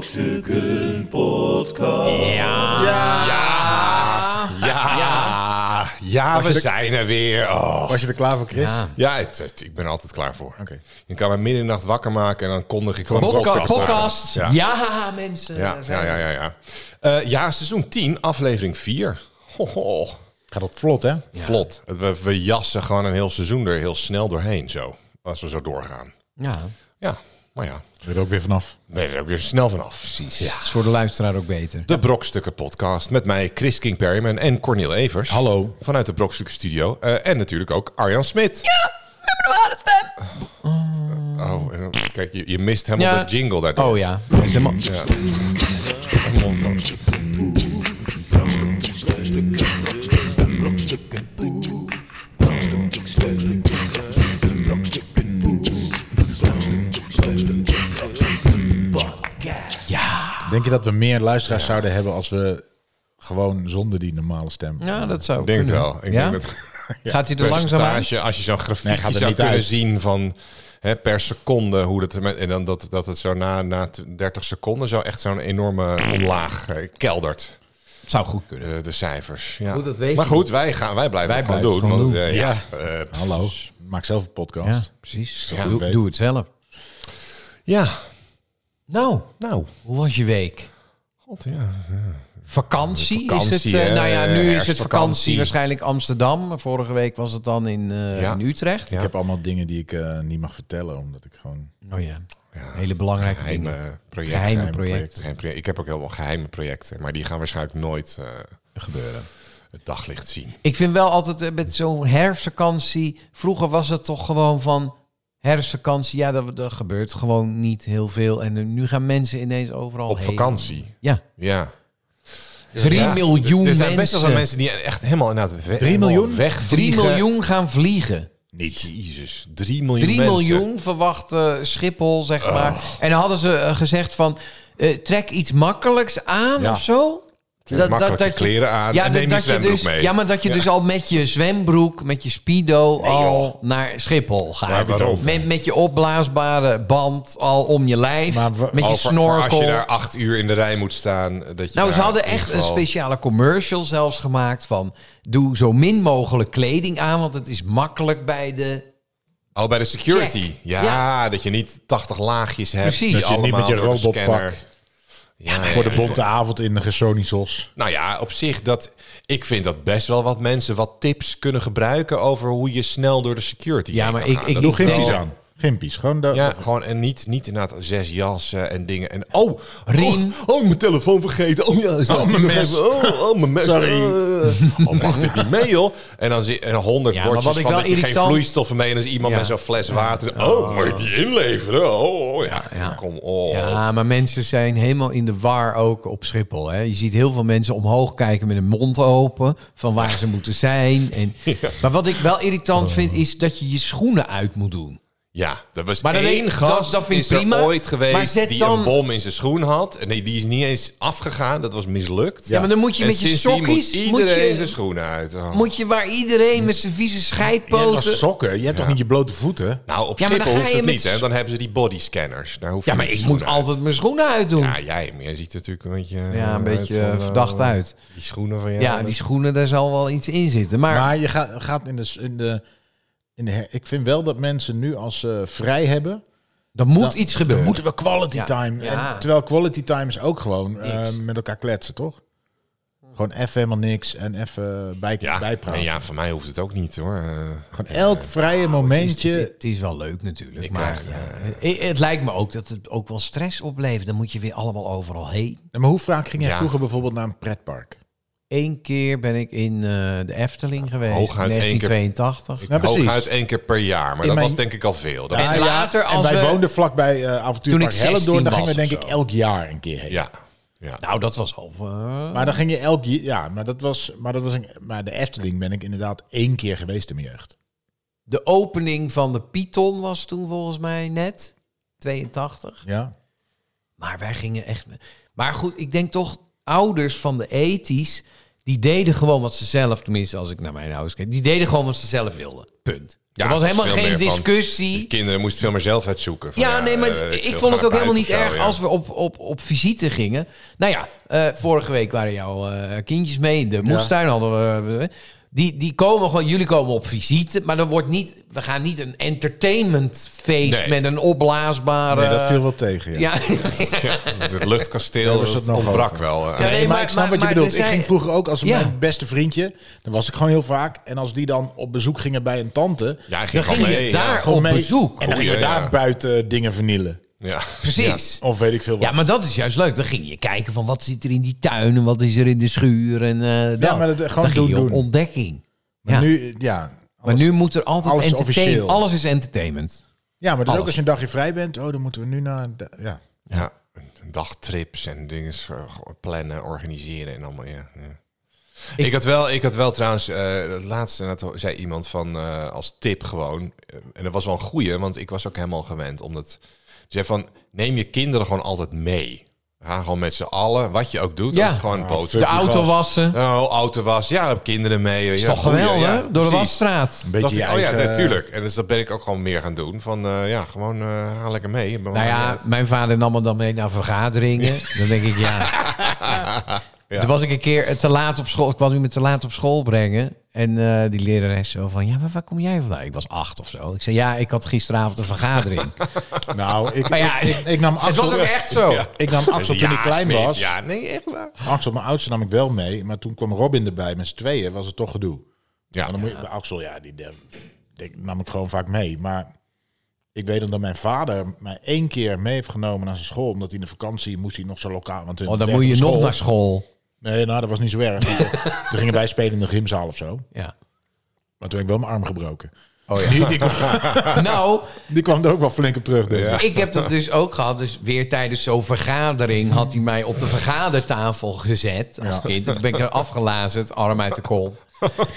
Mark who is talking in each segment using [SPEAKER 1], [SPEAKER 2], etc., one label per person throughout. [SPEAKER 1] Brokstukken Podcast.
[SPEAKER 2] Ja. Ja. Ja. Ja,
[SPEAKER 3] Was je
[SPEAKER 2] we
[SPEAKER 3] er-
[SPEAKER 2] zijn er weer. Oh.
[SPEAKER 3] Was je er klaar voor, Chris?
[SPEAKER 4] Ja.
[SPEAKER 2] Ja, het- het- ik ben er altijd klaar voor.
[SPEAKER 3] Oké.
[SPEAKER 2] Je kan mij middernacht wakker maken en dan kondig ik gewoon
[SPEAKER 3] Podca-
[SPEAKER 2] podcasts aan.
[SPEAKER 3] podcasts.
[SPEAKER 2] Ja. Ja.
[SPEAKER 4] Ja, mensen.
[SPEAKER 2] Ja,
[SPEAKER 4] daar zijn
[SPEAKER 2] ja,
[SPEAKER 4] we.
[SPEAKER 2] ja, ja, ja. Eh, ja, seizoen 10, aflevering 4. Ho, ho.
[SPEAKER 3] Gaat op vlot, hè?
[SPEAKER 2] Vlot. We, we jassen gewoon een heel seizoen er heel snel doorheen, zo. Als we zo doorgaan.
[SPEAKER 4] Ja,
[SPEAKER 2] Ja, maar ja.
[SPEAKER 3] We er ook weer vanaf.
[SPEAKER 2] Nee, daar heb ik weer snel vanaf. Precies.
[SPEAKER 4] is voor de luisteraar ook beter.
[SPEAKER 2] De Brokstukken Podcast met mij, Chris King Perryman en Cornel Evers.
[SPEAKER 3] Hallo.
[SPEAKER 2] Vanuit de Brokstukken Studio. Eh, en natuurlijk ook Arjan Smit. Ja, we hebben een ware stem. Oh, en dan- kijk, je, je mist helemaal
[SPEAKER 4] Ja.
[SPEAKER 2] de jingle daardoor.
[SPEAKER 4] Oh ja. Dat is helemaal-
[SPEAKER 3] Denk je dat we meer luisteraars zouden hebben als we gewoon zonder die normale stem?
[SPEAKER 4] Ja, dat zou
[SPEAKER 2] Ik denk het
[SPEAKER 4] kunnen.
[SPEAKER 2] wel. Ik
[SPEAKER 4] Ja?
[SPEAKER 2] denk dat
[SPEAKER 4] Gaat hij er langzaam aan?
[SPEAKER 2] percentage, als je zo'n
[SPEAKER 3] Nee,
[SPEAKER 2] grafiekje
[SPEAKER 3] gaat er
[SPEAKER 2] zou
[SPEAKER 3] niet
[SPEAKER 2] kunnen
[SPEAKER 3] uit.
[SPEAKER 2] zien van hè, per seconde hoe dat er met- en dan dat, dat het zo na, na t- 30 seconden zo echt zo'n enorme omlaag eh, keldert. eh,
[SPEAKER 4] Zou goed kunnen.
[SPEAKER 2] De, de cijfers. Ja.
[SPEAKER 4] Goed, dat weet
[SPEAKER 2] maar
[SPEAKER 4] je
[SPEAKER 2] goed, wij, gaan, wij blijven
[SPEAKER 4] Wij
[SPEAKER 2] het gewoon
[SPEAKER 4] blijven
[SPEAKER 2] doen.
[SPEAKER 4] het
[SPEAKER 2] want,
[SPEAKER 4] gewoon
[SPEAKER 2] eh,
[SPEAKER 3] doen.
[SPEAKER 2] ja, eh,
[SPEAKER 3] Hallo. Maak zelf een
[SPEAKER 4] Ja,
[SPEAKER 3] podcast.
[SPEAKER 4] precies.
[SPEAKER 2] Ja,
[SPEAKER 4] doe,
[SPEAKER 3] weet.
[SPEAKER 4] doe het zelf.
[SPEAKER 2] eh, ja,
[SPEAKER 4] Nou,
[SPEAKER 2] nou.
[SPEAKER 4] hoe was je week?
[SPEAKER 2] God, ja.
[SPEAKER 4] Vakantie,
[SPEAKER 2] Vakantie,
[SPEAKER 4] is het? eh,
[SPEAKER 2] hè,
[SPEAKER 4] nou ja, nu is het
[SPEAKER 2] herfstvakantie.
[SPEAKER 4] vakantie waarschijnlijk Amsterdam. Vorige week was het dan in, eh,
[SPEAKER 2] Ja.
[SPEAKER 4] in Utrecht.
[SPEAKER 2] Ja.
[SPEAKER 3] Ik heb allemaal dingen die ik eh, niet mag vertellen, omdat ik gewoon...
[SPEAKER 4] Oh ja, hele belangrijke dingen.
[SPEAKER 2] Geheime projecten.
[SPEAKER 4] Geheime
[SPEAKER 2] Geheime
[SPEAKER 4] projecten.
[SPEAKER 2] projecten. Ik heb ook heel veel geheime projecten, maar die gaan waarschijnlijk nooit eh,
[SPEAKER 3] Gebeuren.
[SPEAKER 2] het daglicht zien.
[SPEAKER 4] Ik vind wel altijd eh, met zo'n herfstvakantie. Vroeger was het toch gewoon van herfstvakantie. Ja, dat, dat gebeurt gewoon niet heel veel. En eh, nu gaan mensen ineens overal
[SPEAKER 2] Op
[SPEAKER 4] heen.
[SPEAKER 2] vakantie.
[SPEAKER 4] Ja,
[SPEAKER 2] Ja.
[SPEAKER 4] Dus Drie
[SPEAKER 2] Ja.
[SPEAKER 4] miljoen
[SPEAKER 2] Er zijn best wel veel
[SPEAKER 4] mensen.
[SPEAKER 2] mensen die echt helemaal inderdaad we-
[SPEAKER 3] Drie miljoen?
[SPEAKER 2] wegvliegen.
[SPEAKER 4] 3 miljoen gaan vliegen.
[SPEAKER 3] Niet.
[SPEAKER 2] Jezus, 3 miljoen
[SPEAKER 4] 3
[SPEAKER 2] mensen.
[SPEAKER 4] miljoen verwacht eh, Schiphol, zeg maar. En dan hadden ze eh, gezegd van... eh, trek iets makkelijks aan
[SPEAKER 3] Ja.
[SPEAKER 4] of zo.
[SPEAKER 2] makkelijke
[SPEAKER 4] je-
[SPEAKER 2] kleren aan Ah, en neem je zwembroek
[SPEAKER 4] dus,
[SPEAKER 2] mee.
[SPEAKER 4] Ja, maar dat je
[SPEAKER 2] Ja.
[SPEAKER 4] dus al met je zwembroek, met je speedo al naar Schiphol
[SPEAKER 2] Waar
[SPEAKER 4] gaat.
[SPEAKER 2] heb je het over?
[SPEAKER 4] met, met je opblaasbare band al om je lijf.
[SPEAKER 3] Maar wa-
[SPEAKER 4] met je
[SPEAKER 2] Al voor- voor
[SPEAKER 4] snorkel.
[SPEAKER 2] Als je daar acht uur in de rij moet staan. Dat je
[SPEAKER 4] Nou, ze
[SPEAKER 2] daar
[SPEAKER 4] hadden
[SPEAKER 2] in ieder
[SPEAKER 4] echt een
[SPEAKER 2] geval-
[SPEAKER 4] speciale commercial zelfs gemaakt van... doe zo min mogelijk kleding aan, want het is makkelijk bij de
[SPEAKER 2] Oh, bij de security.
[SPEAKER 4] Check.
[SPEAKER 2] Ja,
[SPEAKER 4] Ja.
[SPEAKER 2] dat je niet 80 laagjes hebt.
[SPEAKER 4] Precies.
[SPEAKER 2] die
[SPEAKER 4] Dat je
[SPEAKER 3] niet met
[SPEAKER 2] allemaal
[SPEAKER 3] je
[SPEAKER 2] door de
[SPEAKER 3] robotpak-
[SPEAKER 2] scanner- Ja, ja,
[SPEAKER 3] Voor de
[SPEAKER 2] ja.
[SPEAKER 3] bonte avond in de gesonisos.
[SPEAKER 2] Nou ja, op zich, dat, ik vind dat best wel wat mensen wat tips kunnen gebruiken over hoe je snel door de security
[SPEAKER 4] Ja,
[SPEAKER 2] heen
[SPEAKER 4] maar
[SPEAKER 2] kan
[SPEAKER 4] ik-
[SPEAKER 2] gaan.
[SPEAKER 4] ik-
[SPEAKER 2] Dat-
[SPEAKER 3] Doe
[SPEAKER 4] ik
[SPEAKER 3] gimpies
[SPEAKER 4] denk-
[SPEAKER 3] aan. Gimpies. Gewoon de...
[SPEAKER 2] ja, gewoon en niet, niet inderdaad zes jassen en dingen. En oh,
[SPEAKER 4] Riem.
[SPEAKER 2] Oh, oh, mijn telefoon vergeten. Oh ja, is dat
[SPEAKER 3] Oh,
[SPEAKER 2] die
[SPEAKER 3] mijn
[SPEAKER 2] nog
[SPEAKER 3] mes.
[SPEAKER 2] even? Oh, oh, mijn mes.
[SPEAKER 3] Sorry.
[SPEAKER 2] Eh. oh, mag dit niet mee, joh? En dan zit en honderd
[SPEAKER 4] Ja, maar
[SPEAKER 2] bordjes
[SPEAKER 4] wat ik
[SPEAKER 2] van
[SPEAKER 4] wel
[SPEAKER 2] dat je geen
[SPEAKER 4] irritant-
[SPEAKER 2] vloeistoffen mee. En dan is iemand
[SPEAKER 4] Ja.
[SPEAKER 2] met zo'n fles water. Oh, moet ik die inleveren? Oh, oh, ja,
[SPEAKER 4] Ja.
[SPEAKER 2] kom op.
[SPEAKER 4] Ja, maar mensen zijn helemaal in de war ook op Schiphol. Hè? Je ziet heel veel mensen omhoog kijken met hun mond open van waar ze moeten zijn. En, Maar wat ik wel irritant vind, is dat je je schoenen uit moet doen.
[SPEAKER 2] Ja, dat was
[SPEAKER 4] Maar dan
[SPEAKER 2] één
[SPEAKER 4] denk ik,
[SPEAKER 2] gast
[SPEAKER 4] dat- dat vind ik
[SPEAKER 2] is er
[SPEAKER 4] prima,
[SPEAKER 2] ooit
[SPEAKER 4] maar
[SPEAKER 2] geweest
[SPEAKER 4] zet
[SPEAKER 2] die
[SPEAKER 4] dan-
[SPEAKER 2] een bom in zijn schoen had. En nee, die is niet eens afgegaan, dat was mislukt.
[SPEAKER 4] Ja, maar dan moet je
[SPEAKER 2] En
[SPEAKER 4] met je
[SPEAKER 2] sindsdien
[SPEAKER 4] sokkies,
[SPEAKER 2] moet
[SPEAKER 4] moet
[SPEAKER 2] iedereen
[SPEAKER 4] je-
[SPEAKER 2] zijn schoenen uit. Oh.
[SPEAKER 4] Moet je waar iedereen met zijn vieze
[SPEAKER 3] Jij hebt wel
[SPEAKER 4] scheidpoten...
[SPEAKER 3] sokken. Je hebt toch niet je blote voeten?
[SPEAKER 2] Nou, op
[SPEAKER 4] Ja, maar dan
[SPEAKER 2] Schiphol
[SPEAKER 4] ga
[SPEAKER 2] hoeft
[SPEAKER 4] je
[SPEAKER 2] het
[SPEAKER 4] met
[SPEAKER 2] niet,
[SPEAKER 4] s-
[SPEAKER 2] hè. Dan hebben ze die bodyscanners. Daar hoef je
[SPEAKER 4] Ja, maar
[SPEAKER 2] niet je
[SPEAKER 4] ik moet
[SPEAKER 2] schoenen uit.
[SPEAKER 4] altijd mijn schoenen uitdoen.
[SPEAKER 2] Ja, jij, maar jij ziet er natuurlijk een beetje...
[SPEAKER 4] Ja, een
[SPEAKER 2] eh,
[SPEAKER 4] beetje
[SPEAKER 2] van,
[SPEAKER 4] eh,
[SPEAKER 2] eh,
[SPEAKER 4] verdacht uit.
[SPEAKER 2] Die schoenen van jou.
[SPEAKER 4] Ja, die schoenen, daar zal wel iets in zitten. Maar,
[SPEAKER 3] Maar je gaat, gaat in de... In de, in de her- ik vind wel dat mensen nu als ze vrij hebben...
[SPEAKER 4] er moet
[SPEAKER 3] dan-
[SPEAKER 4] iets
[SPEAKER 2] Eh,
[SPEAKER 4] gebeuren.
[SPEAKER 3] Moeten we quality
[SPEAKER 4] Ja.
[SPEAKER 3] time?
[SPEAKER 4] Ja.
[SPEAKER 3] En, terwijl quality time is ook gewoon eh,
[SPEAKER 4] Niks.
[SPEAKER 3] met elkaar kletsen, toch? Gewoon even helemaal niks en even bij,
[SPEAKER 2] Ja,
[SPEAKER 3] bijpraten.
[SPEAKER 2] en ja, voor mij hoeft het ook niet, hoor. Eh,
[SPEAKER 3] Gewoon elk vrije momentje.
[SPEAKER 4] Het is, het is wel leuk natuurlijk.
[SPEAKER 2] Ik
[SPEAKER 4] maar
[SPEAKER 2] krijg,
[SPEAKER 4] ja, het, het lijkt me ook dat het ook wel stress oplevert. Dan moet je weer allemaal overal heen.
[SPEAKER 3] maar hoe vaak ging jij
[SPEAKER 2] Ja.
[SPEAKER 3] vroeger bijvoorbeeld naar een pretpark?
[SPEAKER 4] Eén keer ben ik in eh, de Efteling geweest.
[SPEAKER 2] hooguit
[SPEAKER 4] in
[SPEAKER 2] één keer.
[SPEAKER 4] 1982.
[SPEAKER 2] ik
[SPEAKER 3] Ja, precies.
[SPEAKER 2] hooguit één keer per jaar, maar dat
[SPEAKER 3] mijn-
[SPEAKER 2] was denk ik al veel. Dat
[SPEAKER 4] Ja,
[SPEAKER 2] was-
[SPEAKER 4] En later
[SPEAKER 3] en
[SPEAKER 4] als
[SPEAKER 3] wij
[SPEAKER 4] we-
[SPEAKER 3] woonden vlakbij eh avontuurpark
[SPEAKER 4] Toen ik 16
[SPEAKER 3] Hellendoorn. Daar
[SPEAKER 4] was
[SPEAKER 3] gingen we denk
[SPEAKER 4] of
[SPEAKER 3] ik elk jaar een keer heen.
[SPEAKER 2] ja, ja.
[SPEAKER 4] Nou, dat was al. eh,
[SPEAKER 3] Maar dan ging je elk jaar... Ja, maar dat was... Maar, dat was een, maar de Efteling ben ik inderdaad één keer geweest in mijn jeugd.
[SPEAKER 4] de opening van de Python was toen volgens mij net 82.
[SPEAKER 3] Ja.
[SPEAKER 4] Maar wij gingen echt. Maar goed, ik denk toch ouders van de ethisch. Die deden gewoon wat ze zelf, tenminste als ik naar mijn ouders kijk, die deden gewoon wat ze zelf wilden. Punt.
[SPEAKER 2] Ja,
[SPEAKER 4] er was
[SPEAKER 2] het is
[SPEAKER 4] helemaal
[SPEAKER 2] veel
[SPEAKER 4] geen
[SPEAKER 2] meer van-
[SPEAKER 4] discussie.
[SPEAKER 2] Die kinderen moesten veel meer zelf uitzoeken. Van,
[SPEAKER 4] Ja, nee, maar
[SPEAKER 2] eh,
[SPEAKER 4] ik,
[SPEAKER 2] wil
[SPEAKER 4] vond het
[SPEAKER 2] gaan
[SPEAKER 4] ook helemaal
[SPEAKER 2] naar
[SPEAKER 4] niet
[SPEAKER 2] buiten
[SPEAKER 4] erg
[SPEAKER 2] of zo, ja.
[SPEAKER 4] als we op, op, op visite gingen. Nou ja, eh, vorige week waren jouw eh, kindjes mee. De moestuin hadden we. eh, die, die komen gewoon, jullie komen op visite. Maar dan wordt niet, we gaan niet een entertainmentfeest
[SPEAKER 2] Nee.
[SPEAKER 4] met een opblaasbare...
[SPEAKER 3] Nee,
[SPEAKER 2] eh,
[SPEAKER 3] dat viel wel tegen. Ja.
[SPEAKER 4] Ja,
[SPEAKER 2] Dus het luchtkasteel
[SPEAKER 3] Daar was
[SPEAKER 2] dat
[SPEAKER 3] het nog
[SPEAKER 2] ontbrak
[SPEAKER 3] over.
[SPEAKER 2] wel.
[SPEAKER 4] Ja,
[SPEAKER 2] eh.
[SPEAKER 3] Nee,
[SPEAKER 4] nee,
[SPEAKER 3] maar,
[SPEAKER 4] maar-
[SPEAKER 3] ik snap
[SPEAKER 4] maar-
[SPEAKER 3] wat je
[SPEAKER 4] maar
[SPEAKER 3] bedoelt.
[SPEAKER 4] er
[SPEAKER 3] Ik
[SPEAKER 4] zijn-
[SPEAKER 3] ging vroeger ook als
[SPEAKER 4] Ja.
[SPEAKER 3] mijn beste vriendje. Dan was ik gewoon heel vaak. En als die dan op bezoek gingen bij een tante.
[SPEAKER 2] Ja, hij
[SPEAKER 4] dan
[SPEAKER 2] ging
[SPEAKER 4] ging
[SPEAKER 2] gewoon
[SPEAKER 4] je
[SPEAKER 2] mee. ja.
[SPEAKER 4] daar
[SPEAKER 3] gewoon
[SPEAKER 4] op
[SPEAKER 3] mee.
[SPEAKER 4] bezoek.
[SPEAKER 3] En dan gingen we
[SPEAKER 2] Goeie, ja.
[SPEAKER 3] daar buiten dingen vernielen.
[SPEAKER 2] Ja.
[SPEAKER 4] Precies.
[SPEAKER 3] Of weet ik veel wat.
[SPEAKER 4] Ja, maar dat is jujuist leuk. Dan ging je kijken van wat zit er in die tuin en wat is er in de schuur. En, eh, dat.
[SPEAKER 3] maar dat- gewoon
[SPEAKER 4] dan ging
[SPEAKER 3] doen,
[SPEAKER 4] je op
[SPEAKER 3] doen.
[SPEAKER 4] ontdekking.
[SPEAKER 3] Maar
[SPEAKER 4] ja.
[SPEAKER 3] nu, ja.
[SPEAKER 4] Maar
[SPEAKER 3] alles-
[SPEAKER 4] nu moet er altijd
[SPEAKER 3] alles
[SPEAKER 4] entertainment.
[SPEAKER 3] officieel.
[SPEAKER 4] Alles is entertainment.
[SPEAKER 3] ja, maar dus
[SPEAKER 4] alles.
[SPEAKER 3] ook als je een dagje vrij bent. Oh, dan moeten we nu naar. de- ja.
[SPEAKER 2] Ja. Dagtrips en dingen eh, plannen, organiseren en allemaal. Ja. ja. Ik,
[SPEAKER 4] Ik-
[SPEAKER 2] had wel, ik had wel trouwens, eh het laatste net ho- zei iemand van eh, als tip gewoon. eh, en dat was wel een goeie, want ik was ook helemaal gewend. Omdat die zei van neem je kinderen gewoon altijd mee. Ga gewoon met z'n allen, wat je ook doet.
[SPEAKER 4] Ja.
[SPEAKER 2] Als het gewoon een boodschap
[SPEAKER 4] De
[SPEAKER 3] die
[SPEAKER 4] auto
[SPEAKER 3] gast.
[SPEAKER 4] wassen.
[SPEAKER 2] Oh, auto was. Ja, heb kinderen mee.
[SPEAKER 4] Is
[SPEAKER 2] ja,
[SPEAKER 4] toch
[SPEAKER 2] goeie,
[SPEAKER 4] geweldig?
[SPEAKER 2] ja,
[SPEAKER 4] Door de
[SPEAKER 2] precies.
[SPEAKER 4] wasstraat.
[SPEAKER 3] Een
[SPEAKER 2] Dat
[SPEAKER 3] beetje
[SPEAKER 2] ik,
[SPEAKER 3] je
[SPEAKER 2] oh ja,
[SPEAKER 3] eigen-
[SPEAKER 2] natuurlijk. En dus dat ben ik ook gewoon meer gaan doen. Van eh, ja, gewoon eh haal lekker mee.
[SPEAKER 4] Nou ja, mijn vader nam me dan mee naar vergaderingen. Dan denk ik, ja. Toen was ik een keer te laat op school. Ik kwam iemand te laat op school brengen. En eh, die lerares zo van, ja, maar waar kom jij vandaan? Ik was acht of zo. Ik zei, ja, ik had gisteravond een vergadering. Oh,
[SPEAKER 3] Nou, ik,
[SPEAKER 4] Maar ja,
[SPEAKER 3] ik, ik- ik nam
[SPEAKER 4] het was
[SPEAKER 3] Axel.
[SPEAKER 4] ook echt zo.
[SPEAKER 3] Ik nam Axel toen ik klein
[SPEAKER 2] Smeet.
[SPEAKER 3] was.
[SPEAKER 2] Ja, nee, echt waar.
[SPEAKER 3] Axel, mijn oudste, nam ik wel mee. Maar toen kwam Robin erbij. Met z'n tweeën was het toch gedoe.
[SPEAKER 2] Ja,
[SPEAKER 3] Maar dan moet je, bij Axel, ja, die, die, die nam ik gewoon vaak mee. Maar ik weet omdat mijn vader mij één keer mee heeft genomen naar zijn school. Omdat hij in de vakantie moest hij nog zo lokaal. Want hun
[SPEAKER 4] Oh, dan
[SPEAKER 3] werkte
[SPEAKER 4] moet
[SPEAKER 3] op
[SPEAKER 4] je nog
[SPEAKER 3] school.
[SPEAKER 4] naar school.
[SPEAKER 3] Nee, nou, dat was niet zo erg. toen gingen wij spelen in de gymzaal of zo.
[SPEAKER 4] Ja.
[SPEAKER 3] Maar toen heb ik wel mijn arm gebroken.
[SPEAKER 4] Oh ja.
[SPEAKER 3] Die, die, kwam,
[SPEAKER 4] Nou,
[SPEAKER 3] die kwam er ook wel flink op terug. Denk ik.
[SPEAKER 2] Ja.
[SPEAKER 4] ik heb dat dus ook gehad. Dus weer tijdens zo'n vergadering had hij mij op de vergadertafel gezet als
[SPEAKER 3] Ja.
[SPEAKER 4] kind. Toen ben ik er afgelazerd, arm uit de kol.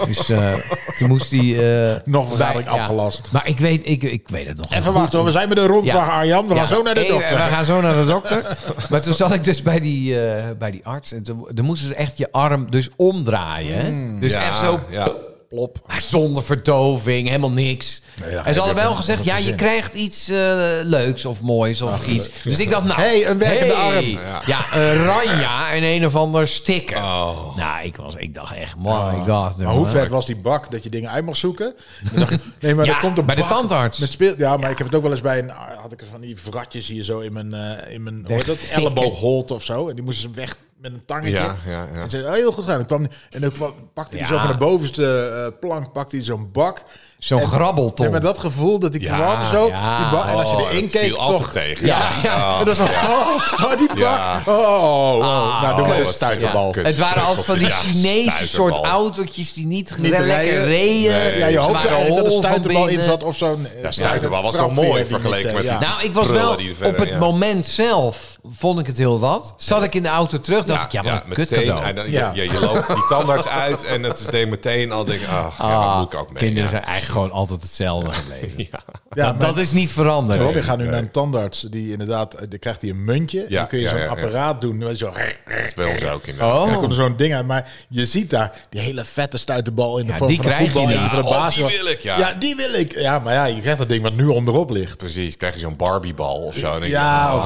[SPEAKER 4] Dus eh, toen moest hij... eh
[SPEAKER 3] Nog vergadering
[SPEAKER 4] bij- ja.
[SPEAKER 3] afgelast.
[SPEAKER 4] Maar ik weet, ik, ik weet het nog
[SPEAKER 3] Even wachten, hoor. we zijn met een rondvraag,
[SPEAKER 4] Ja.
[SPEAKER 3] Arjan. We
[SPEAKER 4] Ja,
[SPEAKER 3] gaan zo naar de
[SPEAKER 4] even-
[SPEAKER 3] dokter.
[SPEAKER 4] We gaan zo naar de dokter. maar toen zat ik dus bij die, eh, bij die arts. En toen, toen moesten ze echt je arm dus omdraaien. hè.
[SPEAKER 3] Hmm,
[SPEAKER 4] dus
[SPEAKER 2] ja,
[SPEAKER 4] echt zo
[SPEAKER 2] Ja.
[SPEAKER 4] plop. Ah, Zonder verdoving, helemaal niks.
[SPEAKER 3] Nee, dat
[SPEAKER 4] en
[SPEAKER 3] heb
[SPEAKER 4] ze hadden
[SPEAKER 3] je
[SPEAKER 4] wel
[SPEAKER 3] ook
[SPEAKER 4] gezegd,
[SPEAKER 3] niet
[SPEAKER 4] ja,
[SPEAKER 3] te
[SPEAKER 4] je
[SPEAKER 3] zien.
[SPEAKER 4] krijgt iets eh, leuks of moois of iets. Dus ik dacht, nou...
[SPEAKER 3] Hey, een werkende arm. Oh.
[SPEAKER 4] Ja. een ranja en een of ander sticker.
[SPEAKER 2] Oh,
[SPEAKER 4] Nou, ik, was, ik dacht echt, my god. nou,
[SPEAKER 3] Maar hoe vet was die bak dat je dingen uit mag zoeken? Dan dacht ik, nee, maar
[SPEAKER 4] Ja,
[SPEAKER 3] er komt een
[SPEAKER 4] bij de
[SPEAKER 3] bak
[SPEAKER 4] tandarts.
[SPEAKER 3] Met speel, ja, maar ik heb het ook wel eens bij een... Had ik van die vratjes hier zo in mijn, eh, in mijn hoe heet dat,
[SPEAKER 4] Wegfikken.
[SPEAKER 3] elleboogholte of zo. En die moesten ze weg met een tangetje.
[SPEAKER 2] Ja, ja, ja.
[SPEAKER 3] En zei, oh, heel goed gedaan. En, kwam, en dan kwam, pakte hij
[SPEAKER 4] Ja.
[SPEAKER 3] zo van de bovenste eh, plank, pakte hij zo'n bak.
[SPEAKER 4] Zo'n
[SPEAKER 3] En-
[SPEAKER 4] grabbelton.
[SPEAKER 3] En met dat gevoel dat ik
[SPEAKER 2] Ja,
[SPEAKER 3] kwam zo.
[SPEAKER 4] ja.
[SPEAKER 3] Die bak, en als je
[SPEAKER 2] Oh,
[SPEAKER 3] erin
[SPEAKER 2] dat
[SPEAKER 3] keek,
[SPEAKER 2] viel altijd
[SPEAKER 3] toch...
[SPEAKER 2] tegen.
[SPEAKER 3] Ja,
[SPEAKER 4] Ja.
[SPEAKER 3] ja. En dat is van, oh, oh, die bak.
[SPEAKER 2] Ja.
[SPEAKER 3] Oh, oh, oh. nou, doe maar
[SPEAKER 4] kut.
[SPEAKER 3] eens stuiterbal.
[SPEAKER 2] Ja, kut.
[SPEAKER 4] Het waren al van die
[SPEAKER 2] Ja,
[SPEAKER 4] Chinese
[SPEAKER 2] stuiterbal.
[SPEAKER 4] soort autootjes die niet,
[SPEAKER 3] Niet
[SPEAKER 4] lekker
[SPEAKER 3] rijden.
[SPEAKER 4] reden.
[SPEAKER 2] Nee.
[SPEAKER 3] Ja, je
[SPEAKER 4] Ze
[SPEAKER 3] hoopt
[SPEAKER 4] waren
[SPEAKER 3] eigenlijk dat er
[SPEAKER 4] hol van
[SPEAKER 3] stuiterbal in
[SPEAKER 4] binnen.
[SPEAKER 3] zat of zo'n...
[SPEAKER 2] Ja, stuiterbal was nog mooi vergeleken
[SPEAKER 3] eh,
[SPEAKER 2] met die-
[SPEAKER 4] Nou, ik was
[SPEAKER 2] Prullen
[SPEAKER 4] wel
[SPEAKER 2] die er verder,
[SPEAKER 4] op het
[SPEAKER 2] ja.
[SPEAKER 4] moment zelf, vond ik het heel wat. Zat ik in de auto terug, dacht
[SPEAKER 2] Ja,
[SPEAKER 4] ik, ja, maar
[SPEAKER 2] ja,
[SPEAKER 4] een kut
[SPEAKER 2] meteen.
[SPEAKER 4] cadeau.
[SPEAKER 2] En dan,
[SPEAKER 3] Ja.
[SPEAKER 2] je, je loopt die tandarts uit en het is deed meteen al denk ik, ach, ja, dat
[SPEAKER 4] Ah,
[SPEAKER 2] moet ik ook mee.
[SPEAKER 4] kinderen
[SPEAKER 2] ja.
[SPEAKER 4] zijn eigenlijk gewoon altijd hetzelfde gebleven.
[SPEAKER 3] Ja,
[SPEAKER 4] dat, dat is niet veranderd.
[SPEAKER 3] Robin gaat nu naar een tandarts die inderdaad, eh, dan krijgt hij een muntje. en
[SPEAKER 2] Ja,
[SPEAKER 3] dan kun je
[SPEAKER 2] ja,
[SPEAKER 3] zo'n
[SPEAKER 2] ja, Oh. ja.
[SPEAKER 3] apparaat doen. Weet je, zo,
[SPEAKER 2] Dat is bij ons ook in
[SPEAKER 4] Oh.
[SPEAKER 3] Dan komt er zo'n ding uit. Maar je ziet daar die hele vette stuiterbal in de
[SPEAKER 4] Ja,
[SPEAKER 3] vorm
[SPEAKER 4] die
[SPEAKER 3] van een
[SPEAKER 4] krijg je
[SPEAKER 3] voetbal.
[SPEAKER 4] niet.
[SPEAKER 3] en van de
[SPEAKER 2] Ja, oh,
[SPEAKER 3] basketbal.
[SPEAKER 2] die wil ik, ja.
[SPEAKER 3] Ja, die wil ik. Ja, maar ja, je krijgt dat ding wat nu onderop ligt.
[SPEAKER 2] Precies, krijg je zo'n Barbiebal of zo. En denk je,
[SPEAKER 3] Ja,
[SPEAKER 4] Ah.
[SPEAKER 3] of-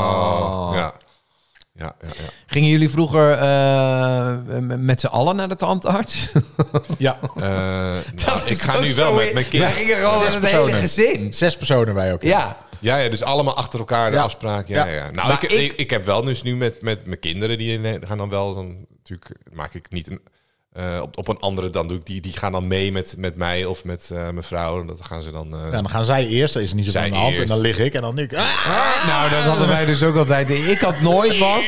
[SPEAKER 2] oh, ja. Ja, ja, ja.
[SPEAKER 4] Gingen jullie vroeger eh, m- met z'n allen naar de tandarts?
[SPEAKER 3] Ja,
[SPEAKER 2] Eh, nou, ik
[SPEAKER 4] is
[SPEAKER 2] ga
[SPEAKER 4] ook
[SPEAKER 2] nu wel
[SPEAKER 4] zo
[SPEAKER 2] met
[SPEAKER 4] in-
[SPEAKER 2] mijn kind.
[SPEAKER 4] Wij gingen gewoon met
[SPEAKER 3] Zes
[SPEAKER 4] het hele
[SPEAKER 3] personen.
[SPEAKER 4] gezin.
[SPEAKER 3] zes personen wij ook.
[SPEAKER 4] Ja.
[SPEAKER 2] Ja, ja, dus allemaal achter elkaar de
[SPEAKER 3] Ja.
[SPEAKER 2] afspraak. Ja, ja.
[SPEAKER 3] Ja.
[SPEAKER 2] Nou, ik,
[SPEAKER 4] Maar
[SPEAKER 2] ik,
[SPEAKER 4] ik-
[SPEAKER 2] ik heb wel dus nu met, met mijn kinderen, die eh, gaan dan wel, dan natuurlijk maak ik niet een, eh, op, op een andere, dan doe ik die, die gaan dan mee met, met mij of met eh, mijn vrouw. En dat gaan ze dan. eh,
[SPEAKER 3] Ja, dan gaan zij eerst, dan is er niet zo
[SPEAKER 2] Zij
[SPEAKER 3] aan de hand. En
[SPEAKER 2] eerst.
[SPEAKER 3] dan lig ik en dan ik. Ah,
[SPEAKER 4] Nou, dat hadden wij dus ook altijd. Ik had nooit wat.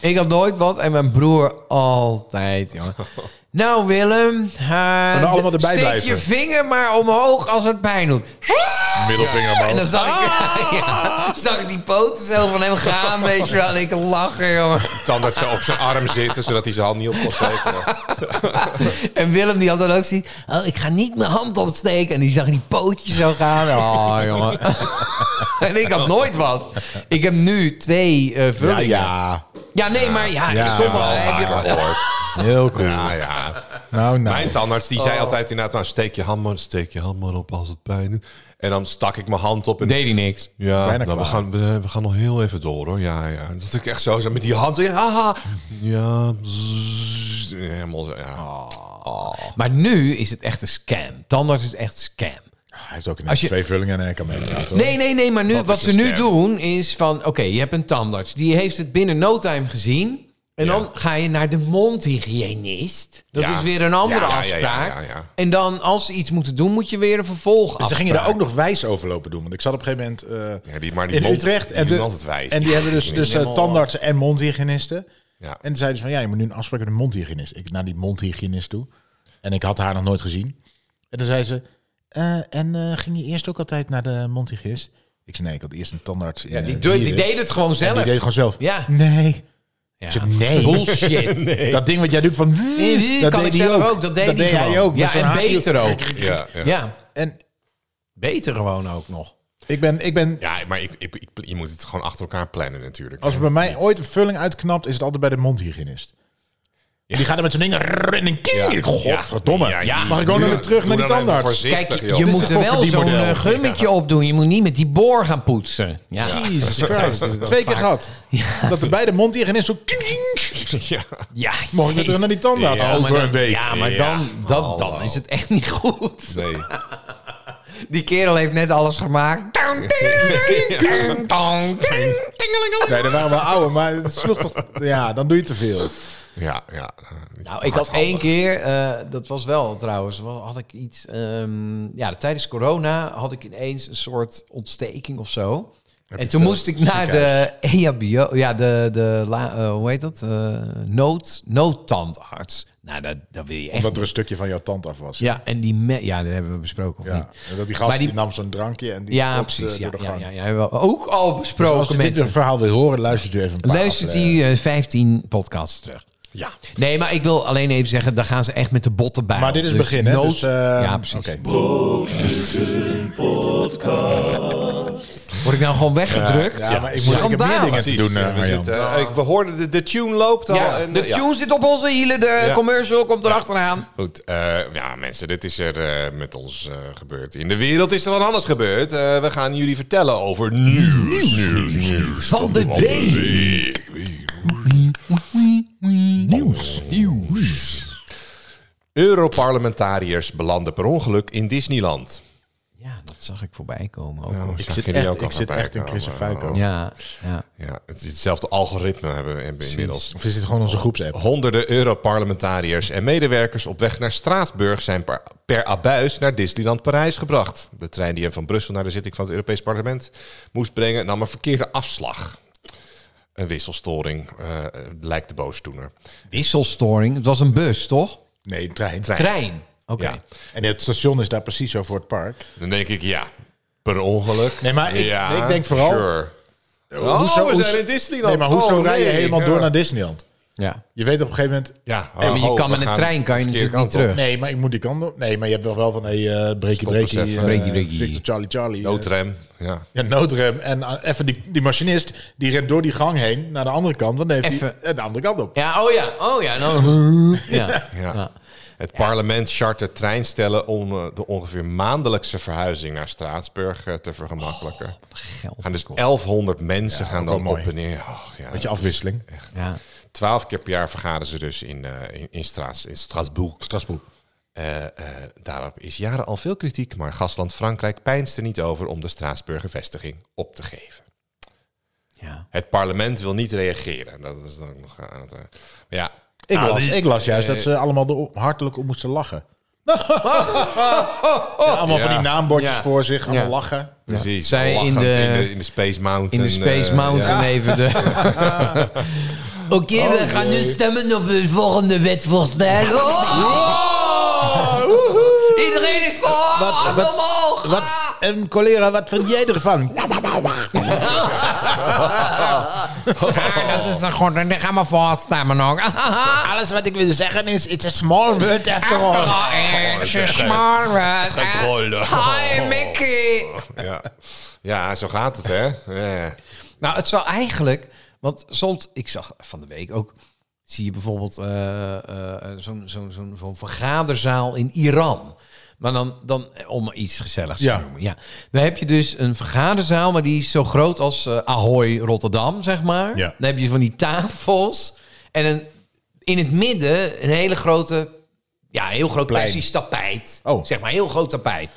[SPEAKER 4] Ik had nooit wat. En mijn broer altijd, jongen. Nou, Willem. eh,
[SPEAKER 3] dan allemaal erbij
[SPEAKER 4] steek
[SPEAKER 3] blijven.
[SPEAKER 4] je vinger maar omhoog als het pijn doet.
[SPEAKER 3] middelvinger
[SPEAKER 4] En dan
[SPEAKER 3] omhoog.
[SPEAKER 4] zag ik, ja, zag ik die poten zo van hem gaan, weet je wel. En ik lachen, jongen.
[SPEAKER 2] Tandarts zou op zijn arm zitten, zodat hij zijn hand niet op kon steken.
[SPEAKER 4] En Willem die had dan ook zoiets. Oh, ik ga niet mijn hand opsteken. En die zag die pootjes zo gaan. Oh, jongen. en ik had nooit wat. Ik heb nu twee eh,
[SPEAKER 3] Ja,
[SPEAKER 4] vullingen.
[SPEAKER 3] ja.
[SPEAKER 4] Ja, nee, maar ja,
[SPEAKER 3] Ja,
[SPEAKER 4] sommige
[SPEAKER 2] al
[SPEAKER 4] heb je
[SPEAKER 2] vaker gehoord.
[SPEAKER 3] Heel cool.
[SPEAKER 2] Ja, ja.
[SPEAKER 3] Nou, nou.
[SPEAKER 2] Mijn tandarts die
[SPEAKER 4] Oh.
[SPEAKER 2] zei altijd inderdaad, nou, steek je hand maar, steek je hand maar op als het pijn doet. En dan stak ik mijn hand op en
[SPEAKER 4] Deed hij niks.
[SPEAKER 2] ja,
[SPEAKER 3] Bijna
[SPEAKER 2] nou, we,
[SPEAKER 3] klaar.
[SPEAKER 2] gaan, we, we gaan nog heel even door hoor. Ja, ja. Dat ik echt zo zo met die hand. Ja, haha. ja zzz, helemaal zo. Ja.
[SPEAKER 3] Ah.
[SPEAKER 4] Maar nu is het echt een scam. Tandarts is echt scam.
[SPEAKER 3] Hij heeft ook ineens
[SPEAKER 4] Als je-
[SPEAKER 3] twee vullingen en hij kan meepraten. hoor.
[SPEAKER 4] Nee, nee, nee, maar nu,
[SPEAKER 2] Wat
[SPEAKER 4] wat,
[SPEAKER 2] is
[SPEAKER 4] ze
[SPEAKER 2] een
[SPEAKER 4] nu
[SPEAKER 2] scam?
[SPEAKER 4] doen is van... Oké, je hebt een tandarts. Die heeft het binnen no time gezien. En dan ga je naar de mondhygiënist. Dat
[SPEAKER 2] Ja.
[SPEAKER 4] is weer een andere
[SPEAKER 2] Ja, ja, ja, ja,
[SPEAKER 4] afspraak.
[SPEAKER 2] ja, ja.
[SPEAKER 4] En dan, als ze iets moeten doen, moet je weer een vervolg
[SPEAKER 3] En ze gingen daar ook nog wijs overlopen doen. Want ik zat op een gegeven moment eh,
[SPEAKER 2] Ja, die- maar die
[SPEAKER 3] in
[SPEAKER 2] mond-
[SPEAKER 3] Utrecht.
[SPEAKER 2] die
[SPEAKER 3] en
[SPEAKER 2] doen
[SPEAKER 3] de-
[SPEAKER 2] altijd wijs.
[SPEAKER 3] En die
[SPEAKER 2] Ja,
[SPEAKER 3] hebben
[SPEAKER 2] die
[SPEAKER 3] dus,
[SPEAKER 2] kunnen
[SPEAKER 3] dus eh,
[SPEAKER 2] helemaal-
[SPEAKER 3] tandartsen en mondhygiënisten.
[SPEAKER 2] Ja.
[SPEAKER 3] En zeiden ze van, ja, je moet nu een afspraak met een mondhygiënist. Ik naar die mondhygiënist toe. En ik had haar nog nooit gezien. En dan zei ze, eh, en eh, ging je eerst ook altijd naar de mondhygiënist? Ik zei, nee, ik had eerst een tandarts in
[SPEAKER 4] Ja, die,
[SPEAKER 3] eh,
[SPEAKER 4] doe- die
[SPEAKER 3] Dieren.
[SPEAKER 4] deed het gewoon
[SPEAKER 3] En
[SPEAKER 4] zelf.
[SPEAKER 3] Die deed gewoon zelf.
[SPEAKER 4] Ja.
[SPEAKER 3] Nee.
[SPEAKER 4] Ja.
[SPEAKER 3] Ik zei, nee.
[SPEAKER 4] Bullshit.
[SPEAKER 3] Dat ding wat jij doet van...
[SPEAKER 4] Nee,
[SPEAKER 3] dat
[SPEAKER 4] kan
[SPEAKER 3] deed
[SPEAKER 4] ik
[SPEAKER 3] hij
[SPEAKER 4] zelf ook. Dat deed, hij
[SPEAKER 3] hij
[SPEAKER 4] gewoon.
[SPEAKER 3] ook. met
[SPEAKER 4] Ja,
[SPEAKER 3] zo'n
[SPEAKER 4] en
[SPEAKER 3] haakje.
[SPEAKER 4] beter ook.
[SPEAKER 2] Ja, ja. ja.
[SPEAKER 4] Ja,
[SPEAKER 3] En
[SPEAKER 4] beter gewoon ook nog.
[SPEAKER 3] ik ben, ik ben
[SPEAKER 2] maar ik, ik, ik- je moet het gewoon achter elkaar plannen natuurlijk.
[SPEAKER 3] Als er bij mij ooit een vulling uitknapt, is het altijd bij de mondhygiënist. Die gaat er met zo'n ding rrrr en een kier. Godverdomme.
[SPEAKER 2] Ja,
[SPEAKER 3] Ja,
[SPEAKER 2] die-
[SPEAKER 3] mag ik gewoon
[SPEAKER 2] doe-
[SPEAKER 3] weer terug naar
[SPEAKER 2] doe
[SPEAKER 3] die
[SPEAKER 2] dan even
[SPEAKER 3] tandarts?
[SPEAKER 2] voorzichtig,
[SPEAKER 4] Kijk, je,
[SPEAKER 2] joh.
[SPEAKER 4] je
[SPEAKER 2] Dit
[SPEAKER 4] moet
[SPEAKER 2] is
[SPEAKER 4] er
[SPEAKER 3] toch
[SPEAKER 4] wel
[SPEAKER 3] voor die
[SPEAKER 4] zo'n
[SPEAKER 3] model?
[SPEAKER 4] eh, gummetje op doen. Je moet niet met die boor gaan poetsen. Ja.
[SPEAKER 3] Jesus Christ. Twee keer gehad. Dat er bij de mondhygiënist zo... kink.
[SPEAKER 2] Ja.
[SPEAKER 4] Ja,
[SPEAKER 3] Mag ik weer terug naar die tandarts?
[SPEAKER 2] Ja,
[SPEAKER 4] Oh, maar
[SPEAKER 2] Over
[SPEAKER 4] dan-
[SPEAKER 2] een week.
[SPEAKER 4] Ja, maar
[SPEAKER 2] Ja,
[SPEAKER 4] dan, dan,
[SPEAKER 2] hallo.
[SPEAKER 4] dan is het echt niet goed.
[SPEAKER 2] Nee.
[SPEAKER 4] Die kerel heeft net alles gemaakt.
[SPEAKER 3] Nee, dat waren wel oude, maar het sloeg toch... Ja, dan doe je te veel.
[SPEAKER 2] Ja, ja.
[SPEAKER 4] Nou, ik had één keer, eh, dat was wel trouwens, wa- had ik iets. ehm, ja, tijdens corona had ik ineens een soort ontsteking of zo. en toen moest ik naar de E EHBO, ja, de, de la- eh, hoe heet dat? Eh, nood, noodtandarts. Nou, dat, dat wil je echt.
[SPEAKER 3] Omdat er een stukje van jouw tand af was.
[SPEAKER 4] Ja, en die me- ja, dat hebben we besproken of
[SPEAKER 3] Ja.
[SPEAKER 4] niet?
[SPEAKER 3] En dat die
[SPEAKER 4] Maar
[SPEAKER 3] gast
[SPEAKER 4] die-
[SPEAKER 3] die nam zo'n drankje en die
[SPEAKER 4] Ja,
[SPEAKER 3] kotste
[SPEAKER 4] precies. Ja,
[SPEAKER 3] door de
[SPEAKER 4] ja,
[SPEAKER 3] gang.
[SPEAKER 4] ja, ja, hebben we ook al
[SPEAKER 3] Dus
[SPEAKER 4] besproken
[SPEAKER 3] als je dit
[SPEAKER 4] mensen.
[SPEAKER 3] een verhaal wil horen, luistert u even een paar
[SPEAKER 4] Luistert
[SPEAKER 3] afleveringen.
[SPEAKER 4] die eh, 15 podcasts terug.
[SPEAKER 2] Ja.
[SPEAKER 4] Nee, maar ik wil alleen even zeggen, daar gaan ze echt met de botten bij.
[SPEAKER 3] Maar dit is het begin, hè?
[SPEAKER 4] nood-
[SPEAKER 3] Dus, eh,
[SPEAKER 4] ja, precies.
[SPEAKER 3] oké.
[SPEAKER 4] Word ik nou gewoon weggedrukt?
[SPEAKER 3] Ja, maar ik moet ik heb meer
[SPEAKER 4] Schandalig.
[SPEAKER 3] dingen te doen, eh,
[SPEAKER 2] Precies. we,
[SPEAKER 3] Marjan.
[SPEAKER 2] zitten, eh, ik- we hoorden de, de tune loopt al.
[SPEAKER 4] Ja,
[SPEAKER 2] en,
[SPEAKER 4] de
[SPEAKER 2] eh, ja.
[SPEAKER 4] tune zit op onze hielen, de
[SPEAKER 2] Ja.
[SPEAKER 4] commercial komt erachteraan.
[SPEAKER 2] Goed, eh, ja mensen, dit is er eh, met ons eh, gebeurd. In de wereld is er wat anders gebeurd. Eh, we gaan jullie vertellen over nieuws, nieuws, nieuws.
[SPEAKER 4] Van de week.
[SPEAKER 2] Nieuws, nieuws. Europarlementariërs belanden per ongeluk in Disneyland.
[SPEAKER 4] Ja, dat zag ik voorbij komen. Ook.
[SPEAKER 2] Nou,
[SPEAKER 3] Ik
[SPEAKER 2] zag
[SPEAKER 3] zit
[SPEAKER 2] jullie
[SPEAKER 3] Oh, echt-
[SPEAKER 2] ook al
[SPEAKER 3] ik zit
[SPEAKER 2] voorbij
[SPEAKER 3] echt in
[SPEAKER 2] komen.
[SPEAKER 3] Chris Fuiko.
[SPEAKER 2] Oh,
[SPEAKER 4] Ja, ja.
[SPEAKER 2] Ja, het is hetzelfde algoritme hebben we in- inmiddels.
[SPEAKER 3] Of is dit gewoon onze groepsapp?
[SPEAKER 2] Honderden Europarlementariërs en medewerkers op weg naar Straatsburg zijn per, per abuis naar Disneyland Parijs gebracht. De trein die hen van Brussel naar de zitting van het Europees Parlement moest brengen, nam een verkeerde afslag. Een wisselstoring, eh, lijkt de boosdoener.
[SPEAKER 4] Wisselstoring, het was een bus, toch?
[SPEAKER 3] Nee, een trein.
[SPEAKER 4] Trein. Oké.
[SPEAKER 2] Ja.
[SPEAKER 3] En het station is daar precies zo voor het park.
[SPEAKER 2] Dan denk ik, ja, per ongeluk.
[SPEAKER 3] Nee, maar ik-
[SPEAKER 2] Ja,
[SPEAKER 3] ik denk vooral-
[SPEAKER 2] sure. Oh, we zijn in Disneyland.
[SPEAKER 3] Nee, maar hoezo
[SPEAKER 2] Oh,
[SPEAKER 3] rij je
[SPEAKER 2] nee.
[SPEAKER 3] helemaal
[SPEAKER 2] Ja.
[SPEAKER 3] door naar Disneyland?
[SPEAKER 4] Ja.
[SPEAKER 3] Je weet op een gegeven moment...
[SPEAKER 2] Ja,
[SPEAKER 4] Nee, maar je
[SPEAKER 2] oh,
[SPEAKER 4] kan
[SPEAKER 2] we
[SPEAKER 4] met een
[SPEAKER 2] gaan
[SPEAKER 4] trein kan je
[SPEAKER 2] de verkeerde
[SPEAKER 4] natuurlijk
[SPEAKER 2] kant
[SPEAKER 4] niet
[SPEAKER 2] op.
[SPEAKER 3] Nee, maar ik moet die kant op. Nee, maar je hebt wel wel van... Hé, hey, eh breakie,
[SPEAKER 2] Stop eens
[SPEAKER 3] breakie,
[SPEAKER 2] even.
[SPEAKER 3] eh,
[SPEAKER 4] Breakie, breakie.
[SPEAKER 3] Victor, Charlie, Charlie. eh.
[SPEAKER 2] Noodrem, ja.
[SPEAKER 3] ja, noodrem. En eh, even die, die machinist, die rent door die gang heen naar de andere kant. Dan heeft hij
[SPEAKER 4] Even.
[SPEAKER 3] eh, de andere kant op.
[SPEAKER 4] Ja, oh ja, oh ja. Nou, ja.
[SPEAKER 2] Ja. Het parlement chartert treinstellen om eh, de ongeveer maandelijkse verhuizing naar Straatsburg eh, te vergemakkelijken.
[SPEAKER 4] Geld.
[SPEAKER 2] gaan dus 1100 mensen gaan
[SPEAKER 3] ook wel
[SPEAKER 2] dan
[SPEAKER 3] mooi.
[SPEAKER 2] op en neer. Och, ja,
[SPEAKER 3] Beetje afwisseling.
[SPEAKER 4] Ja.
[SPEAKER 2] 12 keer per jaar vergaderen ze dus in, eh in, in, Straats, in Straatsburg.
[SPEAKER 3] Strasbourg.
[SPEAKER 2] Eh, eh, daarop is jaren al veel kritiek, maar gastland Frankrijk peinst er niet over om de Straatsburger vestiging op te geven.
[SPEAKER 4] ja.
[SPEAKER 2] Het parlement wil niet reageren. Dat is dan nog aan het. eh, maar ja,
[SPEAKER 3] Ik,
[SPEAKER 2] Nou,
[SPEAKER 3] las, ik las juist dat ze allemaal er hartelijk om moesten lachen. Ja, allemaal van
[SPEAKER 2] Ja.
[SPEAKER 3] die naambordjes
[SPEAKER 4] Ja.
[SPEAKER 3] voor zich, allemaal
[SPEAKER 4] Ja.
[SPEAKER 3] lachen.
[SPEAKER 2] precies.
[SPEAKER 4] Zij
[SPEAKER 2] Lachend
[SPEAKER 4] in de-
[SPEAKER 2] in de Space
[SPEAKER 4] In
[SPEAKER 2] Mountain.
[SPEAKER 4] de Space
[SPEAKER 2] eh,
[SPEAKER 4] Mountain even de... Oké, we gaan nu stemmen op de volgende wetsvoorstel. Iedereen is voor! Wat,
[SPEAKER 3] wat-
[SPEAKER 4] omhoog!
[SPEAKER 3] Wat, en collega, wat vind jij ervan?
[SPEAKER 4] Ja, dat is dan gewoon... Dan gaan we voor stemmen ook.
[SPEAKER 3] Alles wat ik wil zeggen is, it's a small world after
[SPEAKER 2] is echt leuk. Getrollen.
[SPEAKER 4] eh, Hi, Mickey!
[SPEAKER 2] Oh. Ja. ja, zo gaat het, hè? Ja.
[SPEAKER 4] Nou, het zou eigenlijk... Want soms, ik zag van de week ook, zie je bijvoorbeeld eh, eh, zo'n zo'n zo'n zo'n vergaderzaal in Iran. Maar dan, dan eh, om iets gezelligs
[SPEAKER 3] Ja.
[SPEAKER 4] te noemen. Ja. Dan heb je dus een vergaderzaal, maar die is zo groot als eh, Ahoy Rotterdam, zeg maar.
[SPEAKER 3] Ja.
[SPEAKER 4] Dan heb je van die tafels en een, in het midden een hele grote, ja, een heel groot
[SPEAKER 3] Plein.
[SPEAKER 4] Persisch tapijt.
[SPEAKER 3] Oh.
[SPEAKER 4] Zeg maar, een heel groot tapijt.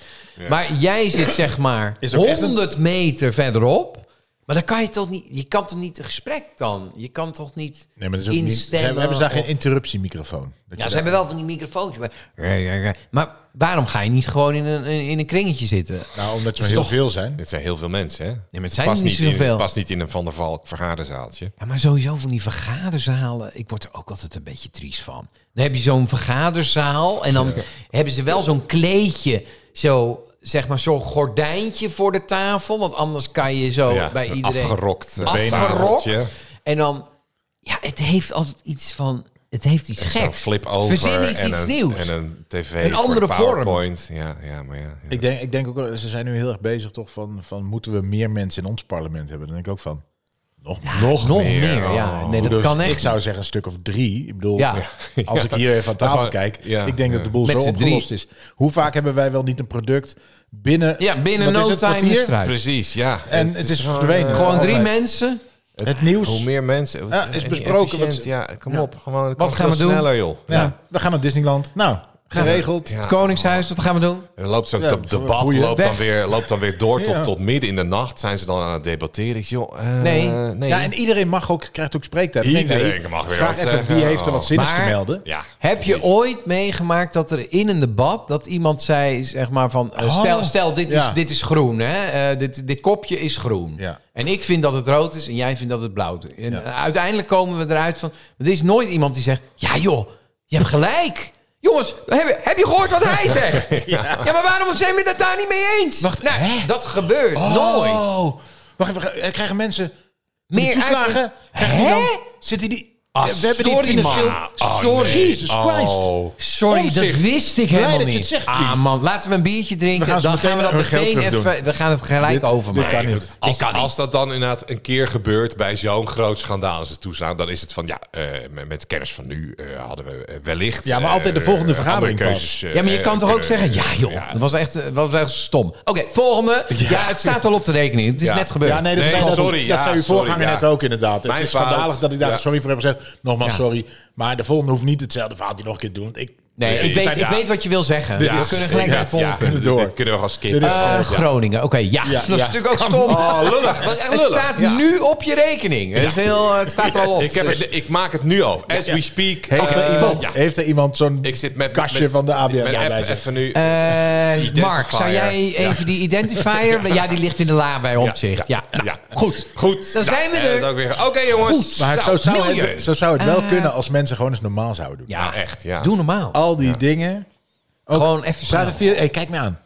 [SPEAKER 4] Maar jij zit zeg maar
[SPEAKER 3] Is het ook echt een-
[SPEAKER 4] 100 meter verderop. Maar dan kan je toch niet, je kan toch niet een gesprek dan? Je kan toch niet
[SPEAKER 3] Nee, maar dat is ook niet, ze
[SPEAKER 4] instemmen?
[SPEAKER 3] hebben, hebben ze daar geen
[SPEAKER 4] of-
[SPEAKER 3] interruptiemicrofoon? Dat
[SPEAKER 4] ja,
[SPEAKER 3] je
[SPEAKER 4] ze
[SPEAKER 3] daar-
[SPEAKER 4] hebben wel van die microfoontjes. Maar, maar waarom ga je niet gewoon in een, in een kringetje zitten?
[SPEAKER 3] Nou, omdat er
[SPEAKER 4] is
[SPEAKER 3] heel
[SPEAKER 4] toch-
[SPEAKER 3] veel zijn.
[SPEAKER 2] Dit zijn heel veel mensen, hè?
[SPEAKER 4] maar het
[SPEAKER 2] Het
[SPEAKER 4] zijn
[SPEAKER 2] past
[SPEAKER 4] er niet
[SPEAKER 2] in-
[SPEAKER 4] zoveel.
[SPEAKER 2] past niet in een Van der Valk vergaderzaaltje.
[SPEAKER 4] Ja, maar sowieso van die vergaderzalen. Ik word er ook altijd een beetje triest van. Dan heb je zo'n vergaderzaal en dan hebben ze wel zo'n kleedje. Zo, zeg maar, zo'n gordijntje voor de tafel. Want anders kan je zo
[SPEAKER 2] Ja,
[SPEAKER 4] Oh, bij
[SPEAKER 2] een
[SPEAKER 4] iedereen...
[SPEAKER 2] Afgerokt. eh,
[SPEAKER 4] afgerokt.
[SPEAKER 2] benageltje.
[SPEAKER 4] En dan, ja, het heeft altijd iets van, het heeft iets
[SPEAKER 2] Zo'n
[SPEAKER 4] geks.
[SPEAKER 2] flip over.
[SPEAKER 4] Verzin eens
[SPEAKER 2] en
[SPEAKER 4] iets
[SPEAKER 2] een,
[SPEAKER 4] nieuws.
[SPEAKER 2] En een tv.
[SPEAKER 4] Een
[SPEAKER 2] voor
[SPEAKER 4] andere vorm.
[SPEAKER 2] PowerPoint. Ja, ja, maar ja. ja.
[SPEAKER 3] Ik denk, ik denk ook, wel- ze zijn nu heel erg bezig toch van, van moeten we meer mensen in ons parlement hebben? Dan denk ik ook van, nog, nog,
[SPEAKER 4] Nog
[SPEAKER 3] meer.
[SPEAKER 4] meer,
[SPEAKER 3] Ik
[SPEAKER 4] ja. Nee, dat
[SPEAKER 3] bedoel,
[SPEAKER 4] kan
[SPEAKER 3] ik
[SPEAKER 4] echt.
[SPEAKER 3] zou zeggen een stuk of drie. Ik bedoel,
[SPEAKER 4] Ja.
[SPEAKER 3] als ik hier even aan tafel
[SPEAKER 2] Gewoon-
[SPEAKER 3] kijk,
[SPEAKER 2] ja,
[SPEAKER 3] ik denk
[SPEAKER 2] ja.
[SPEAKER 3] dat de boel
[SPEAKER 4] Met
[SPEAKER 3] zo
[SPEAKER 4] z'n
[SPEAKER 3] opgelost is. Hoe vaak hebben wij wel niet een product binnen...
[SPEAKER 4] Ja, binnen
[SPEAKER 3] wat is
[SPEAKER 4] no
[SPEAKER 3] het,
[SPEAKER 4] time
[SPEAKER 3] kwartier?
[SPEAKER 4] is het eruit.
[SPEAKER 2] Precies, ja.
[SPEAKER 3] En het is verdwenen.
[SPEAKER 2] eh,
[SPEAKER 4] Gewoon drie
[SPEAKER 3] altijd.
[SPEAKER 4] mensen.
[SPEAKER 3] Het nieuws.
[SPEAKER 2] Hoe meer mensen. het
[SPEAKER 3] Ja, is
[SPEAKER 2] en
[SPEAKER 3] besproken,
[SPEAKER 2] efficiënt,
[SPEAKER 3] wat-
[SPEAKER 2] Ja, kom op. Gewoon, het
[SPEAKER 4] Wat
[SPEAKER 2] kan
[SPEAKER 4] gaan we
[SPEAKER 2] veel
[SPEAKER 4] doen?
[SPEAKER 2] sneller, joh.
[SPEAKER 3] Ja, we gaan naar Disneyland. Nou, geregeld.
[SPEAKER 2] Ja.
[SPEAKER 4] Het Koningshuis, wat gaan we doen?
[SPEAKER 2] Er loopt zo'n
[SPEAKER 3] Ja,
[SPEAKER 2] deb-
[SPEAKER 3] zo'n
[SPEAKER 2] debat
[SPEAKER 3] boeien.
[SPEAKER 2] loopt dan,
[SPEAKER 4] Weg.
[SPEAKER 2] weer, loopt dan weer door tot,
[SPEAKER 3] Ja.
[SPEAKER 2] tot midden in de nacht. Zijn ze dan aan het debatteren? Ik zeg, joh, eh,
[SPEAKER 4] Nee.
[SPEAKER 2] nee.
[SPEAKER 3] Ja, en iedereen mag ook, krijgt ook spreektijd. Ik denk,
[SPEAKER 2] Iedereen mag weer
[SPEAKER 3] Vraag
[SPEAKER 2] wat
[SPEAKER 3] even
[SPEAKER 2] zeggen.
[SPEAKER 3] wie heeft er wat zinnigs
[SPEAKER 4] Maar-
[SPEAKER 3] te melden.
[SPEAKER 2] Ja,
[SPEAKER 4] Heb je
[SPEAKER 2] precies.
[SPEAKER 4] ooit meegemaakt dat er in een debat dat iemand zei, zeg maar van, eh,
[SPEAKER 3] Oh.
[SPEAKER 4] stel, stel dit,
[SPEAKER 3] Ja.
[SPEAKER 4] is, dit is groen, hè? Eh, dit, dit kopje is groen.
[SPEAKER 3] Ja.
[SPEAKER 4] En ik vind dat het rood is en jij vindt dat het blauw is. En
[SPEAKER 3] Ja.
[SPEAKER 4] uiteindelijk komen we eruit van, er is nooit iemand die zegt, ja joh, je hebt gelijk. Jongens, heb je, heb je gehoord wat hij zegt? ja. maar waarom zijn we het daar niet mee eens?
[SPEAKER 3] Wacht,
[SPEAKER 4] nou,
[SPEAKER 3] hè?
[SPEAKER 4] dat gebeurt nooit.
[SPEAKER 3] Oh, wacht even. eh, Krijgen mensen meer
[SPEAKER 4] Meer
[SPEAKER 3] toeslagen?
[SPEAKER 4] uitge-
[SPEAKER 3] Krijgen die
[SPEAKER 4] Hè?
[SPEAKER 3] dan, zitten die...
[SPEAKER 4] Ah,
[SPEAKER 3] we hebben die
[SPEAKER 4] sorry,
[SPEAKER 3] financieel...
[SPEAKER 4] man. Ah, sorry.
[SPEAKER 3] Jesus Christ.
[SPEAKER 2] Oh.
[SPEAKER 4] Sorry,
[SPEAKER 3] Omtzigt.
[SPEAKER 4] dat wist ik
[SPEAKER 3] Blij
[SPEAKER 4] helemaal
[SPEAKER 3] dat
[SPEAKER 4] niet.
[SPEAKER 3] je het zegt, vriend.
[SPEAKER 4] ah man, laten we een biertje drinken.
[SPEAKER 3] We gaan ze
[SPEAKER 4] dan gaan we
[SPEAKER 3] meteen
[SPEAKER 4] dat
[SPEAKER 3] hun geld
[SPEAKER 4] meteen
[SPEAKER 3] terugdoen.
[SPEAKER 4] even. We gaan het gelijk
[SPEAKER 3] Dit-
[SPEAKER 4] overmaken.
[SPEAKER 3] dit kan niet.
[SPEAKER 2] Als,
[SPEAKER 4] kan niet.
[SPEAKER 2] als dat dan inderdaad een keer gebeurt bij zo'n groot schandaal als het toeslaan, dan is het van ja, eh, met, met kennis van nu eh, hadden we eh, wellicht.
[SPEAKER 3] Ja, maar altijd de
[SPEAKER 2] eh,
[SPEAKER 3] volgende
[SPEAKER 2] eh,
[SPEAKER 3] vergadering
[SPEAKER 2] andere
[SPEAKER 3] pas.
[SPEAKER 2] eh,
[SPEAKER 4] Ja, maar je kan
[SPEAKER 2] eh,
[SPEAKER 4] toch ook
[SPEAKER 2] kunnen-
[SPEAKER 4] zeggen, ja joh, dat was echt, eh, was echt stom. Oké, volgende. Ja. het staat al op de rekening. Het is
[SPEAKER 2] Ja.
[SPEAKER 4] net gebeurd.
[SPEAKER 3] Ja, nee, dat,
[SPEAKER 2] Nee,
[SPEAKER 3] zei, dat-
[SPEAKER 2] sorry,
[SPEAKER 3] dat,
[SPEAKER 2] ja,
[SPEAKER 3] zei uw
[SPEAKER 2] sorry,
[SPEAKER 3] voorganger
[SPEAKER 2] ja.
[SPEAKER 3] net ook inderdaad.
[SPEAKER 2] Mijn
[SPEAKER 3] het is
[SPEAKER 2] fout.
[SPEAKER 3] schandalig dat ik daar
[SPEAKER 2] Ja.
[SPEAKER 3] sorry voor heb gezegd. Nogmaals,
[SPEAKER 4] Ja.
[SPEAKER 3] sorry. Maar de volgende hoeft niet hetzelfde verhaal die nog een keer te doen. Want Ik,
[SPEAKER 4] Nee,
[SPEAKER 2] Precies.
[SPEAKER 4] ik, weet,
[SPEAKER 2] Zijn-
[SPEAKER 4] ik
[SPEAKER 2] ja.
[SPEAKER 4] weet wat je wil zeggen.
[SPEAKER 2] Ja,
[SPEAKER 4] we kunnen gelijk
[SPEAKER 2] ja,
[SPEAKER 4] naar de volgende
[SPEAKER 2] ja, Oh,
[SPEAKER 4] kunnen.
[SPEAKER 2] dit-
[SPEAKER 3] door.
[SPEAKER 2] Dit kunnen we gaan
[SPEAKER 3] Dit
[SPEAKER 2] skippen.
[SPEAKER 3] is-
[SPEAKER 4] Eh, Groningen, oké, ja.
[SPEAKER 3] Ja,
[SPEAKER 4] Dat is
[SPEAKER 3] ja.
[SPEAKER 4] natuurlijk ook stom.
[SPEAKER 2] Oh, lullig.
[SPEAKER 4] Dat is echt
[SPEAKER 2] Het
[SPEAKER 4] lullig. Het
[SPEAKER 2] staat
[SPEAKER 4] staat nu op je rekening. Het, is heel, eh, het staat er al op.
[SPEAKER 2] ik, heb,
[SPEAKER 4] dus-
[SPEAKER 2] het- ik maak het nu over. As
[SPEAKER 3] Ja.
[SPEAKER 2] we speak.
[SPEAKER 3] Heeft,
[SPEAKER 2] eh,
[SPEAKER 3] er iemand,
[SPEAKER 2] ja.
[SPEAKER 3] heeft er iemand zo'n
[SPEAKER 2] Ik zit met
[SPEAKER 3] kastje
[SPEAKER 2] met-
[SPEAKER 3] van de ABN?
[SPEAKER 2] Mijn
[SPEAKER 3] bij
[SPEAKER 2] app
[SPEAKER 3] zich?
[SPEAKER 2] even nu.
[SPEAKER 4] Eh,
[SPEAKER 2] Identifier.
[SPEAKER 4] Mark, zou jij even die identifier... ja. die ligt in de la bij opzicht. Ja,
[SPEAKER 2] ja,
[SPEAKER 4] Nou,
[SPEAKER 2] ja.
[SPEAKER 4] goed.
[SPEAKER 2] Goed.
[SPEAKER 4] dan zijn we
[SPEAKER 2] eh,
[SPEAKER 4] er.
[SPEAKER 2] dat ook weer- Oké jongens.
[SPEAKER 4] Goed.
[SPEAKER 3] maar
[SPEAKER 2] Nou,
[SPEAKER 3] zo, zou
[SPEAKER 4] milieu.
[SPEAKER 3] het, zo zou het wel kunnen als mensen gewoon eens normaal zouden doen.
[SPEAKER 4] Ja,
[SPEAKER 2] Nou, echt, ja.
[SPEAKER 4] Doe normaal.
[SPEAKER 3] Al die dingen. Ook-
[SPEAKER 4] Gewoon even snel.
[SPEAKER 3] Praat er via, hey, kijk me aan.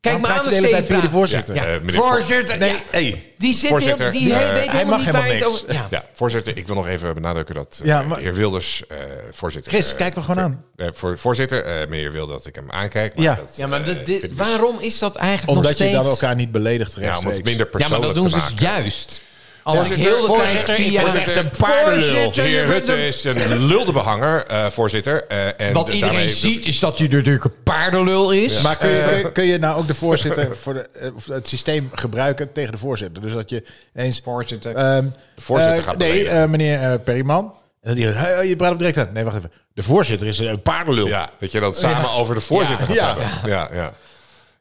[SPEAKER 4] Kijk
[SPEAKER 3] Waarom
[SPEAKER 4] maar
[SPEAKER 3] praat
[SPEAKER 4] aan
[SPEAKER 3] je
[SPEAKER 4] de
[SPEAKER 3] de hele tijd via de
[SPEAKER 4] stedenpraat.
[SPEAKER 3] voorzitter.
[SPEAKER 2] Ja. Eh, meneer
[SPEAKER 4] voorzitter,
[SPEAKER 3] Nee,
[SPEAKER 4] ja.
[SPEAKER 3] hey.
[SPEAKER 4] die zit
[SPEAKER 2] voorzitter,
[SPEAKER 4] heel, die
[SPEAKER 2] eh,
[SPEAKER 4] he- weet
[SPEAKER 2] hij
[SPEAKER 4] helemaal
[SPEAKER 3] mag
[SPEAKER 4] niet
[SPEAKER 3] helemaal
[SPEAKER 4] waar het
[SPEAKER 3] niks.
[SPEAKER 4] over- Ja.
[SPEAKER 2] Ja, voorzitter, ik wil nog even benadrukken dat eh,
[SPEAKER 3] Ja, maar-
[SPEAKER 2] de heer Wilders, eh, voorzitter...
[SPEAKER 3] Chris,
[SPEAKER 2] eh,
[SPEAKER 3] kijk me gewoon aan.
[SPEAKER 2] eh, voor, voorzitter, eh, meneer wil dat ik hem aankijk. Maar
[SPEAKER 3] Ja.
[SPEAKER 2] dat,
[SPEAKER 4] Ja, maar
[SPEAKER 2] eh,
[SPEAKER 4] dit- dit-
[SPEAKER 2] vind ik dus-
[SPEAKER 4] waarom is dat eigenlijk nog
[SPEAKER 3] Omdat je
[SPEAKER 4] steeds...
[SPEAKER 3] dan elkaar niet beledigt
[SPEAKER 2] Ja, om
[SPEAKER 3] rechtstreeks.
[SPEAKER 2] het minder
[SPEAKER 4] ja, maar
[SPEAKER 2] persoonlijk
[SPEAKER 4] dat doen
[SPEAKER 2] te
[SPEAKER 4] ze dus
[SPEAKER 2] maken.
[SPEAKER 4] juist. Als ik
[SPEAKER 2] Voorzitter,
[SPEAKER 4] heel de tijd
[SPEAKER 2] voorzitter,
[SPEAKER 4] via...
[SPEAKER 2] voorzitter,
[SPEAKER 4] Echt een paardenlul.
[SPEAKER 2] De
[SPEAKER 4] Voorzitter, je
[SPEAKER 2] heer
[SPEAKER 4] bent
[SPEAKER 2] Rutte
[SPEAKER 4] een-
[SPEAKER 2] is een luldebehanger, eh voorzitter. eh, en
[SPEAKER 4] Wat
[SPEAKER 2] de-
[SPEAKER 4] iedereen
[SPEAKER 2] daarmee-
[SPEAKER 4] ziet is dat hij natuurlijk een paardenlul is. Eh,
[SPEAKER 3] Maar kun je, kun, je, kun je nou ook de voorzitter voor de, eh, of het systeem gebruiken tegen de voorzitter? Dus dat je eens.
[SPEAKER 4] Voorzitter.
[SPEAKER 3] ehm,
[SPEAKER 2] voorzitter
[SPEAKER 3] eh,
[SPEAKER 2] gaat
[SPEAKER 3] Nee,
[SPEAKER 2] beledigen.
[SPEAKER 3] eh, meneer eh, Perryman. En dat die zegt, hey, hey, je praat hem direct aan. Nee, wacht even. De voorzitter is een paardenlul.
[SPEAKER 2] Ja, dat je dat samen over de voorzitter
[SPEAKER 3] Ja.
[SPEAKER 2] gaat hebben. Ja, ja.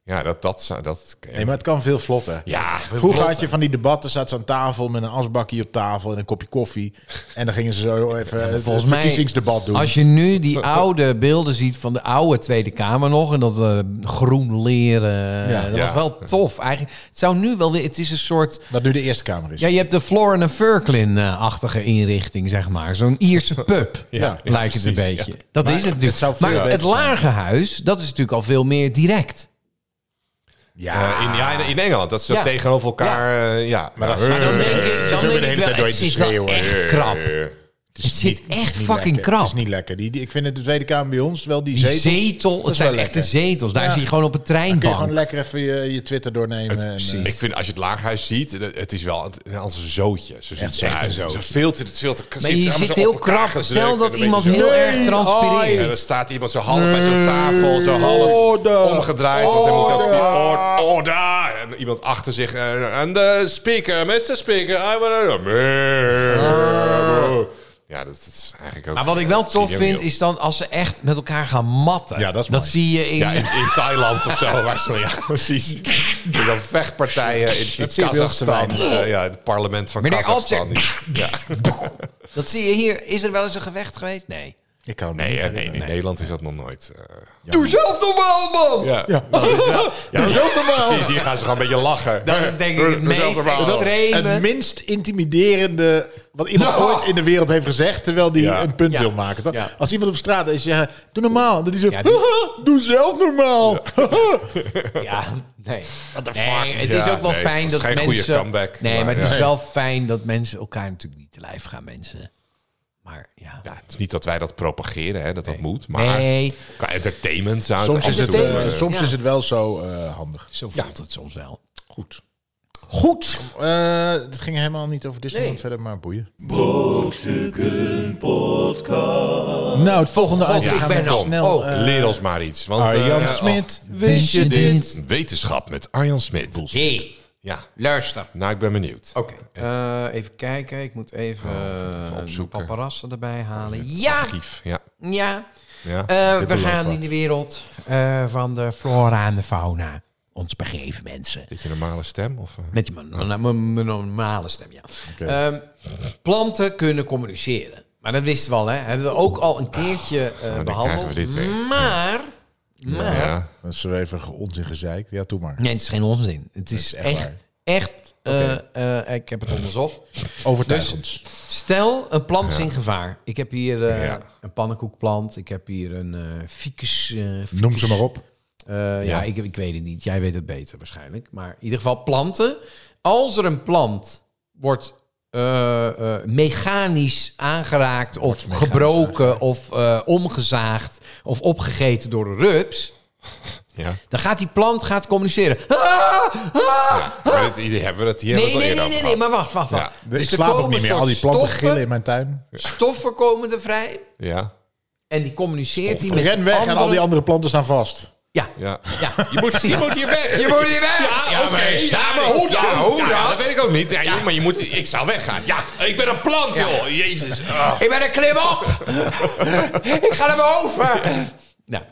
[SPEAKER 2] Ja, dat... dat, zou- dat
[SPEAKER 3] Nee, maar het kan veel vlotter.
[SPEAKER 2] ja,
[SPEAKER 3] Vroeger had je van die debatten, zaten ze aan tafel met een asbakje op tafel en een kopje koffie. En dan gingen ze zo even het
[SPEAKER 4] Volgens mij,
[SPEAKER 3] verkiezingsdebat doen.
[SPEAKER 4] als je nu die oude beelden ziet van de oude Tweede Kamer nog... en dat eh, groen leren,
[SPEAKER 3] Ja.
[SPEAKER 4] dat
[SPEAKER 2] Ja.
[SPEAKER 4] was wel tof eigenlijk. Het zou nu wel weer... Het is een soort...
[SPEAKER 3] Wat nu de Eerste Kamer is.
[SPEAKER 4] Ja, je hebt de Florin en Furklin-achtige inrichting, zeg maar. Zo'n Ierse pub,
[SPEAKER 2] Ja, ja,
[SPEAKER 4] lijkt het een
[SPEAKER 2] precies,
[SPEAKER 4] beetje. Dat is het
[SPEAKER 3] het
[SPEAKER 4] natuurlijk.
[SPEAKER 3] zou veel
[SPEAKER 4] maar het
[SPEAKER 3] beter zijn.
[SPEAKER 4] lage huis, dat is natuurlijk al veel meer direct.
[SPEAKER 3] Ja.
[SPEAKER 2] Eh, in, ja, in- in Engeland, dat ze
[SPEAKER 4] Ja.
[SPEAKER 2] tegenover elkaar... eh, Ja, maar
[SPEAKER 3] dat-
[SPEAKER 4] Dan denk ik,
[SPEAKER 3] Zo
[SPEAKER 4] dan
[SPEAKER 3] de
[SPEAKER 4] denk
[SPEAKER 3] hele
[SPEAKER 4] ik wel,
[SPEAKER 3] tijd door
[SPEAKER 4] het
[SPEAKER 3] je te
[SPEAKER 4] is wel
[SPEAKER 3] schreeuwen. Eh,
[SPEAKER 4] echt krap.
[SPEAKER 3] is
[SPEAKER 4] Het zit echt
[SPEAKER 3] het is
[SPEAKER 4] fucking
[SPEAKER 3] lekker.
[SPEAKER 4] krap.
[SPEAKER 3] Het is niet lekker. Die, die- ik vind het de Tweede Kamer bij ons wel die,
[SPEAKER 4] Die
[SPEAKER 3] zetels.
[SPEAKER 4] zetel,
[SPEAKER 3] dat
[SPEAKER 4] het
[SPEAKER 3] is wel
[SPEAKER 4] zijn
[SPEAKER 3] lekker.
[SPEAKER 4] echte zetels. Daar
[SPEAKER 3] Ja.
[SPEAKER 4] zie je gewoon op een
[SPEAKER 3] Dan kun je gewoon
[SPEAKER 4] treinbank.
[SPEAKER 3] lekker even je, je Twitter doornemen. en, eh,
[SPEAKER 2] Ik vind als je het laaghuis ziet, het het is wel een, als een zootje. Zo ziet
[SPEAKER 3] Echt
[SPEAKER 2] het
[SPEAKER 3] echt
[SPEAKER 2] eruit.
[SPEAKER 3] een zootje.
[SPEAKER 2] Zo veel te, het veel te
[SPEAKER 4] Maar je zit heel krap.
[SPEAKER 2] krap.
[SPEAKER 4] Stel dat iemand heel erg
[SPEAKER 3] Oh,
[SPEAKER 2] Ja,
[SPEAKER 4] transpireert.
[SPEAKER 2] dan staat iemand zo half bij zo'n tafel, zo half
[SPEAKER 3] Orde.
[SPEAKER 2] omgedraaid. Want hij moet ook
[SPEAKER 3] Orde.
[SPEAKER 2] or- order. En iemand achter zich. eh, En de speaker, Mr. Speaker. I wanna... Ja, dat, dat is eigenlijk ook...
[SPEAKER 4] Maar wat ik
[SPEAKER 2] eh,
[SPEAKER 4] wel tof
[SPEAKER 2] Studio
[SPEAKER 4] vind,
[SPEAKER 2] Mule.
[SPEAKER 4] is dan als ze echt met elkaar gaan matten.
[SPEAKER 3] Ja, dat is mooi.
[SPEAKER 4] zie je in...
[SPEAKER 2] Ja, in, in Thailand of zo. Waar ze, ja, precies. Dus dan vechtpartijen in, in
[SPEAKER 3] Dat zie ik wel te
[SPEAKER 2] Kazachstan.
[SPEAKER 3] weinig.
[SPEAKER 2] eh, ja, het parlement van
[SPEAKER 4] Meneer
[SPEAKER 2] Kazachstan.
[SPEAKER 4] Altscher. Dat zie je hier. Is er wel eens een gevecht geweest? Nee.
[SPEAKER 3] Ik kan
[SPEAKER 2] Nee, eh, nee, in Nederland is dat nog nooit. eh,
[SPEAKER 4] Doe zelf normaal, man!
[SPEAKER 2] ja. Ja,
[SPEAKER 3] Ja. Dat is ook normaal.
[SPEAKER 2] Precies, hier gaan ze gewoon een beetje lachen.
[SPEAKER 4] Dat is denk ik het
[SPEAKER 2] Doe zelf
[SPEAKER 4] meest
[SPEAKER 2] normaal.
[SPEAKER 3] Het
[SPEAKER 4] extreme.
[SPEAKER 3] minst intimiderende wat iemand
[SPEAKER 4] Ja.
[SPEAKER 3] ooit in de wereld heeft gezegd, terwijl die
[SPEAKER 2] Ja.
[SPEAKER 3] een punt
[SPEAKER 4] Ja.
[SPEAKER 3] wil maken. Dat,
[SPEAKER 4] Ja.
[SPEAKER 3] Als iemand op straat is, ja, doe normaal. Dat is zo,
[SPEAKER 4] Ja, die-
[SPEAKER 3] doe zelf normaal.
[SPEAKER 4] Ja, nee. What
[SPEAKER 3] the
[SPEAKER 4] Nee, het is
[SPEAKER 2] Ja,
[SPEAKER 4] ook wel
[SPEAKER 2] nee,
[SPEAKER 4] fijn
[SPEAKER 2] het was
[SPEAKER 4] dat
[SPEAKER 2] geen
[SPEAKER 4] mensen...
[SPEAKER 2] goede comeback,
[SPEAKER 4] Nee, maar,
[SPEAKER 2] maar
[SPEAKER 4] het is
[SPEAKER 3] ja.
[SPEAKER 4] wel fijn dat mensen elkaar natuurlijk niet te lijf gaan, mensen. Maar ja...
[SPEAKER 2] Ja, het is niet dat wij dat propageren, hè, dat dat moet. Maar
[SPEAKER 4] Nee,
[SPEAKER 2] qua entertainment zou het
[SPEAKER 3] soms is
[SPEAKER 2] af en
[SPEAKER 3] het,
[SPEAKER 2] toe,
[SPEAKER 3] eh,
[SPEAKER 2] eh,
[SPEAKER 3] soms
[SPEAKER 4] Ja.
[SPEAKER 3] is het wel zo eh, handig.
[SPEAKER 4] zo voelt het soms wel.
[SPEAKER 3] Goed.
[SPEAKER 4] Goed.
[SPEAKER 3] Eh, het ging helemaal niet over Disneyland
[SPEAKER 4] Nee.
[SPEAKER 3] verder, maar boeien. Podcast. Nou, het volgende item
[SPEAKER 4] ik
[SPEAKER 3] gaan
[SPEAKER 4] ben
[SPEAKER 3] we
[SPEAKER 4] al-
[SPEAKER 3] snel.
[SPEAKER 4] oh.
[SPEAKER 3] eh,
[SPEAKER 2] leer ons maar iets. Want,
[SPEAKER 3] Arjan
[SPEAKER 2] eh,
[SPEAKER 3] Smit,
[SPEAKER 2] oh,
[SPEAKER 3] wist je dit?
[SPEAKER 2] Wetenschap met Arjan Smit.
[SPEAKER 4] Hé,
[SPEAKER 2] Ja,
[SPEAKER 4] luister.
[SPEAKER 2] nou, ik ben benieuwd.
[SPEAKER 4] Oké, eh, even kijken. Ik moet even,
[SPEAKER 2] Oh, even
[SPEAKER 4] eh de
[SPEAKER 2] opzoeken. Oh,
[SPEAKER 4] paparazzen erbij halen. Ja,
[SPEAKER 2] Archief, ja.
[SPEAKER 4] ja.
[SPEAKER 2] ja.
[SPEAKER 4] Eh,
[SPEAKER 2] Dit
[SPEAKER 4] we
[SPEAKER 2] belooft
[SPEAKER 4] gaan
[SPEAKER 2] wat.
[SPEAKER 4] in de wereld eh, van de flora en de fauna ons begeven, mensen.
[SPEAKER 2] Dit je normale stem? Of, eh?
[SPEAKER 4] Met die mon- mon- mon- mon- normale stem, ja. Ehm, planten kunnen communiceren. Maar dat wisten we al, hè. Hebben we ook al een keertje eh,
[SPEAKER 2] Ah, nou, dan
[SPEAKER 4] behandeld.
[SPEAKER 2] krijgen we dit weer.
[SPEAKER 4] Maar, maar
[SPEAKER 2] ja.
[SPEAKER 3] Dat is even ge- onzin gezeik. Ja, doe maar.
[SPEAKER 4] Nee, het is geen onzin. Het is,
[SPEAKER 3] echt
[SPEAKER 4] echt, echt,
[SPEAKER 3] waar.
[SPEAKER 4] eh, eh, ik heb het onderzocht.
[SPEAKER 3] Overtuig
[SPEAKER 4] Dus-
[SPEAKER 3] ons.
[SPEAKER 4] Stel, een plant is in gevaar. Ik heb hier eh,
[SPEAKER 2] Ja.
[SPEAKER 4] een pannenkoekplant. Ik heb hier een eh ficus. eh, ficus.
[SPEAKER 3] Noem ze maar op.
[SPEAKER 4] Eh, ja, ik, ik weet het niet. Jij weet het beter waarschijnlijk. Maar in ieder geval planten. Als er een plant wordt eh, eh, mechanisch aangeraakt of gebroken of eh, omgezaagd of opgegeten door een rups,
[SPEAKER 2] ja.
[SPEAKER 4] dan gaat die plant gaat communiceren. Ah,
[SPEAKER 2] Maar dit, hier hebben we dat hier
[SPEAKER 4] nee,
[SPEAKER 2] hebben we
[SPEAKER 4] nee,
[SPEAKER 2] het
[SPEAKER 4] nee, nee,
[SPEAKER 2] al eerder over
[SPEAKER 4] nee,
[SPEAKER 2] gehad.
[SPEAKER 4] maar wacht, wacht, wacht.
[SPEAKER 3] ik
[SPEAKER 4] Dus er
[SPEAKER 3] slaap ook
[SPEAKER 4] komen
[SPEAKER 3] niet meer.
[SPEAKER 4] soort
[SPEAKER 3] Al die planten
[SPEAKER 4] stoffen-
[SPEAKER 3] gillen in mijn tuin.
[SPEAKER 4] Stoffen komen er vrij.
[SPEAKER 2] Ja,
[SPEAKER 4] En die communiceert die met
[SPEAKER 3] Ren weg en al die andere planten staan vast.
[SPEAKER 4] Ja,
[SPEAKER 2] ja.
[SPEAKER 4] ja.
[SPEAKER 2] Je moet, je moet hier weg.
[SPEAKER 4] Je moet hier weg!
[SPEAKER 2] Ja, Ah, oké. Ja, maar hoe dan?
[SPEAKER 4] Ja,
[SPEAKER 2] Ja,
[SPEAKER 4] hoe dan?
[SPEAKER 2] dat weet ik ook niet. Ja, joh, Maar je moet, ik zou weggaan. Ja, ik ben een plant, joh. Jezus. Ah.
[SPEAKER 4] Ik ben een klim op! ik ga naar mijn over! Nou,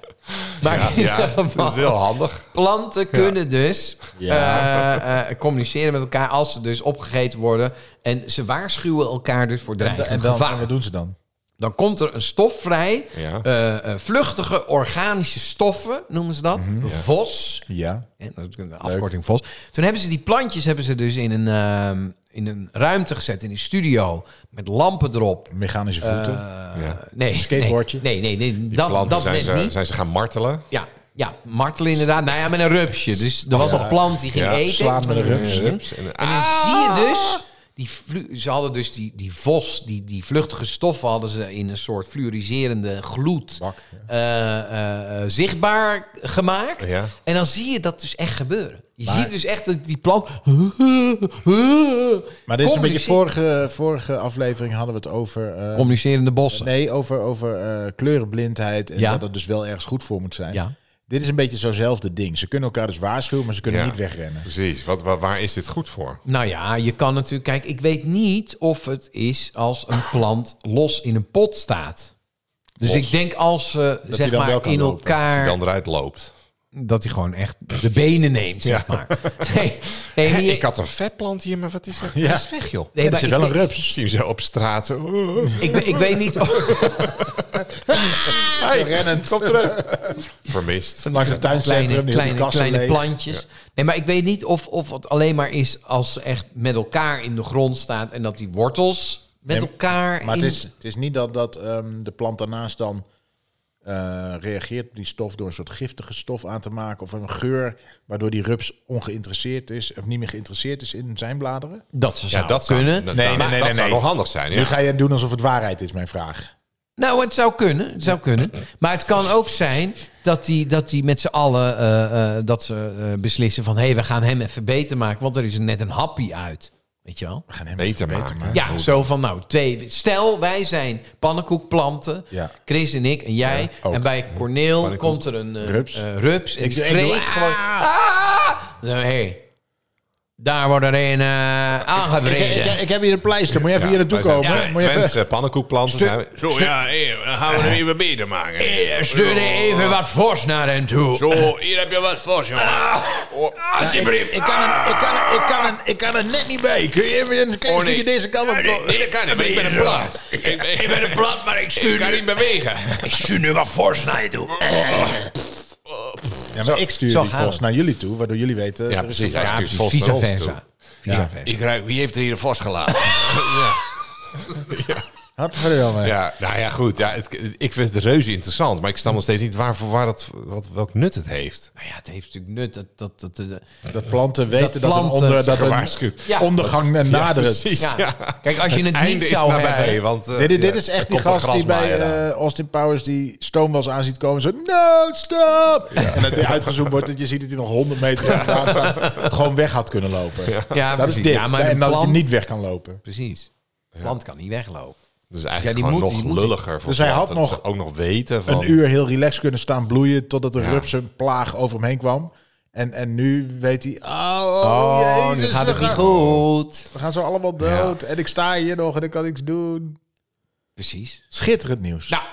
[SPEAKER 4] maar in
[SPEAKER 2] Ja,
[SPEAKER 4] ieder
[SPEAKER 2] dat
[SPEAKER 4] geval,
[SPEAKER 2] is heel handig.
[SPEAKER 4] planten kunnen dus
[SPEAKER 3] Ja.
[SPEAKER 4] eh, eh, communiceren met elkaar als ze dus opgegeten worden. En ze waarschuwen elkaar dus voor dreigend
[SPEAKER 3] En dan,
[SPEAKER 4] gevaar.
[SPEAKER 3] wat doen ze dan?
[SPEAKER 4] Dan komt er een stof vrij.
[SPEAKER 2] Ja.
[SPEAKER 4] eh, eh, vluchtige organische stoffen noemen ze dat.
[SPEAKER 2] Mhm,
[SPEAKER 4] VOS.
[SPEAKER 3] Ja.
[SPEAKER 4] Hè, dat is natuurlijk de afkorting VOS. Toen hebben ze die plantjes hebben ze dus in een, ehm, in een ruimte gezet, in een studio. Met lampen erop.
[SPEAKER 3] Mechanische voeten.
[SPEAKER 4] Eh,
[SPEAKER 2] Ja.
[SPEAKER 4] nee,
[SPEAKER 3] Skateboardje.
[SPEAKER 4] Nee, nee, nee. nee,
[SPEAKER 2] Die
[SPEAKER 4] dat
[SPEAKER 2] planten
[SPEAKER 4] dat
[SPEAKER 2] zijn,
[SPEAKER 4] net
[SPEAKER 2] ze,
[SPEAKER 4] niet.
[SPEAKER 2] zijn ze gaan martelen.
[SPEAKER 4] Ja, ja, martelen inderdaad. Nou ja, met een rupsje. Dus er was een plant die ging
[SPEAKER 2] Ja, Ah!
[SPEAKER 4] eten.
[SPEAKER 3] slaan met een rups.
[SPEAKER 4] En dan
[SPEAKER 2] Rups en-
[SPEAKER 4] zie je dus... Die vlu- ze hadden dus die, die vos, die, die vluchtige stoffen hadden ze in een soort fluoriserende gloed
[SPEAKER 3] Bak,
[SPEAKER 4] eh, eh, eh, zichtbaar gemaakt.
[SPEAKER 2] Ja.
[SPEAKER 4] En dan zie je dat dus echt gebeuren. Je
[SPEAKER 3] Maar-
[SPEAKER 4] ziet dus echt dat die plant...
[SPEAKER 3] Maar dit is een
[SPEAKER 4] Communice-
[SPEAKER 3] beetje vorige, vorige aflevering hadden we het over. eh,
[SPEAKER 4] Communicerende bossen.
[SPEAKER 3] nee, over, over eh, kleurenblindheid. En
[SPEAKER 4] Ja.
[SPEAKER 3] dat het dus wel ergens goed voor moet zijn.
[SPEAKER 4] Ja.
[SPEAKER 3] Dit is een beetje zo'nzelfde ding. Ze kunnen elkaar dus waarschuwen, maar ze kunnen
[SPEAKER 2] Ja.
[SPEAKER 3] niet wegrennen.
[SPEAKER 2] Precies. Wat, wa- waar is dit goed voor?
[SPEAKER 4] Nou ja, je kan natuurlijk. Kijk, ik weet niet of het is als een plant los in een pot staat. Dus
[SPEAKER 2] Los.
[SPEAKER 4] ik denk als ze zeg
[SPEAKER 3] dan wel
[SPEAKER 4] maar
[SPEAKER 3] kan
[SPEAKER 4] in
[SPEAKER 3] lopen.
[SPEAKER 2] Als
[SPEAKER 4] elkaar.
[SPEAKER 2] die dan eruit loopt.
[SPEAKER 4] Dat hij gewoon echt de benen neemt, zeg maar. Nee, nee, maar je-
[SPEAKER 2] ik had een vetplant hier, maar wat is er?
[SPEAKER 3] Ja.
[SPEAKER 2] Hij is weg, joh.
[SPEAKER 4] nee,
[SPEAKER 3] Het
[SPEAKER 4] maar
[SPEAKER 3] is
[SPEAKER 4] ik,
[SPEAKER 3] wel een
[SPEAKER 4] ik,
[SPEAKER 2] Ik
[SPEAKER 3] rups.
[SPEAKER 2] zie hem zo op straat. zo.
[SPEAKER 4] ik, ik weet niet. of-
[SPEAKER 3] Ah.
[SPEAKER 2] Hey, Kom terug. Vermist.
[SPEAKER 3] Langs het
[SPEAKER 4] kleine
[SPEAKER 3] tuincentrum, die hele
[SPEAKER 4] kleine,
[SPEAKER 3] kassen
[SPEAKER 4] kleine
[SPEAKER 3] leeg.
[SPEAKER 4] plantjes. Nee, maar ik weet niet of, of het alleen maar is als ze echt met elkaar in de grond staat en dat die wortels met
[SPEAKER 3] Nee,
[SPEAKER 4] elkaar.
[SPEAKER 3] Maar
[SPEAKER 4] in-
[SPEAKER 3] het is, het is niet dat, dat ehm, de plant daarnaast dan eh, eh, reageert op die stof door een soort giftige stof aan te maken of een geur waardoor die rups ongeïnteresseerd is of niet meer geïnteresseerd is in zijn bladeren.
[SPEAKER 4] Dat ze
[SPEAKER 2] Ja,
[SPEAKER 4] zou
[SPEAKER 2] dat zou,
[SPEAKER 4] kunnen.
[SPEAKER 2] dat-
[SPEAKER 3] Nee,
[SPEAKER 2] dat-
[SPEAKER 3] nee, nee,
[SPEAKER 2] dat
[SPEAKER 3] nee,
[SPEAKER 2] zou
[SPEAKER 3] nee.
[SPEAKER 2] nog handig zijn.
[SPEAKER 3] Nu
[SPEAKER 2] Ja.
[SPEAKER 3] ga je doen alsof het waarheid is, mijn vraag.
[SPEAKER 4] Nou, het zou kunnen. Het zou kunnen. Maar het kan ook zijn dat die, dat die met z'n allen eh, eh, dat ze eh, beslissen van... hé, hey, we gaan hem even beter maken, want er is net een happy uit. Weet je wel?
[SPEAKER 3] We gaan hem
[SPEAKER 2] Beter maken.
[SPEAKER 4] Ja, zo van nou, twee... Stel, wij zijn pannenkoekplanten.
[SPEAKER 3] Ja.
[SPEAKER 4] Chris en ik en jij.
[SPEAKER 3] ook.
[SPEAKER 4] en bij Corneel
[SPEAKER 2] Pannenkoek.
[SPEAKER 4] komt er een eh,
[SPEAKER 3] Rups.
[SPEAKER 4] eh, rups en
[SPEAKER 3] Ik-
[SPEAKER 4] die
[SPEAKER 3] ik doe,
[SPEAKER 4] vreet
[SPEAKER 3] "Ah!"
[SPEAKER 4] gewoon... Ah! Dan, hey, daar wordt er een eh
[SPEAKER 3] Ik,
[SPEAKER 4] aangevreden.
[SPEAKER 3] ik, ik- ik heb hier een pleister. Moet je even
[SPEAKER 2] Ja,
[SPEAKER 3] hier naartoe
[SPEAKER 2] wij zijn
[SPEAKER 3] komen?
[SPEAKER 2] Twen-
[SPEAKER 3] Moet je even-
[SPEAKER 2] Twents, eh, pannenkoekplanten zijn we- Zo,
[SPEAKER 4] Stuk-
[SPEAKER 2] ja, hé, dan gaan we hem even beter maken.
[SPEAKER 4] Eh, Stuur even wat fors naar hem toe.
[SPEAKER 2] Zo, hier heb je wat voor, jongen. Oh,
[SPEAKER 3] Ik, ik, kan er, ik, kan er, ik, kan er, ik kan er net niet bij. Kun je even een klein
[SPEAKER 2] Oh, nee.
[SPEAKER 3] stukje deze kant op komen?
[SPEAKER 2] Nee, dat kan niet, maar ik ben een plaat. Ik ben- ik ben een plaat, maar ik stuur Ik kan niet bewegen.
[SPEAKER 1] Ik stuur nu wat fors naar je toe. Eh.
[SPEAKER 3] Ja, maar ik stuur
[SPEAKER 4] zo
[SPEAKER 3] die
[SPEAKER 4] gaan
[SPEAKER 3] vos
[SPEAKER 4] we.
[SPEAKER 3] naar jullie toe, waardoor jullie weten...
[SPEAKER 2] Ja,
[SPEAKER 3] er is een
[SPEAKER 2] precies.
[SPEAKER 3] vraag.
[SPEAKER 2] Hij stuurt
[SPEAKER 4] precies.
[SPEAKER 2] Vos naar
[SPEAKER 4] Vice
[SPEAKER 2] ons
[SPEAKER 4] versa. Vice
[SPEAKER 3] Ja.
[SPEAKER 4] versa.
[SPEAKER 2] Ik ruik, wie heeft er hier een vos gelaten?
[SPEAKER 3] Godverdomme.
[SPEAKER 2] Ja, nou ja, goed. Ja, het- ik vind het reuze interessant, maar ik snap nog steeds niet waar, voor waar dat, wat, welk nut het heeft.
[SPEAKER 4] Nou ja, het heeft natuurlijk nut. Dat, dat, dat, dat-
[SPEAKER 3] Dat planten weten dat,
[SPEAKER 4] planten
[SPEAKER 3] een, onder, dat een
[SPEAKER 2] gewaarschuwd.
[SPEAKER 4] Ja.
[SPEAKER 3] ondergang nadert.
[SPEAKER 2] precies.
[SPEAKER 4] ja.
[SPEAKER 2] Ja.
[SPEAKER 4] Kijk, als je het, niet
[SPEAKER 2] Einde
[SPEAKER 4] zou
[SPEAKER 2] is nabij,
[SPEAKER 4] hebben...
[SPEAKER 2] want eh,
[SPEAKER 3] dit, dit
[SPEAKER 2] ja,
[SPEAKER 3] is
[SPEAKER 2] er
[SPEAKER 3] echt die
[SPEAKER 2] komt een
[SPEAKER 3] gast die bij
[SPEAKER 2] grasmaaier aan.
[SPEAKER 3] eh, Austin Powers die stoomwas aan ziet komen. Zo, no, stop! En dat hij uitgezoomd wordt dat je ziet dat hij nog 100 meter achteraan staat. Gewoon weg had kunnen lopen.
[SPEAKER 4] Ja,
[SPEAKER 3] Dat is
[SPEAKER 4] precies.
[SPEAKER 3] dit.
[SPEAKER 4] Ja, maar
[SPEAKER 3] en
[SPEAKER 4] de
[SPEAKER 3] dat
[SPEAKER 4] plant-
[SPEAKER 3] je niet weg kan lopen.
[SPEAKER 4] Precies. De plant kan niet weglopen.
[SPEAKER 2] Dus eigenlijk
[SPEAKER 4] Ja, die
[SPEAKER 2] gewoon
[SPEAKER 4] moet-
[SPEAKER 2] nog
[SPEAKER 4] die moet-
[SPEAKER 2] lulliger. Voor
[SPEAKER 3] Dus hij had
[SPEAKER 2] planten, dat
[SPEAKER 3] nog
[SPEAKER 2] ze ook nog weten van...
[SPEAKER 3] Een uur heel relaxed kunnen staan bloeien totdat de
[SPEAKER 2] Ja.
[SPEAKER 3] rups een plaag over hem heen kwam. En, en nu weet hij, oh,
[SPEAKER 4] Oh,
[SPEAKER 3] jezus,
[SPEAKER 4] nu gaat
[SPEAKER 3] we
[SPEAKER 4] het niet
[SPEAKER 3] gaan-
[SPEAKER 4] goed.
[SPEAKER 3] We gaan zo allemaal dood. En ik sta hier nog en ik kan niks doen.
[SPEAKER 4] Precies.
[SPEAKER 3] Schitterend nieuws.
[SPEAKER 4] Nou,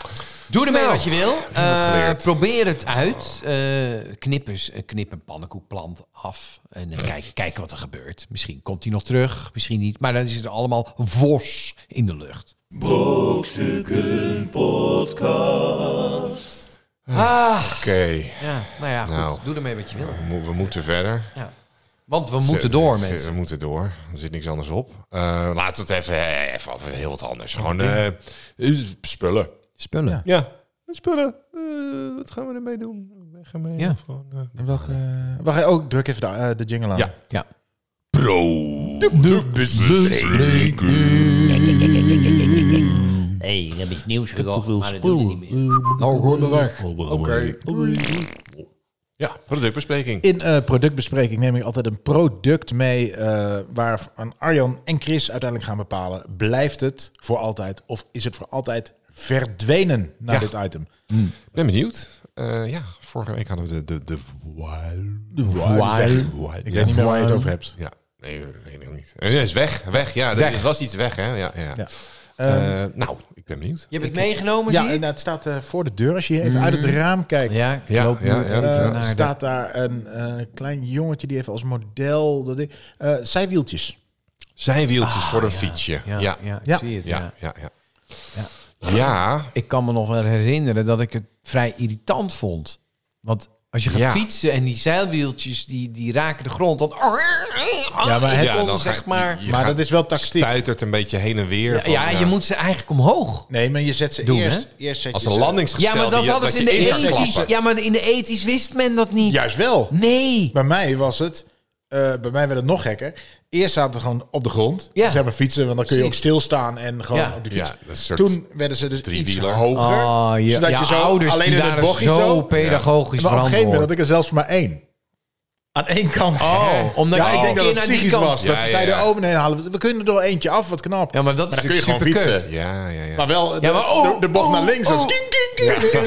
[SPEAKER 4] doe ermee
[SPEAKER 2] Nou,
[SPEAKER 4] wat je wil. Eh,
[SPEAKER 2] geleerd.
[SPEAKER 4] probeer het uit. Eh knip, eens, eh, knip een pannenkoekplant af. En eh, kijk, kijk wat er gebeurt. Misschien komt hij nog terug, misschien niet. Maar dan is het allemaal vos in de lucht.
[SPEAKER 5] Brokstukken Podcast.
[SPEAKER 4] Ah,
[SPEAKER 2] Oké,
[SPEAKER 4] ja. Nou ja, goed.
[SPEAKER 2] Nou.
[SPEAKER 4] Doe ermee wat je wil.
[SPEAKER 2] we mo- we moeten verder.
[SPEAKER 4] Ja. Want we moeten door,
[SPEAKER 2] Ze- ze-
[SPEAKER 4] mensen.
[SPEAKER 2] We moeten door. Er zit niks anders op. Eh, laten we het even, eh, even over heel wat anders. Gewoon eh, eh, spullen.
[SPEAKER 4] Spullen.
[SPEAKER 2] Ja, spullen. Eh, wat gaan we ermee doen? Weg ermee.
[SPEAKER 4] Ja.
[SPEAKER 2] Gewoon, eh?
[SPEAKER 3] En welke, we gaan ook druk even de, eh, de jingle aan.
[SPEAKER 2] Ja.
[SPEAKER 4] ja.
[SPEAKER 2] Pro.
[SPEAKER 1] Hé, ik heb iets nieuws gekocht, maar dat doe ik niet meer.
[SPEAKER 4] Nou, gewoon de weg. Oké.
[SPEAKER 2] Ja, productbespreking.
[SPEAKER 3] In eh, productbespreking neem ik altijd een product mee eh, waarvan Arjan en Chris uiteindelijk gaan bepalen. Blijft het voor altijd of is het voor altijd verdwenen naar
[SPEAKER 2] Ja.
[SPEAKER 3] dit item?
[SPEAKER 2] Ik ben benieuwd. Eh, ja, vorige week hadden we de... de, de
[SPEAKER 3] Ik weet niet meer waar je het over hebt.
[SPEAKER 2] Ja, nee, nee, nog niet. Eh, is weg, weg. Ja, er was iets weg, hè. Ja, ja.
[SPEAKER 3] Ja.
[SPEAKER 2] Eh,
[SPEAKER 4] Ehm,
[SPEAKER 2] nou, ik ben benieuwd.
[SPEAKER 4] Je hebt het meegenomen,
[SPEAKER 3] Ja,
[SPEAKER 4] zie je?
[SPEAKER 3] en het staat eh, voor de deur. Als je even uit het raam kijkt,
[SPEAKER 4] Ja, ik
[SPEAKER 2] Ja,
[SPEAKER 4] loop nu
[SPEAKER 2] ja, ja,
[SPEAKER 4] even
[SPEAKER 2] ja.
[SPEAKER 3] eh,
[SPEAKER 4] naar de-
[SPEAKER 3] staat daar een eh, klein jongetje die heeft als model dat ding- eh, zijwieltjes.
[SPEAKER 2] Zijn wieltjes voor een fietsje.
[SPEAKER 4] Ah, Ja, ja, ik
[SPEAKER 3] Ja.
[SPEAKER 4] zie het. Ja.
[SPEAKER 2] Ja, ja, ja. Ja,
[SPEAKER 4] Ik kan me nog wel herinneren dat ik het vrij irritant vond. Want als je gaat
[SPEAKER 2] Ja.
[SPEAKER 4] fietsen en die zeilwieltjes die, die raken de grond, dan...
[SPEAKER 3] Ja, maar het-
[SPEAKER 4] Ik kon,
[SPEAKER 2] dan ga-
[SPEAKER 4] zeg maar...
[SPEAKER 2] je
[SPEAKER 3] maar
[SPEAKER 2] gaat-
[SPEAKER 3] dat is wel tactiek.
[SPEAKER 2] stuitert een beetje heen en weer.
[SPEAKER 4] Ja,
[SPEAKER 2] van,
[SPEAKER 4] ja, je moet ze eigenlijk omhoog.
[SPEAKER 3] Nee, maar je zet ze
[SPEAKER 4] Doen,
[SPEAKER 3] eerst, eerst zet
[SPEAKER 2] Als
[SPEAKER 3] je
[SPEAKER 2] een
[SPEAKER 3] ze-
[SPEAKER 2] landingsgestel.
[SPEAKER 4] ja, maar dat
[SPEAKER 2] die je-
[SPEAKER 4] hadden ze in
[SPEAKER 2] je
[SPEAKER 4] de
[SPEAKER 2] in kan
[SPEAKER 4] 80s.
[SPEAKER 2] klappen.
[SPEAKER 4] Ja, maar in de 80s wist men dat niet.
[SPEAKER 3] Juist wel.
[SPEAKER 4] Nee.
[SPEAKER 3] Bij mij was het, eh, bij mij werd het nog gekker. Eerst zaten ze gewoon op de grond.
[SPEAKER 4] Ja.
[SPEAKER 3] Zeg maar fietsen, want dan kun je ook
[SPEAKER 4] Precies.
[SPEAKER 3] stilstaan en gewoon
[SPEAKER 4] Ja.
[SPEAKER 3] op de
[SPEAKER 2] Ja,
[SPEAKER 3] fiets.
[SPEAKER 2] dat is een soort
[SPEAKER 3] Toen werden ze dus iets
[SPEAKER 2] driewieler.
[SPEAKER 3] hoger.
[SPEAKER 4] Oh, je,
[SPEAKER 3] zodat
[SPEAKER 4] je,
[SPEAKER 3] je zo
[SPEAKER 4] ouders
[SPEAKER 3] alleen
[SPEAKER 4] die
[SPEAKER 3] in het
[SPEAKER 4] waren
[SPEAKER 3] bochtje
[SPEAKER 4] zo,
[SPEAKER 3] zo-
[SPEAKER 4] pedagogisch
[SPEAKER 3] maar op een gegeven moment had
[SPEAKER 4] verantwoord.
[SPEAKER 3] ik er zelfs maar één. Aan één kant.
[SPEAKER 4] Oh, omdat
[SPEAKER 3] ja,
[SPEAKER 4] je
[SPEAKER 3] ik denk dat
[SPEAKER 4] één
[SPEAKER 3] het
[SPEAKER 4] naar die
[SPEAKER 3] psychisch
[SPEAKER 4] kant-
[SPEAKER 3] was.
[SPEAKER 2] Ja,
[SPEAKER 3] dat ze
[SPEAKER 2] ja,
[SPEAKER 3] zeiden,
[SPEAKER 2] ja.
[SPEAKER 3] oh nee, halen we, we kunnen er door eentje af, wat knap.
[SPEAKER 4] Ja, maar dat is
[SPEAKER 3] Maar dan kun je
[SPEAKER 4] natuurlijk
[SPEAKER 3] gewoon
[SPEAKER 4] superkut.
[SPEAKER 3] fietsen.
[SPEAKER 2] Ja, ja, ja.
[SPEAKER 3] Maar wel de,
[SPEAKER 4] Ja, maar oh,
[SPEAKER 3] de, de bocht
[SPEAKER 4] oh,
[SPEAKER 3] naar links. zo
[SPEAKER 4] oh.
[SPEAKER 3] kink, kink, kink.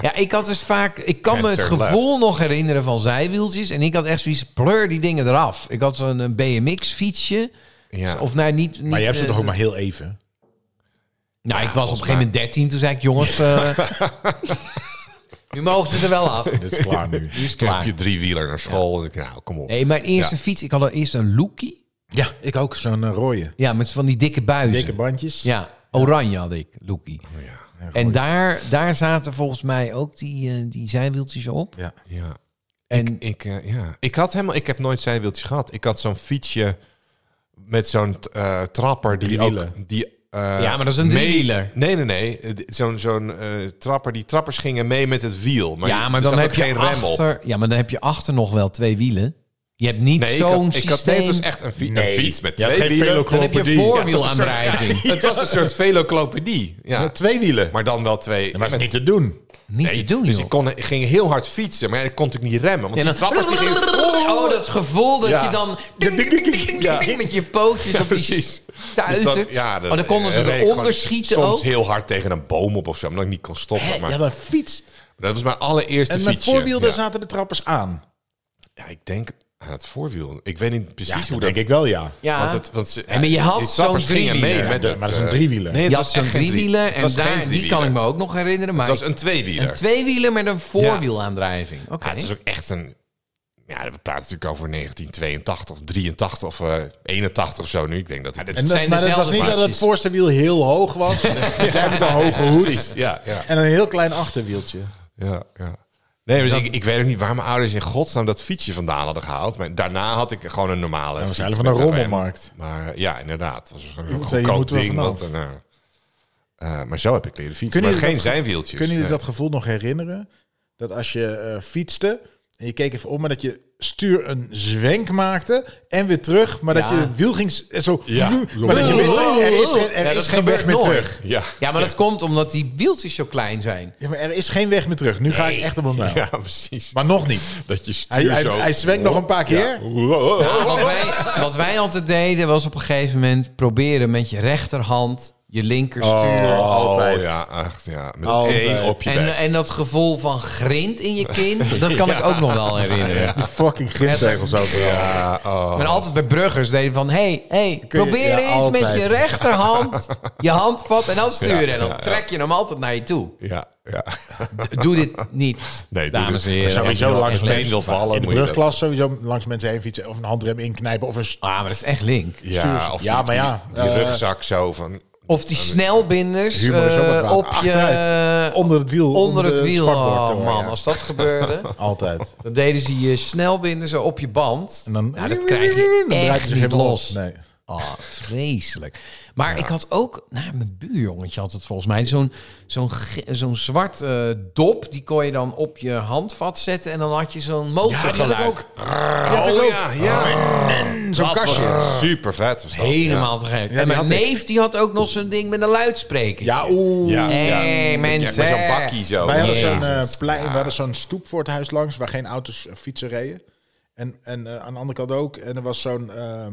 [SPEAKER 4] Ja, ik had dus vaak. Ik kan me het
[SPEAKER 2] Center
[SPEAKER 4] gevoel nog herinneren van zijwieltjes. En ik had echt zoiets. Pleur die dingen eraf. Ik had zo'n eh, BMX-fietsje.
[SPEAKER 2] ja.
[SPEAKER 4] Of nou, niet. niet
[SPEAKER 3] Maar je hebt ze
[SPEAKER 4] eh,
[SPEAKER 3] toch ook maar heel even?
[SPEAKER 4] Nou, ik was op een
[SPEAKER 2] volgens
[SPEAKER 4] gegeven moment 13. Toen zei ik, jongens. eh, nu mogen ze er wel af.
[SPEAKER 3] Dit is klaar nu.
[SPEAKER 4] Nu is het
[SPEAKER 2] Dan heb
[SPEAKER 4] klaar.
[SPEAKER 2] je driewieler naar school. En, nou, kom op.
[SPEAKER 4] Nee, mijn eerste
[SPEAKER 2] Ja.
[SPEAKER 4] fiets. Ik had al eerst een Loekie.
[SPEAKER 3] Ja, ik ook. Zo'n eh, rode.
[SPEAKER 4] Ja, met van die dikke buizen.
[SPEAKER 3] Dikke bandjes.
[SPEAKER 4] ja, oranje had ik, Loekie. en daar, daar zaten volgens mij ook die, eh, die zijwieltjes op.
[SPEAKER 3] Ja.
[SPEAKER 2] Ja.
[SPEAKER 4] En
[SPEAKER 2] Ik, eh, ja. ik had helemaal, ik heb nooit zijwieltjes gehad. Ik had zo'n fietsje met zo'n eh, trapper die
[SPEAKER 3] Drie
[SPEAKER 2] ook,
[SPEAKER 3] wielen.
[SPEAKER 2] die eh,
[SPEAKER 4] Ja, maar dat is een
[SPEAKER 2] mee-
[SPEAKER 4] driewieler.
[SPEAKER 2] Nee, nee, nee. Eh, d- Zo'n zo'n eh, trapper, die trappers gingen mee met het wiel. Maar
[SPEAKER 4] ja,
[SPEAKER 2] je-
[SPEAKER 4] maar
[SPEAKER 2] er
[SPEAKER 4] dan
[SPEAKER 2] zat
[SPEAKER 4] heb
[SPEAKER 2] ook
[SPEAKER 4] je
[SPEAKER 2] geen rem op.
[SPEAKER 4] achter. Ja, maar dan heb je achter nog wel twee wielen. Je hebt niet
[SPEAKER 2] Nee, ik
[SPEAKER 4] zo'n
[SPEAKER 2] had, ik
[SPEAKER 4] systeem.
[SPEAKER 2] had, nee, het was echt een, fi- een fiets met
[SPEAKER 3] Je hebt
[SPEAKER 2] twee
[SPEAKER 3] geen
[SPEAKER 2] wielen.
[SPEAKER 3] velocro-
[SPEAKER 4] dan heb je
[SPEAKER 3] Klopodie. Ja,
[SPEAKER 2] het was een soort-
[SPEAKER 4] voorwielaandrijving.
[SPEAKER 2] Het was een soort veloclopedie. Ja.
[SPEAKER 3] Met twee wielen.
[SPEAKER 2] Maar dan wel twee.
[SPEAKER 3] Dat was
[SPEAKER 2] met-
[SPEAKER 3] niet te doen.
[SPEAKER 4] Niet
[SPEAKER 2] Nee,
[SPEAKER 4] te doen,
[SPEAKER 2] dus
[SPEAKER 4] joh.
[SPEAKER 2] ik, kon, ik ging heel hard fietsen, maar ja, ik kon natuurlijk niet remmen. Want
[SPEAKER 4] En
[SPEAKER 2] die
[SPEAKER 4] dan,
[SPEAKER 2] trappers die gingen...
[SPEAKER 4] oh, dat gevoel dat
[SPEAKER 2] Ja.
[SPEAKER 4] je dan
[SPEAKER 2] Ding, ding, ding, ding, ding, ding.
[SPEAKER 4] met je pootjes op die
[SPEAKER 2] precies. Dus
[SPEAKER 4] stuiters.
[SPEAKER 2] dat- ja,
[SPEAKER 4] oh, dan konden ze
[SPEAKER 2] reed ik gewoon
[SPEAKER 4] eronder schieten
[SPEAKER 2] Soms
[SPEAKER 4] ook.
[SPEAKER 2] heel hard tegen een boom op of zo, omdat ik niet kon stoppen. Maar
[SPEAKER 3] Ja, maar fiets.
[SPEAKER 2] dat was mijn allereerste
[SPEAKER 3] En met
[SPEAKER 2] fietsje.
[SPEAKER 3] voorwiel, daar
[SPEAKER 2] ja.
[SPEAKER 3] zaten de trappers aan.
[SPEAKER 2] Ja, ik denk aan het voorwiel. Ik weet niet precies
[SPEAKER 3] Ja,
[SPEAKER 2] hoe
[SPEAKER 3] dat
[SPEAKER 2] dat...
[SPEAKER 3] denk ik wel, ja.
[SPEAKER 4] Ja.
[SPEAKER 2] Want het, want ze,
[SPEAKER 4] Ja, maar je had
[SPEAKER 2] die trappers
[SPEAKER 4] zo'n
[SPEAKER 2] gingen mee
[SPEAKER 4] driewieler.
[SPEAKER 2] met
[SPEAKER 3] Ja,
[SPEAKER 2] het,
[SPEAKER 3] maar dat is een
[SPEAKER 2] eh,
[SPEAKER 3] driewieler.
[SPEAKER 2] Nee, het
[SPEAKER 4] Je
[SPEAKER 2] was
[SPEAKER 4] had zo'n
[SPEAKER 2] echt geen driewieler.
[SPEAKER 4] driewieler en daar, die kan ik me ook nog herinneren. Maar
[SPEAKER 2] Het was een tweewieler.
[SPEAKER 4] een tweewieler met een voorwielaandrijving. Oké.
[SPEAKER 2] Ja, Ah, het is ook echt een... Ja, we praten natuurlijk over 1982 of 83 of eh, 81 of zo nu. Ik denk dat... ik-
[SPEAKER 3] En dat-
[SPEAKER 4] zijn
[SPEAKER 3] maar dat was
[SPEAKER 4] dezelfde
[SPEAKER 3] niet dat het
[SPEAKER 4] baasjes.
[SPEAKER 3] voorste wiel heel hoog was. Jij hebt een hoge hoed.
[SPEAKER 2] ja, ja.
[SPEAKER 3] En een heel klein achterwieltje.
[SPEAKER 2] Ja, ja. Nee, dus ik, ik weet ook niet waar mijn ouders in godsnaam dat fietsje vandaan hadden gehaald. Maar daarna had ik gewoon een normale
[SPEAKER 3] Dat was
[SPEAKER 2] fiets
[SPEAKER 3] eigenlijk van
[SPEAKER 2] met
[SPEAKER 3] een
[SPEAKER 2] rem.
[SPEAKER 3] rommelmarkt.
[SPEAKER 2] Maar eh, ja, inderdaad. Het was een
[SPEAKER 3] moet zeggen, je
[SPEAKER 2] goedkoop
[SPEAKER 3] moet er
[SPEAKER 2] ding.
[SPEAKER 3] vanaf.
[SPEAKER 2] wat een, eh, eh, maar zo heb ik leren fietsen.
[SPEAKER 3] Kunnen
[SPEAKER 2] maar geen
[SPEAKER 3] jullie dat
[SPEAKER 2] zijnwieltjes.
[SPEAKER 3] Kunnen jullie
[SPEAKER 2] Nee.
[SPEAKER 3] dat gevoel nog herinneren? Dat als je eh, fietste en je keek even om, maar dat je stuur een zwenk maakte en weer terug, maar dat
[SPEAKER 4] Ja.
[SPEAKER 3] je wiel ging s- en zo.
[SPEAKER 2] Ja.
[SPEAKER 3] Maar dat je wist, er is geen, er
[SPEAKER 4] Ja, dat
[SPEAKER 3] is geen
[SPEAKER 4] gebeurt
[SPEAKER 3] weg meer
[SPEAKER 4] nooit.
[SPEAKER 3] terug.
[SPEAKER 2] Ja.
[SPEAKER 4] Ja, maar dat komt omdat die wieltjes zo klein zijn.
[SPEAKER 3] Ja, maar er is geen weg meer terug. Nu ga ik echt op een mijl.
[SPEAKER 2] Ja, precies.
[SPEAKER 3] Maar nog niet.
[SPEAKER 2] Dat je stuur
[SPEAKER 3] Hij, hij,
[SPEAKER 2] zo...
[SPEAKER 3] hij zwenkt nog een paar keer.
[SPEAKER 2] Oh.
[SPEAKER 4] Ja, wat, wij, wat wij altijd deden was op een gegeven moment proberen met je rechterhand je linker sturen.
[SPEAKER 2] Oh,
[SPEAKER 3] Altijd.
[SPEAKER 2] ja, echt, ja. Met
[SPEAKER 3] Altijd.
[SPEAKER 2] één op je
[SPEAKER 4] En,
[SPEAKER 2] bek.
[SPEAKER 4] en dat gevoel van grind in je kin, dat kan ik ook nog wel herinneren.
[SPEAKER 3] Die fucking grimzegels overal.
[SPEAKER 2] Ja, oh.
[SPEAKER 4] Maar altijd bij bruggers deden van... hey, hey,
[SPEAKER 3] Kun je-
[SPEAKER 4] probeer
[SPEAKER 3] ja,
[SPEAKER 4] eens met je
[SPEAKER 3] altijd.
[SPEAKER 4] rechterhand je handvat en dan sturen.
[SPEAKER 2] Ja,
[SPEAKER 4] en dan
[SPEAKER 2] ja, ja.
[SPEAKER 4] trek je hem altijd naar je toe.
[SPEAKER 2] ja, ja.
[SPEAKER 4] D- Doe dit niet,
[SPEAKER 2] Nee, doe
[SPEAKER 4] dames
[SPEAKER 2] dit.
[SPEAKER 4] en heren.
[SPEAKER 3] Sowieso
[SPEAKER 2] Als je
[SPEAKER 3] langs
[SPEAKER 2] meteen
[SPEAKER 3] mensen.
[SPEAKER 2] wil vallen,
[SPEAKER 3] In de
[SPEAKER 2] moet je dat-
[SPEAKER 3] brugklas sowieso langs mensen heen fietsen. Of een handrem inknijpen. Of een s-
[SPEAKER 4] Ah, maar dat is echt link.
[SPEAKER 2] Ja, of
[SPEAKER 3] Ja,
[SPEAKER 2] die-
[SPEAKER 3] maar ja,
[SPEAKER 2] die, die
[SPEAKER 3] eh,
[SPEAKER 2] rugzak zo van...
[SPEAKER 4] Of die snelbinders
[SPEAKER 3] Humor is ook wat
[SPEAKER 4] eh,
[SPEAKER 3] waard.
[SPEAKER 4] op je...
[SPEAKER 3] Achteruit. onder het wiel.
[SPEAKER 4] onder het
[SPEAKER 3] de
[SPEAKER 4] wiel.
[SPEAKER 3] spakbord
[SPEAKER 4] Oh
[SPEAKER 3] door,
[SPEAKER 4] man,
[SPEAKER 3] ja.
[SPEAKER 4] als dat gebeurde...
[SPEAKER 3] Altijd.
[SPEAKER 4] dan deden ze je snelbinders op je band.
[SPEAKER 3] En dan,
[SPEAKER 4] Nou, dat krijg je
[SPEAKER 3] dan draait
[SPEAKER 4] echt
[SPEAKER 3] hij zich
[SPEAKER 4] niet
[SPEAKER 3] helemaal op.
[SPEAKER 4] los.
[SPEAKER 3] Nee.
[SPEAKER 4] Oh, vreselijk. Maar ik had ook, nou, mijn buurjongetje had het volgens mij, zo'n zo'n ge- zo'n zwart eh, dop, die kon je dan op je handvat zetten en dan had je zo'n motorgeluid.
[SPEAKER 2] Oh ja, ja.
[SPEAKER 3] Zo'n kastje.
[SPEAKER 2] Super vet was dat.
[SPEAKER 4] Helemaal te gek.
[SPEAKER 3] die
[SPEAKER 4] en mijn
[SPEAKER 3] had ik.
[SPEAKER 4] neef, die had ook nog zo'n ding met een luidspreker.
[SPEAKER 3] Ja, oeh.
[SPEAKER 2] Ja, Oh, ja.
[SPEAKER 4] Hey,
[SPEAKER 2] ja.
[SPEAKER 4] mensen.
[SPEAKER 2] Met zo'n bakkie zo.
[SPEAKER 3] Wij hadden
[SPEAKER 4] Jezus.
[SPEAKER 3] zo'n eh, plein, we hadden zo'n stoep voor het huis langs waar geen auto's eh, fietsen reden. En, en eh, aan de andere kant ook. En er was zo'n ehm,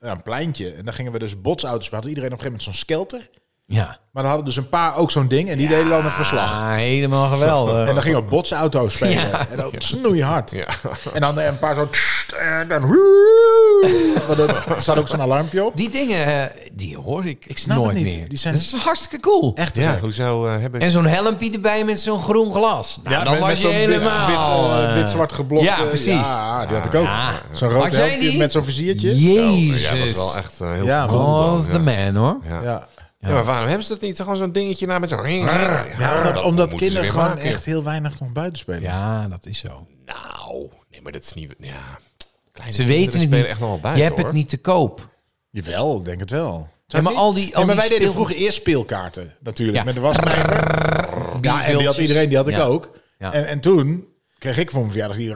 [SPEAKER 3] ja, een pleintje. En daar gingen we dus botsauto's. We hadden iedereen op een gegeven moment zo'n skelter.
[SPEAKER 4] Ja.
[SPEAKER 3] Maar er hadden dus een paar ook zo'n ding. En die deden dan een verslag.
[SPEAKER 4] Ah, helemaal geweldig.
[SPEAKER 3] En dan gingen we botsauto's spelen.
[SPEAKER 4] Ja.
[SPEAKER 3] En dan snoeihard.
[SPEAKER 2] Ja.
[SPEAKER 3] En dan eh, een paar zo... En dan... Want dat- Er zat ook zo'n alarmpje op.
[SPEAKER 4] die dingen, eh, die hoor ik, ik
[SPEAKER 3] snap
[SPEAKER 4] nooit
[SPEAKER 3] het niet.
[SPEAKER 4] meer.
[SPEAKER 3] Die zijn-
[SPEAKER 4] Dat is hartstikke cool.
[SPEAKER 3] Echt te
[SPEAKER 2] Ja,
[SPEAKER 3] gek.
[SPEAKER 2] hoezo eh, hebben...
[SPEAKER 4] En zo'n helmpje erbij met zo'n groen glas. Nou, dan
[SPEAKER 3] met-
[SPEAKER 4] was
[SPEAKER 3] met
[SPEAKER 4] je
[SPEAKER 3] zo'n wit-
[SPEAKER 4] helemaal...
[SPEAKER 3] Wit, eh,
[SPEAKER 4] eh,
[SPEAKER 3] wit-zwart geblokt.
[SPEAKER 4] ja,
[SPEAKER 3] eh,
[SPEAKER 4] precies.
[SPEAKER 3] Ja, die had ik ook.
[SPEAKER 4] Ja.
[SPEAKER 3] Zo'n
[SPEAKER 4] Had
[SPEAKER 3] rood
[SPEAKER 4] jij
[SPEAKER 3] helmpje
[SPEAKER 4] die?
[SPEAKER 3] met zo'n viziertje.
[SPEAKER 2] Zo,
[SPEAKER 4] Jezus.
[SPEAKER 2] Oh, ja, dat was wel echt eh, heel
[SPEAKER 3] Ja,
[SPEAKER 2] cool dan,
[SPEAKER 4] was
[SPEAKER 2] ja.
[SPEAKER 4] de man, hoor.
[SPEAKER 2] Ja. Ja.
[SPEAKER 3] Ja.
[SPEAKER 2] maar waarom hebben ze dat niet? Gewoon zo'n dingetje na met zo'n... Ja,
[SPEAKER 3] Ja, omdat,
[SPEAKER 2] dat
[SPEAKER 3] omdat
[SPEAKER 2] moeten ze
[SPEAKER 3] kinderen
[SPEAKER 2] weer
[SPEAKER 3] gewoon
[SPEAKER 2] maken.
[SPEAKER 3] echt heel weinig nog buiten spelen.
[SPEAKER 4] Ja, dat is zo.
[SPEAKER 2] Nou, nee, maar dat is niet... Ja. Kleine
[SPEAKER 4] Ze
[SPEAKER 2] kinderen
[SPEAKER 4] weten het
[SPEAKER 2] spelen
[SPEAKER 4] niet.
[SPEAKER 2] echt nog wel
[SPEAKER 4] je
[SPEAKER 2] buiten,
[SPEAKER 4] hebt het
[SPEAKER 2] hoor.
[SPEAKER 4] niet te koop.
[SPEAKER 3] Jawel, denk het wel.
[SPEAKER 4] Ja, maar
[SPEAKER 3] niet?
[SPEAKER 4] al die- al
[SPEAKER 3] Ja, maar
[SPEAKER 4] die
[SPEAKER 3] wij
[SPEAKER 4] speel-
[SPEAKER 3] deden vroeger eerst speelkaarten natuurlijk.
[SPEAKER 4] Ja.
[SPEAKER 3] Met de wasmijner. Ja, en die had iedereen, die had ik
[SPEAKER 4] Ja.
[SPEAKER 3] ook.
[SPEAKER 4] Ja.
[SPEAKER 3] En, en toen kreeg ik voor mijn verjaardag die...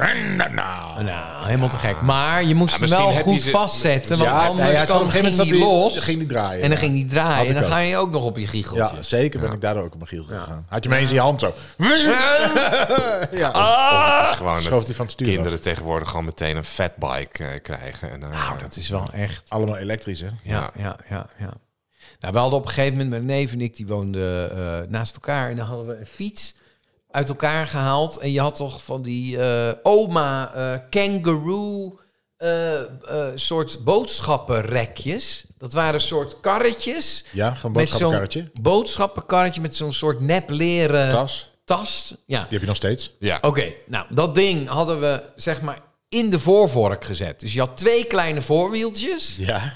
[SPEAKER 4] Nou, helemaal te gek. Maar je moest hem
[SPEAKER 2] misschien
[SPEAKER 4] wel
[SPEAKER 2] heb je
[SPEAKER 4] goed
[SPEAKER 2] ze-
[SPEAKER 4] vastzetten, want
[SPEAKER 3] Ja,
[SPEAKER 4] anders
[SPEAKER 3] ja, ja,
[SPEAKER 4] kwam-
[SPEAKER 3] op een gegeven
[SPEAKER 4] ging
[SPEAKER 3] moment zat
[SPEAKER 4] die
[SPEAKER 3] die-
[SPEAKER 4] los
[SPEAKER 3] ging die draaien,
[SPEAKER 4] en dan
[SPEAKER 3] ja.
[SPEAKER 4] ging die draaien.
[SPEAKER 3] Had
[SPEAKER 4] En
[SPEAKER 3] ik
[SPEAKER 4] dan
[SPEAKER 3] ook.
[SPEAKER 4] ga je ook nog op je giecheltje.
[SPEAKER 3] Ja, zeker ben ik daardoor ook op mijn giel gegaan. Had je me eens in je hand zo. Ja,
[SPEAKER 2] Of het is gewoon
[SPEAKER 3] Schoof
[SPEAKER 2] dat
[SPEAKER 3] die van het stuur af.
[SPEAKER 2] kinderen tegenwoordig gewoon meteen een fatbike eh, krijgen. En, dan,
[SPEAKER 4] Nou, dat is wel echt...
[SPEAKER 3] Allemaal elektrisch, hè?
[SPEAKER 4] Ja, ja, ja, ja. Nou, we hadden op een gegeven moment, mijn neef en ik, die woonden eh, naast elkaar. En dan hadden we een fiets uit elkaar gehaald. En je had toch van die eh, oma eh, kangaroo eh, eh, soort boodschappenrekjes. Dat waren soort karretjes.
[SPEAKER 3] Ja, gewoon
[SPEAKER 4] Met zo'n
[SPEAKER 3] boodschappenkarretje.
[SPEAKER 4] boodschappenkarretje met zo'n soort nep leren
[SPEAKER 3] Tas.
[SPEAKER 4] tas. Ja.
[SPEAKER 3] Die heb je nog steeds.
[SPEAKER 2] ja.
[SPEAKER 4] Oké, nou, dat ding hadden we zeg maar in de voorvork gezet. Dus je had twee kleine voorwieltjes.
[SPEAKER 3] Ja.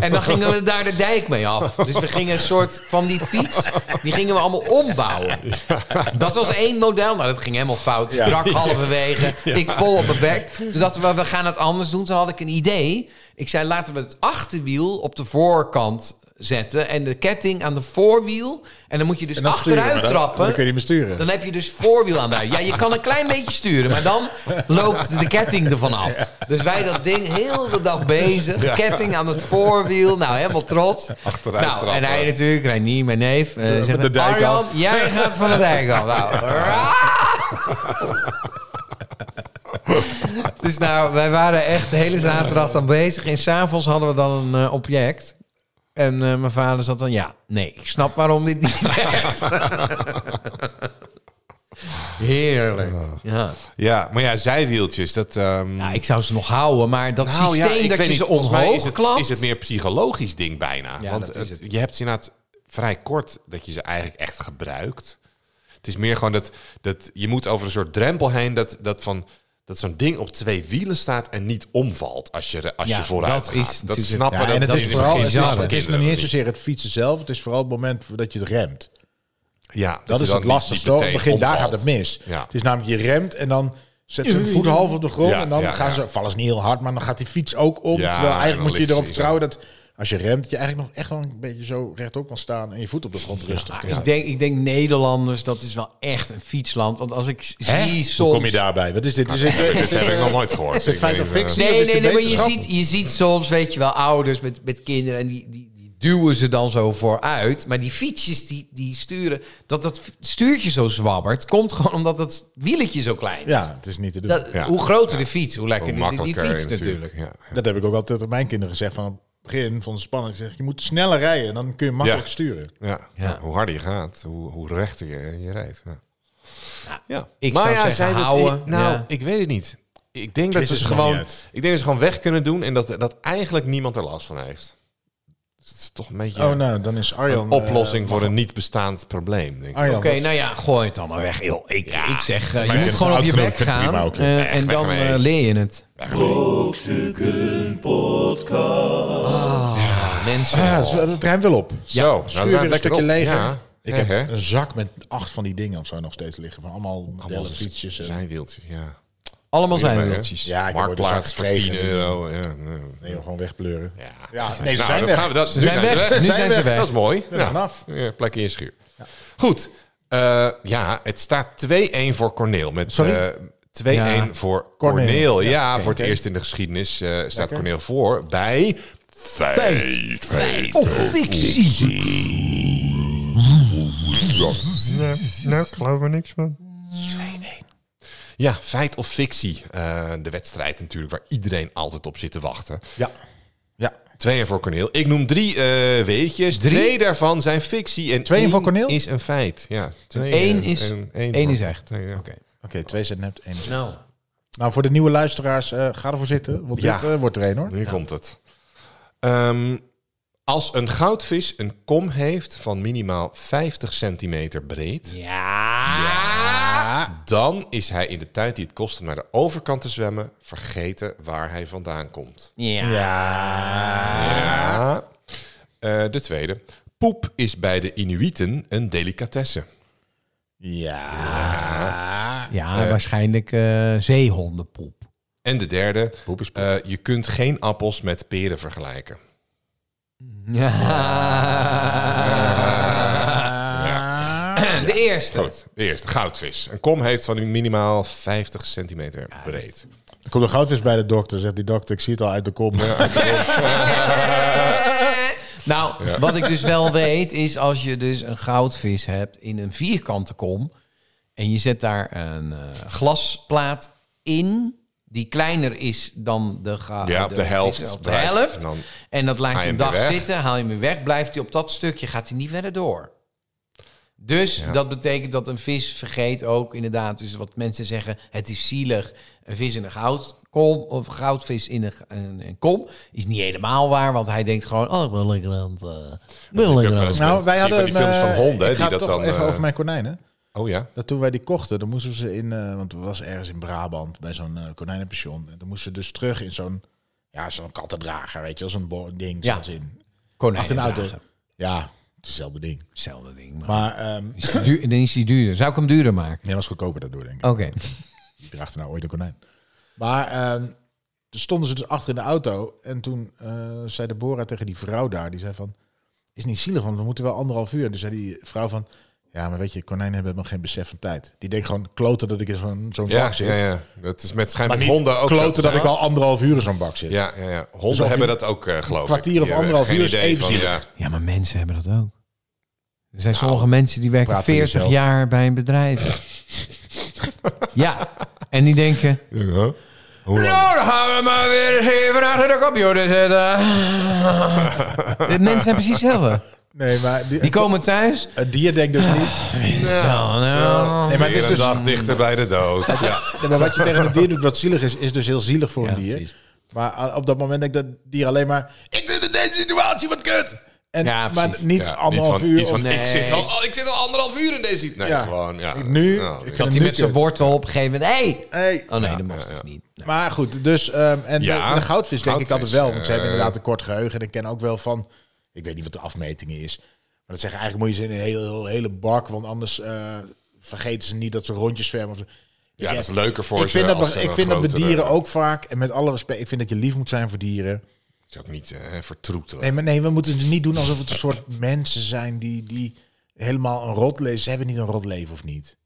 [SPEAKER 4] En dan gingen we daar de dijk mee af. Dus we gingen een soort van die fiets, die gingen we allemaal ombouwen. Dat was één model. Nou, dat ging helemaal fout.
[SPEAKER 3] Ja.
[SPEAKER 4] Brak halverwege. Ik vol op mijn bek. Toen dachten we, we gaan het anders doen. Toen had ik een idee. Ik zei, laten we het achterwiel op de voorkant zetten en de ketting aan de voorwiel. En dan moet je dus
[SPEAKER 3] En dan
[SPEAKER 4] achteruit
[SPEAKER 3] sturen, maar dan-
[SPEAKER 4] trappen.
[SPEAKER 3] Dan kun je niet meer sturen.
[SPEAKER 4] Dan heb je dus voorwiel aan daar. Ja, je kan een klein beetje sturen, maar dan loopt de ketting ervan af. Dus wij dat ding heel de dag bezig. Ketting aan het voorwiel. Nou, helemaal trots.
[SPEAKER 2] Achteruit
[SPEAKER 4] nou,
[SPEAKER 2] trappen.
[SPEAKER 4] En hij natuurlijk, Reinier, mijn neef. eh, zegt,
[SPEAKER 3] de dijk
[SPEAKER 4] Arjan,
[SPEAKER 3] af."
[SPEAKER 4] jij gaat van de dijk af. Nou, Dus nou, wij waren echt de hele zaterdag dan bezig. En s'avonds hadden we dan een eh, object. En eh, mijn vader zat dan, ja, nee, ik snap waarom dit niet werkt. Heerlijk. Ja.
[SPEAKER 2] Ja, maar ja, zijwieltjes, dat... ehm,
[SPEAKER 4] ja, ik zou ze nog houden, maar dat
[SPEAKER 2] nou ja,
[SPEAKER 4] systeem
[SPEAKER 2] ik
[SPEAKER 4] dat je
[SPEAKER 2] weet niet,
[SPEAKER 4] ze
[SPEAKER 2] volgens mij is
[SPEAKER 4] omhoog
[SPEAKER 2] het,
[SPEAKER 4] klapt...
[SPEAKER 2] is het meer psychologisch ding bijna.
[SPEAKER 4] Ja,
[SPEAKER 2] Want
[SPEAKER 4] dat is
[SPEAKER 2] het-
[SPEAKER 4] het.
[SPEAKER 2] je hebt ze inderdaad vrij kort dat je ze eigenlijk echt gebruikt. Het is meer gewoon dat, dat je moet over een soort drempel heen dat, dat van... Dat zo'n ding op twee wielen staat en niet omvalt als je, als
[SPEAKER 4] Ja,
[SPEAKER 2] je vooruit
[SPEAKER 4] dat
[SPEAKER 2] gaat.
[SPEAKER 4] is
[SPEAKER 2] dat
[SPEAKER 4] natuurlijk-
[SPEAKER 2] snappen
[SPEAKER 3] Ja,
[SPEAKER 2] dat,
[SPEAKER 3] en het
[SPEAKER 2] dat
[SPEAKER 3] is
[SPEAKER 2] is
[SPEAKER 3] vooral, het is,
[SPEAKER 4] bizar,
[SPEAKER 3] het is nog niet eens zozeer het fietsen zelf. Het is vooral het moment dat je het remt.
[SPEAKER 2] Ja,
[SPEAKER 3] Dat
[SPEAKER 2] je
[SPEAKER 3] is
[SPEAKER 2] dan
[SPEAKER 3] het
[SPEAKER 2] niet-
[SPEAKER 3] lastigste.
[SPEAKER 2] niet
[SPEAKER 3] hoor.
[SPEAKER 2] meteen
[SPEAKER 3] Het begin, daar gaat
[SPEAKER 2] omvalt.
[SPEAKER 3] het mis.
[SPEAKER 2] Ja.
[SPEAKER 3] Het is namelijk je remt en dan zet ze een voet half op de grond.
[SPEAKER 2] Ja,
[SPEAKER 3] en dan
[SPEAKER 2] ja,
[SPEAKER 3] gaan
[SPEAKER 2] ja.
[SPEAKER 3] ze, vallen ze niet heel hard, maar dan gaat die fiets ook om.
[SPEAKER 2] Ja,
[SPEAKER 3] terwijl
[SPEAKER 2] en dan
[SPEAKER 3] eigenlijk moet je
[SPEAKER 2] ligt
[SPEAKER 3] erop
[SPEAKER 2] ze
[SPEAKER 3] vertrouwen dat als je remt, je eigenlijk nog echt wel een beetje zo rechtop kan staan en je voet op de grond rustig.
[SPEAKER 4] Maar Ik, denk, ik denk Nederlanders, dat is wel echt een fietsland. Want als ik s- zie soms...
[SPEAKER 3] Hoe kom je daarbij? Wat is dit? Is dit
[SPEAKER 2] Dit heb ik nog nooit gehoord. Ik
[SPEAKER 3] feit
[SPEAKER 2] weet
[SPEAKER 3] of
[SPEAKER 2] niet,
[SPEAKER 3] fictie?
[SPEAKER 2] eh,
[SPEAKER 3] Zie je
[SPEAKER 4] Nee, nee,
[SPEAKER 3] dat je
[SPEAKER 4] nee, maar je
[SPEAKER 3] wetenschap-
[SPEAKER 4] ziet, je ziet soms, weet je wel, ouders met, met kinderen en die, die, die duwen ze dan zo vooruit. Maar die fietsjes die, die sturen, dat dat stuurtje zo zwabbert, komt gewoon omdat dat wieletje zo klein is.
[SPEAKER 3] Ja, het is niet te doen.
[SPEAKER 4] Dat,
[SPEAKER 3] Dat,
[SPEAKER 2] Ja.
[SPEAKER 4] Hoe groter de fiets, hoe
[SPEAKER 2] Hoe
[SPEAKER 4] lekker die, die
[SPEAKER 2] makkelijker
[SPEAKER 4] fiets natuurlijk.
[SPEAKER 2] Ja.
[SPEAKER 3] heb ik ook altijd aan mijn kinderen gezegd van het begin van de spanning. Ik Zeg, je moet sneller rijden, dan kun je makkelijk
[SPEAKER 2] Ja.
[SPEAKER 3] sturen.
[SPEAKER 2] Ja.
[SPEAKER 4] Ja.
[SPEAKER 2] Ja, Hoe harder je gaat, hoe, hoe rechter je, je rijdt. Ja. Ja.
[SPEAKER 4] ik zou zeggen,
[SPEAKER 2] zij dat-
[SPEAKER 4] houden.
[SPEAKER 2] ik- nou,
[SPEAKER 4] Ja.
[SPEAKER 2] ik weet het niet. Ik denk, dat
[SPEAKER 3] wist
[SPEAKER 2] ze
[SPEAKER 3] het
[SPEAKER 2] ze
[SPEAKER 3] nog
[SPEAKER 2] gewoon,
[SPEAKER 3] niet
[SPEAKER 2] ik
[SPEAKER 3] uit.
[SPEAKER 2] denk dat ze gewoon weg kunnen doen en dat, dat eigenlijk niemand er last van heeft. Dus het is toch een beetje
[SPEAKER 3] Oh, nou, dan Ah, is Arjan...
[SPEAKER 2] een oplossing voor een niet bestaand probleem. Denk ik.
[SPEAKER 3] Arjan,
[SPEAKER 4] Oké,
[SPEAKER 3] wat-
[SPEAKER 4] nou ja, gooi het allemaal weg, joh. Ik, ik zeg, eh,
[SPEAKER 3] je
[SPEAKER 4] je moet
[SPEAKER 3] hebt
[SPEAKER 4] gewoon
[SPEAKER 3] ze
[SPEAKER 4] op je
[SPEAKER 3] oud
[SPEAKER 4] bek
[SPEAKER 3] genoeg,
[SPEAKER 4] gaan
[SPEAKER 3] prima ook, joh.
[SPEAKER 4] eh,
[SPEAKER 2] Echt,
[SPEAKER 4] en
[SPEAKER 2] weg
[SPEAKER 4] dan
[SPEAKER 2] ermee.
[SPEAKER 4] eh, leer je het.
[SPEAKER 5] Brokstukken Podcast.
[SPEAKER 4] Mensen,
[SPEAKER 3] Ja, Ah, het is- het ruimt wel op.
[SPEAKER 2] Zo, nou,
[SPEAKER 3] Schuur
[SPEAKER 2] dat is
[SPEAKER 3] weer een
[SPEAKER 2] lekker
[SPEAKER 3] stukje
[SPEAKER 2] op.
[SPEAKER 3] leger.
[SPEAKER 2] Ja.
[SPEAKER 3] Ik
[SPEAKER 2] Ja,
[SPEAKER 3] heb
[SPEAKER 2] hè?
[SPEAKER 3] een zak met acht van die dingen of zo nog steeds liggen. Van allemaal modellen, fietsjes. en-
[SPEAKER 2] Zijwieltjes, ja.
[SPEAKER 4] allemaal zijn
[SPEAKER 2] Hierbij, hè?
[SPEAKER 4] wieltjes.
[SPEAKER 3] Ja, ik heb ooit een zak
[SPEAKER 2] Marktplaats voor 10
[SPEAKER 3] gekregen.
[SPEAKER 2] euro. Ja.
[SPEAKER 3] Nee, joh, gewoon wegpleuren.
[SPEAKER 2] Ja.
[SPEAKER 3] Ja, nee, ze
[SPEAKER 2] Nou,
[SPEAKER 3] zijn
[SPEAKER 2] dat
[SPEAKER 3] weg.
[SPEAKER 2] gaan we- dat- nu
[SPEAKER 4] zijn weg. Nu zijn ze weg.
[SPEAKER 2] Dat is mooi.
[SPEAKER 3] Ja, vanaf.
[SPEAKER 2] Ja, plek in je schuur. Goed. Eh, ja, het staat 2-1 voor Corneel. Met
[SPEAKER 3] Sorry?
[SPEAKER 2] eh, 2-1 voor
[SPEAKER 3] Corneel.
[SPEAKER 2] Corneel. Ja,
[SPEAKER 3] oké,
[SPEAKER 2] voor het
[SPEAKER 3] oké.
[SPEAKER 2] eerst in de geschiedenis eh, staat Corneel voor bij... Feit. Feit.
[SPEAKER 4] Of Oh, fictie.
[SPEAKER 2] Ja, feit of fictie. Eh, de wedstrijd natuurlijk waar iedereen altijd op zit te wachten.
[SPEAKER 3] Ja. ja.
[SPEAKER 2] Tweeën voor Corneel. Ik noem drie eh, weetjes. Twee daarvan zijn fictie en
[SPEAKER 3] Tweeën
[SPEAKER 2] één
[SPEAKER 3] voor Corneel?
[SPEAKER 2] is een feit. Ja, twee,
[SPEAKER 4] Eén
[SPEAKER 2] eh,
[SPEAKER 4] is-
[SPEAKER 2] en-
[SPEAKER 4] één
[SPEAKER 2] voor-
[SPEAKER 4] is echt.
[SPEAKER 2] twee, ja.
[SPEAKER 4] Oké,
[SPEAKER 3] Oké, twee zijn net, één is-
[SPEAKER 4] nou...
[SPEAKER 3] Nou, voor de nieuwe luisteraars, eh, ga ervoor zitten. Want
[SPEAKER 2] Ja.
[SPEAKER 3] dit eh, wordt er één, hoor.
[SPEAKER 2] Nu komt het. Ehm, als een goudvis een kom heeft van minimaal 50 centimeter breed, dan is hij in de tijd die het kost om naar de overkant te zwemmen, vergeten waar hij vandaan komt.
[SPEAKER 4] Ja.
[SPEAKER 2] Ja. Eh, de tweede. Poep is bij de Inuiten een delicatesse.
[SPEAKER 3] Ja.
[SPEAKER 4] Ja, waarschijnlijk eh, zeehondenpoep.
[SPEAKER 2] En de derde. eh, je kunt geen appels met peren vergelijken.
[SPEAKER 4] Ja. De eerste.
[SPEAKER 2] Goed, de eerste. Goudvis. Een kom heeft van minimaal 50 centimeter breed.
[SPEAKER 3] Er komt een goudvis bij de dokter. Zegt die dokter, ik zie het al uit de kom.
[SPEAKER 4] Nou, wat ik dus wel weet is als je dus een goudvis hebt in een vierkante kom en je zet daar een eh, glasplaat in die kleiner is dan de ga-
[SPEAKER 2] Ja, op de helft.
[SPEAKER 4] vis- op de
[SPEAKER 2] Blijft-
[SPEAKER 4] helft.
[SPEAKER 2] en dan
[SPEAKER 4] En dat laat
[SPEAKER 2] haal
[SPEAKER 4] je
[SPEAKER 2] je
[SPEAKER 4] een
[SPEAKER 2] hem
[SPEAKER 4] dag
[SPEAKER 2] weer weg.
[SPEAKER 4] zitten, haal je hem weer weg, blijft hij op dat stukje, gaat hij niet verder door. Dus dat betekent dat een vis vergeet ook inderdaad, dus wat mensen zeggen, het is zielig, een vis in een goudkom of een goudvis in een, een, een kom, is niet helemaal waar, want hij denkt gewoon, oh, ik ben lekker aan het... eh, ik ben
[SPEAKER 2] heb
[SPEAKER 4] lekker
[SPEAKER 2] wel
[SPEAKER 4] aan
[SPEAKER 2] eens
[SPEAKER 3] Nou,
[SPEAKER 4] het-
[SPEAKER 2] Zie je van die films van
[SPEAKER 3] eh,
[SPEAKER 2] honden, hè,
[SPEAKER 3] ik ga
[SPEAKER 2] die dat
[SPEAKER 3] toch
[SPEAKER 2] dan,
[SPEAKER 3] even
[SPEAKER 2] eh,
[SPEAKER 3] over mijn konijnen.
[SPEAKER 2] Oh ja?
[SPEAKER 3] Dat toen wij die kochten, dan moesten we ze in, eh, want we was ergens in Brabant bij zo'n eh, konijnenpension. En dan moesten ze dus terug in zo'n, ja, zo'n kattendrager, weet je, wel, zo'n bo- ding.
[SPEAKER 4] Ja.
[SPEAKER 3] Ja. In.
[SPEAKER 4] Konijnen
[SPEAKER 3] Achter een auto.
[SPEAKER 4] dragen.
[SPEAKER 3] Ja, het is hetzelfde ding.
[SPEAKER 4] Hetzelfde ding, maar...
[SPEAKER 3] Maar ehm
[SPEAKER 4] Is die duur- dan is die duurder. Zou ik hem duurder maken?
[SPEAKER 3] nee, was goedkoper daardoor, denk ik.
[SPEAKER 4] Oké.
[SPEAKER 3] Wie draagt er nou ooit een konijn? Maar ehm, toen stonden ze dus achter in de auto en toen eh, zei de Bora tegen die vrouw daar, die zei van, is niet zielig, want we moeten wel anderhalf uur. En toen zei die vrouw van, ja, maar weet je, konijnen hebben nog geen besef van tijd. Die denkt gewoon, kloten dat ik in zo'n zo'n
[SPEAKER 2] Ja,
[SPEAKER 3] bak zit.
[SPEAKER 2] ja, ja. Dat is met
[SPEAKER 3] Maar
[SPEAKER 2] schijnbaar
[SPEAKER 3] niet
[SPEAKER 2] honden ook. zo te
[SPEAKER 3] kloten dat
[SPEAKER 2] zijn.
[SPEAKER 3] ik al anderhalf uur in zo'n bak zit.
[SPEAKER 2] Ja, ja, ja. Honden
[SPEAKER 3] Dus of
[SPEAKER 2] hebben
[SPEAKER 3] je-
[SPEAKER 2] dat ook, eh, geloof ik.
[SPEAKER 3] kwartier of
[SPEAKER 2] Die hebben
[SPEAKER 3] anderhalf
[SPEAKER 2] geen
[SPEAKER 3] uur is
[SPEAKER 2] idee
[SPEAKER 3] even
[SPEAKER 2] van,
[SPEAKER 3] zielig.
[SPEAKER 2] ja.
[SPEAKER 4] Ja, maar mensen hebben dat ook. Er zijn sommige mensen die werken
[SPEAKER 3] praat voor
[SPEAKER 4] 40
[SPEAKER 3] jezelf.
[SPEAKER 4] jaar bij een bedrijf. ja, en die denken...
[SPEAKER 2] Ja. Hoe lang?
[SPEAKER 4] Nou, dan gaan we maar weer eens even achter de computer zitten. De mensen zijn precies hetzelfde.
[SPEAKER 3] Nee, maar die,
[SPEAKER 4] Die komen thuis.
[SPEAKER 3] een dier denkt dus niet.
[SPEAKER 4] Zo, nou.
[SPEAKER 3] Nee, maar het
[SPEAKER 2] Weer
[SPEAKER 3] is
[SPEAKER 2] een
[SPEAKER 3] dus,
[SPEAKER 2] dag dichter bij de dood. Ja.
[SPEAKER 3] nee, maar wat je tegen een dier doet wat zielig is, is dus heel zielig voor
[SPEAKER 4] Ja,
[SPEAKER 3] een dier.
[SPEAKER 4] precies.
[SPEAKER 3] Maar uh, op dat moment denkt dat dier alleen maar... Ik zit in deze situatie, wat kut! En,
[SPEAKER 4] Ja,
[SPEAKER 3] maar
[SPEAKER 4] precies.
[SPEAKER 3] niet
[SPEAKER 2] Ja,
[SPEAKER 3] anderhalf
[SPEAKER 2] niet van,
[SPEAKER 3] uur.
[SPEAKER 2] Iets
[SPEAKER 3] of-
[SPEAKER 2] van,
[SPEAKER 4] Nee.
[SPEAKER 2] ik, zit al, oh, ik zit al anderhalf uur in deze... Nee,
[SPEAKER 3] Ja.
[SPEAKER 2] gewoon, ja. Nou,
[SPEAKER 3] Nu? Ik
[SPEAKER 2] ja.
[SPEAKER 3] vind-
[SPEAKER 4] Dat hij met
[SPEAKER 3] Nukkert.
[SPEAKER 4] zijn wortel op een gegeven moment... Hey!
[SPEAKER 3] Hey.
[SPEAKER 4] Oh nee, dat mag dus niet.
[SPEAKER 3] Maar goed, dus... ehm, en
[SPEAKER 2] Ja,
[SPEAKER 3] de, de goudvis denk ik altijd
[SPEAKER 2] goudvis,
[SPEAKER 3] wel. Want ze hebben
[SPEAKER 2] eh,
[SPEAKER 3] inderdaad een kort geheugen. En ik ken ook wel van... Ik weet niet wat de afmeting is. Maar dat zeggen eigenlijk moet je ze in een hele, hele, hele bak. Want anders eh, vergeten ze niet dat ze rondjes zwemmen. of zo.
[SPEAKER 2] ja, dat is leuker voor
[SPEAKER 3] ik vind,
[SPEAKER 2] ze
[SPEAKER 3] dat,
[SPEAKER 2] als
[SPEAKER 3] we-
[SPEAKER 2] ze
[SPEAKER 3] ik
[SPEAKER 2] een
[SPEAKER 3] vind dat we
[SPEAKER 2] grotere-
[SPEAKER 3] dieren ook vaak, en met alle respect, ik vind dat je lief moet zijn voor dieren.
[SPEAKER 2] Het is ook niet eh, vertroetelen.
[SPEAKER 3] Nee, maar nee, we moeten het niet doen alsof het een soort mensen zijn die, die helemaal een rot leven. Ze hebben niet een rot leven of niet.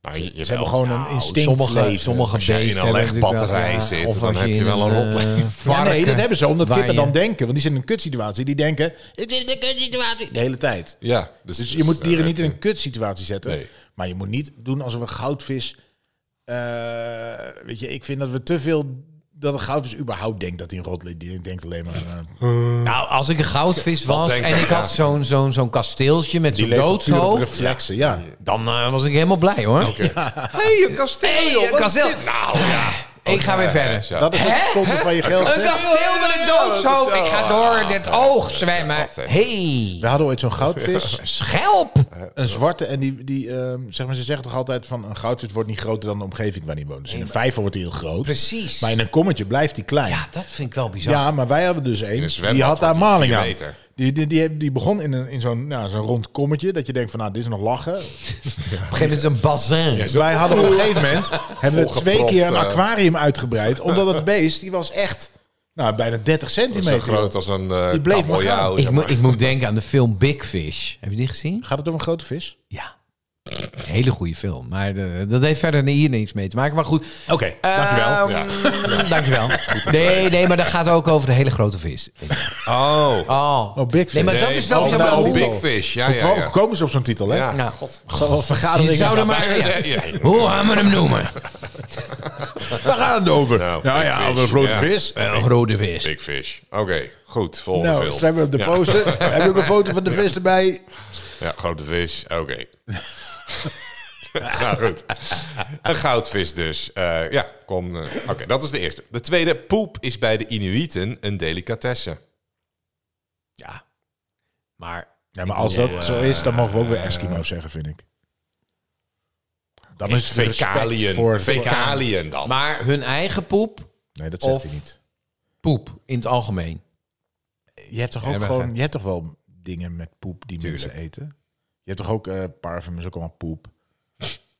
[SPEAKER 2] Maar je, je
[SPEAKER 3] Ze hebben gewoon
[SPEAKER 2] nou,
[SPEAKER 3] een instinct
[SPEAKER 4] Sommige,
[SPEAKER 3] leven.
[SPEAKER 4] sommige
[SPEAKER 2] Als jij in een
[SPEAKER 4] beesten hebben natuurlijk wel-
[SPEAKER 2] legbatterij
[SPEAKER 4] ja,
[SPEAKER 2] zit,
[SPEAKER 4] of
[SPEAKER 2] dan
[SPEAKER 4] als
[SPEAKER 2] heb je
[SPEAKER 4] in
[SPEAKER 2] wel een
[SPEAKER 4] eh,
[SPEAKER 2] rotleven.
[SPEAKER 3] ja, nee,
[SPEAKER 4] varken
[SPEAKER 3] dat hebben ze omdat
[SPEAKER 4] waar
[SPEAKER 3] kinderen
[SPEAKER 4] je-
[SPEAKER 3] dan denken. Want die zitten in een kutsituatie. Die denken, ik zit in een kutsituatie. De hele tijd.
[SPEAKER 2] Ja, dus,
[SPEAKER 3] Dus je
[SPEAKER 2] dus,
[SPEAKER 3] moet dieren
[SPEAKER 2] eh,
[SPEAKER 3] niet in een kutsituatie zetten.
[SPEAKER 2] Nee.
[SPEAKER 3] Maar je moet niet doen alsof een goudvis... eh, weet je, ik vind dat we te veel... Dat een goudvis überhaupt denkt dat hij een rot leeft. Die denkt alleen maar... eh,
[SPEAKER 4] Nou, als ik een goudvis was
[SPEAKER 2] denkt
[SPEAKER 4] en
[SPEAKER 2] hij?
[SPEAKER 4] ik had zo'n zo'n zo'n kasteeltje met
[SPEAKER 3] die
[SPEAKER 4] zo'n
[SPEAKER 3] leeft puur op
[SPEAKER 4] doodshoofd,
[SPEAKER 3] reflexen, ja.
[SPEAKER 4] dan eh, was ik helemaal blij hoor.
[SPEAKER 2] Hey, een kasteel,
[SPEAKER 4] Hey,
[SPEAKER 2] joh,
[SPEAKER 4] een
[SPEAKER 2] wat
[SPEAKER 4] kasteel.
[SPEAKER 2] is dit? Nou, ja.
[SPEAKER 4] Ik ga weer verder.
[SPEAKER 2] zo.
[SPEAKER 3] Dat is het zonde van je geld.
[SPEAKER 4] Een kasteel met een doodshoofd. Oh, Ik ga door dit oog zwemmen.
[SPEAKER 2] Wat, hè?
[SPEAKER 4] Hey,
[SPEAKER 3] We hadden ooit zo'n goudvis,
[SPEAKER 4] schelp.
[SPEAKER 3] een zwarte, en die, die ehm, zeg maar, ze zeggen toch altijd van een goudvis wordt niet groter dan de omgeving waarin hij woont. Dus in een vijver wordt hij heel groot.
[SPEAKER 4] Precies.
[SPEAKER 3] Maar in een kommetje blijft hij klein.
[SPEAKER 4] Ja, dat vind ik wel bizar.
[SPEAKER 3] Ja, maar wij hadden dus
[SPEAKER 2] een
[SPEAKER 3] één.
[SPEAKER 2] zwembad
[SPEAKER 3] Die had daar
[SPEAKER 2] wordt hij
[SPEAKER 3] maling
[SPEAKER 2] vier
[SPEAKER 3] aan.
[SPEAKER 2] meter.
[SPEAKER 3] Die, die, die, die begon in, een, in zo'n nou, zo'n rond kommetje. Dat je denkt van, nou, dit is nog lachen.
[SPEAKER 4] Op een gegeven moment is een bazin.
[SPEAKER 2] Ja, zo-
[SPEAKER 3] Wij hadden op een gegeven moment... hebben we twee
[SPEAKER 2] Volgepropt,
[SPEAKER 3] keer een
[SPEAKER 2] eh.
[SPEAKER 3] aquarium uitgebreid. Omdat het beest, die was echt... Nou, bijna 30
[SPEAKER 2] Zo
[SPEAKER 3] centimeter.
[SPEAKER 2] groot als een eh
[SPEAKER 3] Die bleef maar
[SPEAKER 2] kabeljauw,
[SPEAKER 3] gaan.
[SPEAKER 2] zeg
[SPEAKER 4] ik, moet- ik moet denken aan de film Big Fish. Heb je die gezien?
[SPEAKER 3] Gaat het over een grote vis?
[SPEAKER 4] Ja. Een hele goede film. Maar eh, dat heeft verder hier niks mee te maken. Maar goed,
[SPEAKER 3] Oké, dankjewel.
[SPEAKER 4] Ehm, Dankjewel. Nee, nee, maar dat gaat ook over de hele grote vis.
[SPEAKER 2] Oh.
[SPEAKER 4] Oh.
[SPEAKER 3] Oh, Big Fish.
[SPEAKER 4] Nee, maar dat
[SPEAKER 2] Nee,
[SPEAKER 4] is wel
[SPEAKER 2] oh,
[SPEAKER 4] zeg
[SPEAKER 3] nou,
[SPEAKER 4] maar,
[SPEAKER 2] oh,
[SPEAKER 4] hoe-
[SPEAKER 2] Big Fish, ja,
[SPEAKER 3] Hoe
[SPEAKER 2] ja, ja.
[SPEAKER 3] komen ze op zo'n titel, hè?
[SPEAKER 2] Ja.
[SPEAKER 4] Nou,
[SPEAKER 3] Zal vergaderingen
[SPEAKER 4] die zouden
[SPEAKER 3] zijn.
[SPEAKER 4] maar... ja.
[SPEAKER 2] Ja, ja.
[SPEAKER 4] Hoe gaan we hem noemen?
[SPEAKER 3] Waar gaan we het over? Nou,
[SPEAKER 2] big
[SPEAKER 3] ja,
[SPEAKER 2] fish.
[SPEAKER 3] over een grote
[SPEAKER 2] Ja.
[SPEAKER 3] vis.
[SPEAKER 4] Een grote vis.
[SPEAKER 2] Big Fish. Oké, goed. Volgende
[SPEAKER 3] Nou,
[SPEAKER 2] film.
[SPEAKER 3] schrijf we op de poster. Heb je ook een foto van de vis erbij?
[SPEAKER 2] Ja, grote vis. Oké. nou, goed. Een goudvis dus. Eh, ja, kom. eh, Oké, dat is de eerste. De tweede. Poep is bij de Inuiten een delicatesse.
[SPEAKER 4] Ja. Maar...
[SPEAKER 3] Ja, maar als dat zo
[SPEAKER 4] eh,
[SPEAKER 3] is, dan mogen we ook weer Eskimo's zeggen, vind ik. Dan is het respect
[SPEAKER 2] Fecaliën.
[SPEAKER 3] Voor,
[SPEAKER 2] Fecaliën dan.
[SPEAKER 4] Maar hun eigen poep,
[SPEAKER 3] nee, dat zegt
[SPEAKER 4] Of-
[SPEAKER 3] hij niet.
[SPEAKER 4] poep in het algemeen.
[SPEAKER 3] Je hebt toch ook
[SPEAKER 4] Ja, maar-
[SPEAKER 3] gewoon, je hebt toch wel dingen met poep die mensen eten? Je hebt toch ook eh parfum is ook allemaal poep.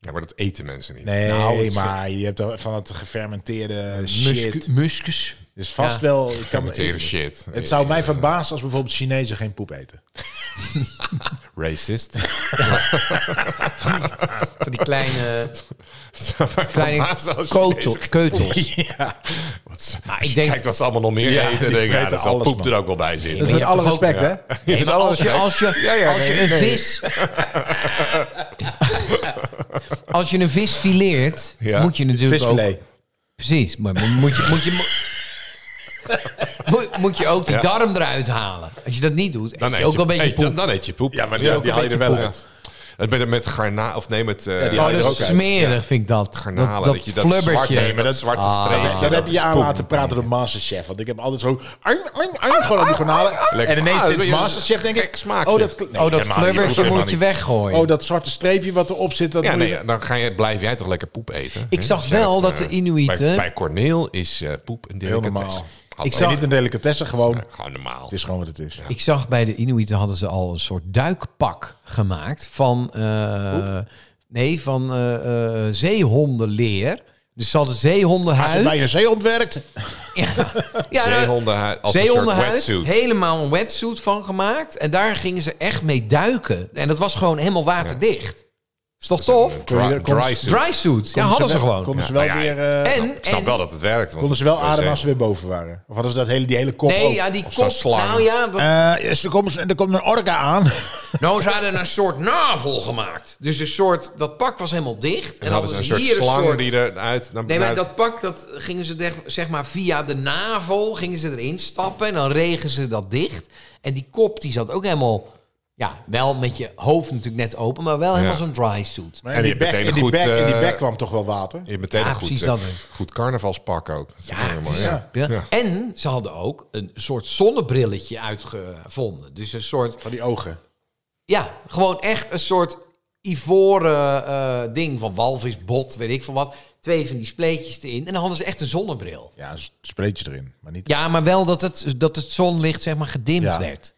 [SPEAKER 2] ja, maar dat eten mensen niet.
[SPEAKER 3] Nee,
[SPEAKER 4] Nou, het is-
[SPEAKER 3] maar je hebt toch van het gefermenteerde
[SPEAKER 4] Muskus.
[SPEAKER 3] shit.
[SPEAKER 4] muskus.
[SPEAKER 3] Dus vast
[SPEAKER 4] Ja.
[SPEAKER 3] wel. Ik kan,
[SPEAKER 2] Fermenteerde shit. Eh,
[SPEAKER 3] het zou mij verbazen als bijvoorbeeld Chinezen geen poep eten.
[SPEAKER 2] Racist.
[SPEAKER 4] Van die kleine,
[SPEAKER 2] Het zou mij
[SPEAKER 4] kleine
[SPEAKER 2] verbazen als je
[SPEAKER 4] keutel,
[SPEAKER 2] deze-
[SPEAKER 4] keutels.
[SPEAKER 2] Wat, ze-
[SPEAKER 4] Maar ik
[SPEAKER 2] als je
[SPEAKER 4] denk-
[SPEAKER 2] kijkt wat ze allemaal nog meer
[SPEAKER 3] Ja,
[SPEAKER 2] eten.
[SPEAKER 3] die
[SPEAKER 2] Denk, ik, ja,
[SPEAKER 3] vreten
[SPEAKER 2] dat zal
[SPEAKER 3] alles,
[SPEAKER 2] poep
[SPEAKER 3] man.
[SPEAKER 2] er ook wel bij zitten.
[SPEAKER 3] Dus
[SPEAKER 4] maar
[SPEAKER 3] met
[SPEAKER 4] je
[SPEAKER 3] alle
[SPEAKER 4] hebt toch
[SPEAKER 3] respect,
[SPEAKER 4] ook-
[SPEAKER 3] hè?
[SPEAKER 4] Nee, maar als je, als je,
[SPEAKER 2] ja,
[SPEAKER 4] als je
[SPEAKER 2] nee,
[SPEAKER 4] een
[SPEAKER 2] nee.
[SPEAKER 4] vis... Als je een vis fileert,
[SPEAKER 2] Ja.
[SPEAKER 4] moet je natuurlijk ook...
[SPEAKER 3] Visfilet.
[SPEAKER 4] Precies, maar mo- moet je, moet je, mo- moet, moet je ook die
[SPEAKER 2] Ja.
[SPEAKER 4] darm eruit halen. Als je dat niet doet, eet je ook wel een beetje
[SPEAKER 2] eet- dan,
[SPEAKER 4] poep. Oh,
[SPEAKER 2] dan eet je poep. Ja, maar
[SPEAKER 3] die- die haal je er wel uit.
[SPEAKER 2] Dat met, met garna of neem het eh,
[SPEAKER 3] die
[SPEAKER 4] Oh,
[SPEAKER 3] haal je er
[SPEAKER 4] dat
[SPEAKER 3] ook
[SPEAKER 4] is
[SPEAKER 3] uit.
[SPEAKER 4] smerig, vind ik dat.
[SPEAKER 2] garnalen. Dat,
[SPEAKER 4] dat,
[SPEAKER 2] je
[SPEAKER 4] dat,
[SPEAKER 2] dat zwarte,
[SPEAKER 4] flubbertje.
[SPEAKER 2] dat, zwarte streepje.
[SPEAKER 3] Ja, Ah, dat heb
[SPEAKER 2] is
[SPEAKER 3] je aan
[SPEAKER 2] poep.
[SPEAKER 3] laten praten door Masterchef. Want ik heb altijd zo... Arm, arm, arm, gewoon aan die garnalen. En ineens
[SPEAKER 2] Ah,
[SPEAKER 3] zit
[SPEAKER 2] dat is
[SPEAKER 3] Masterchef, denk
[SPEAKER 2] gek
[SPEAKER 3] ik...
[SPEAKER 2] smaakje.
[SPEAKER 3] Oh, dat, nee,
[SPEAKER 4] oh, dat
[SPEAKER 3] helemaal niet. Dat
[SPEAKER 4] flubbertje
[SPEAKER 3] hoeft
[SPEAKER 4] moet je
[SPEAKER 3] helemaal niet.
[SPEAKER 4] weggooien.
[SPEAKER 3] Oh, dat zwarte streepje wat erop zit, dat
[SPEAKER 2] Ja,
[SPEAKER 3] moet je-
[SPEAKER 2] nee, dan ga je, blijf jij toch lekker poep eten.
[SPEAKER 4] Ik
[SPEAKER 2] hè?
[SPEAKER 4] zag
[SPEAKER 2] Als
[SPEAKER 4] wel
[SPEAKER 2] jij
[SPEAKER 4] dat de Inuiten-
[SPEAKER 2] Bij, bij Corneel is eh, poep een
[SPEAKER 3] Heel
[SPEAKER 2] delicatesse.
[SPEAKER 3] normaal.
[SPEAKER 2] Had
[SPEAKER 4] Ik
[SPEAKER 2] ook
[SPEAKER 3] Nee,
[SPEAKER 4] zag-
[SPEAKER 2] niet-
[SPEAKER 3] niet een delicatessen, gewoon... Het
[SPEAKER 2] Gewoon normaal.
[SPEAKER 3] is gewoon wat het is.
[SPEAKER 4] Ik zag bij de Inuiten hadden ze al een soort duikpak gemaakt van, eh, nee, van eh eh zeehondenleer. Dus ze hadden zeehondenhuid.
[SPEAKER 3] bij een zeehond werkt.
[SPEAKER 4] Ja, nou,
[SPEAKER 2] Zeehondenhuid. Als een soort
[SPEAKER 4] zeehondenhuid,
[SPEAKER 2] wetsuit.
[SPEAKER 4] helemaal een wetsuit van gemaakt. En daar gingen ze echt mee duiken. En dat was gewoon helemaal waterdicht. Is toch tof?
[SPEAKER 2] Een Dry, dry suit.
[SPEAKER 4] Dry suit. Ja, hadden ze gewoon.
[SPEAKER 3] Konden ze wel
[SPEAKER 2] Ja, maar ja,
[SPEAKER 3] weer... eh,
[SPEAKER 4] en,
[SPEAKER 2] Ik snap
[SPEAKER 4] en-
[SPEAKER 2] wel dat het werkt. want
[SPEAKER 3] Konden ze wel
[SPEAKER 2] bij
[SPEAKER 3] ademen
[SPEAKER 2] zee-
[SPEAKER 3] als ze weer boven waren? Of hadden ze dat hele, die hele kop
[SPEAKER 4] Nee,
[SPEAKER 3] ook?
[SPEAKER 4] ja, die
[SPEAKER 2] of oh, zo'n
[SPEAKER 4] kop.
[SPEAKER 2] slang.
[SPEAKER 4] Nou ja, dat,
[SPEAKER 3] Eh, dus er, komt, er komt een orka aan.
[SPEAKER 4] nou, ze hadden een soort navel gemaakt. Dus een soort, dat pak was helemaal dicht. En,
[SPEAKER 2] En hadden ze een soort
[SPEAKER 4] hier
[SPEAKER 2] slang die eruit... Naar,
[SPEAKER 4] Nee, maar
[SPEAKER 2] naar-
[SPEAKER 4] dat pak, dat gingen ze deg- zeg maar via de navel, gingen ze erin stappen en dan regen ze dat dicht. En die kop, die zat ook helemaal, ja, wel met je hoofd natuurlijk net open, maar wel helemaal zo'n dry suit.
[SPEAKER 3] Maar
[SPEAKER 2] En die heeft
[SPEAKER 3] in bek-
[SPEAKER 2] meteen
[SPEAKER 3] in
[SPEAKER 2] een
[SPEAKER 3] die
[SPEAKER 2] goed,
[SPEAKER 3] bek- in die
[SPEAKER 2] eh,
[SPEAKER 3] bek kwam toch wel water?
[SPEAKER 2] Je hebt meteen
[SPEAKER 4] Ja,
[SPEAKER 2] een goed,
[SPEAKER 4] precies
[SPEAKER 2] eh,
[SPEAKER 4] dat, hè.
[SPEAKER 2] goed carnavalspak ook. Dat is
[SPEAKER 4] Ja,
[SPEAKER 2] heel
[SPEAKER 4] het
[SPEAKER 2] mooi,
[SPEAKER 4] is-
[SPEAKER 2] ja.
[SPEAKER 4] ja.
[SPEAKER 2] Ja.
[SPEAKER 4] En ze hadden ook een soort zonnebrilletje uitgevonden. Dus een soort,
[SPEAKER 3] Van die ogen.
[SPEAKER 4] ja, gewoon echt een soort ivoren eh, ding van walvisbot, weet ik veel wat. Twee van die spleetjes erin. En dan hadden ze echt een zonnebril.
[SPEAKER 3] Ja, een spleetje erin. Maar niet...
[SPEAKER 4] Ja, maar wel dat het, dat het zonlicht zeg maar gedimd
[SPEAKER 3] Ja.
[SPEAKER 4] werd.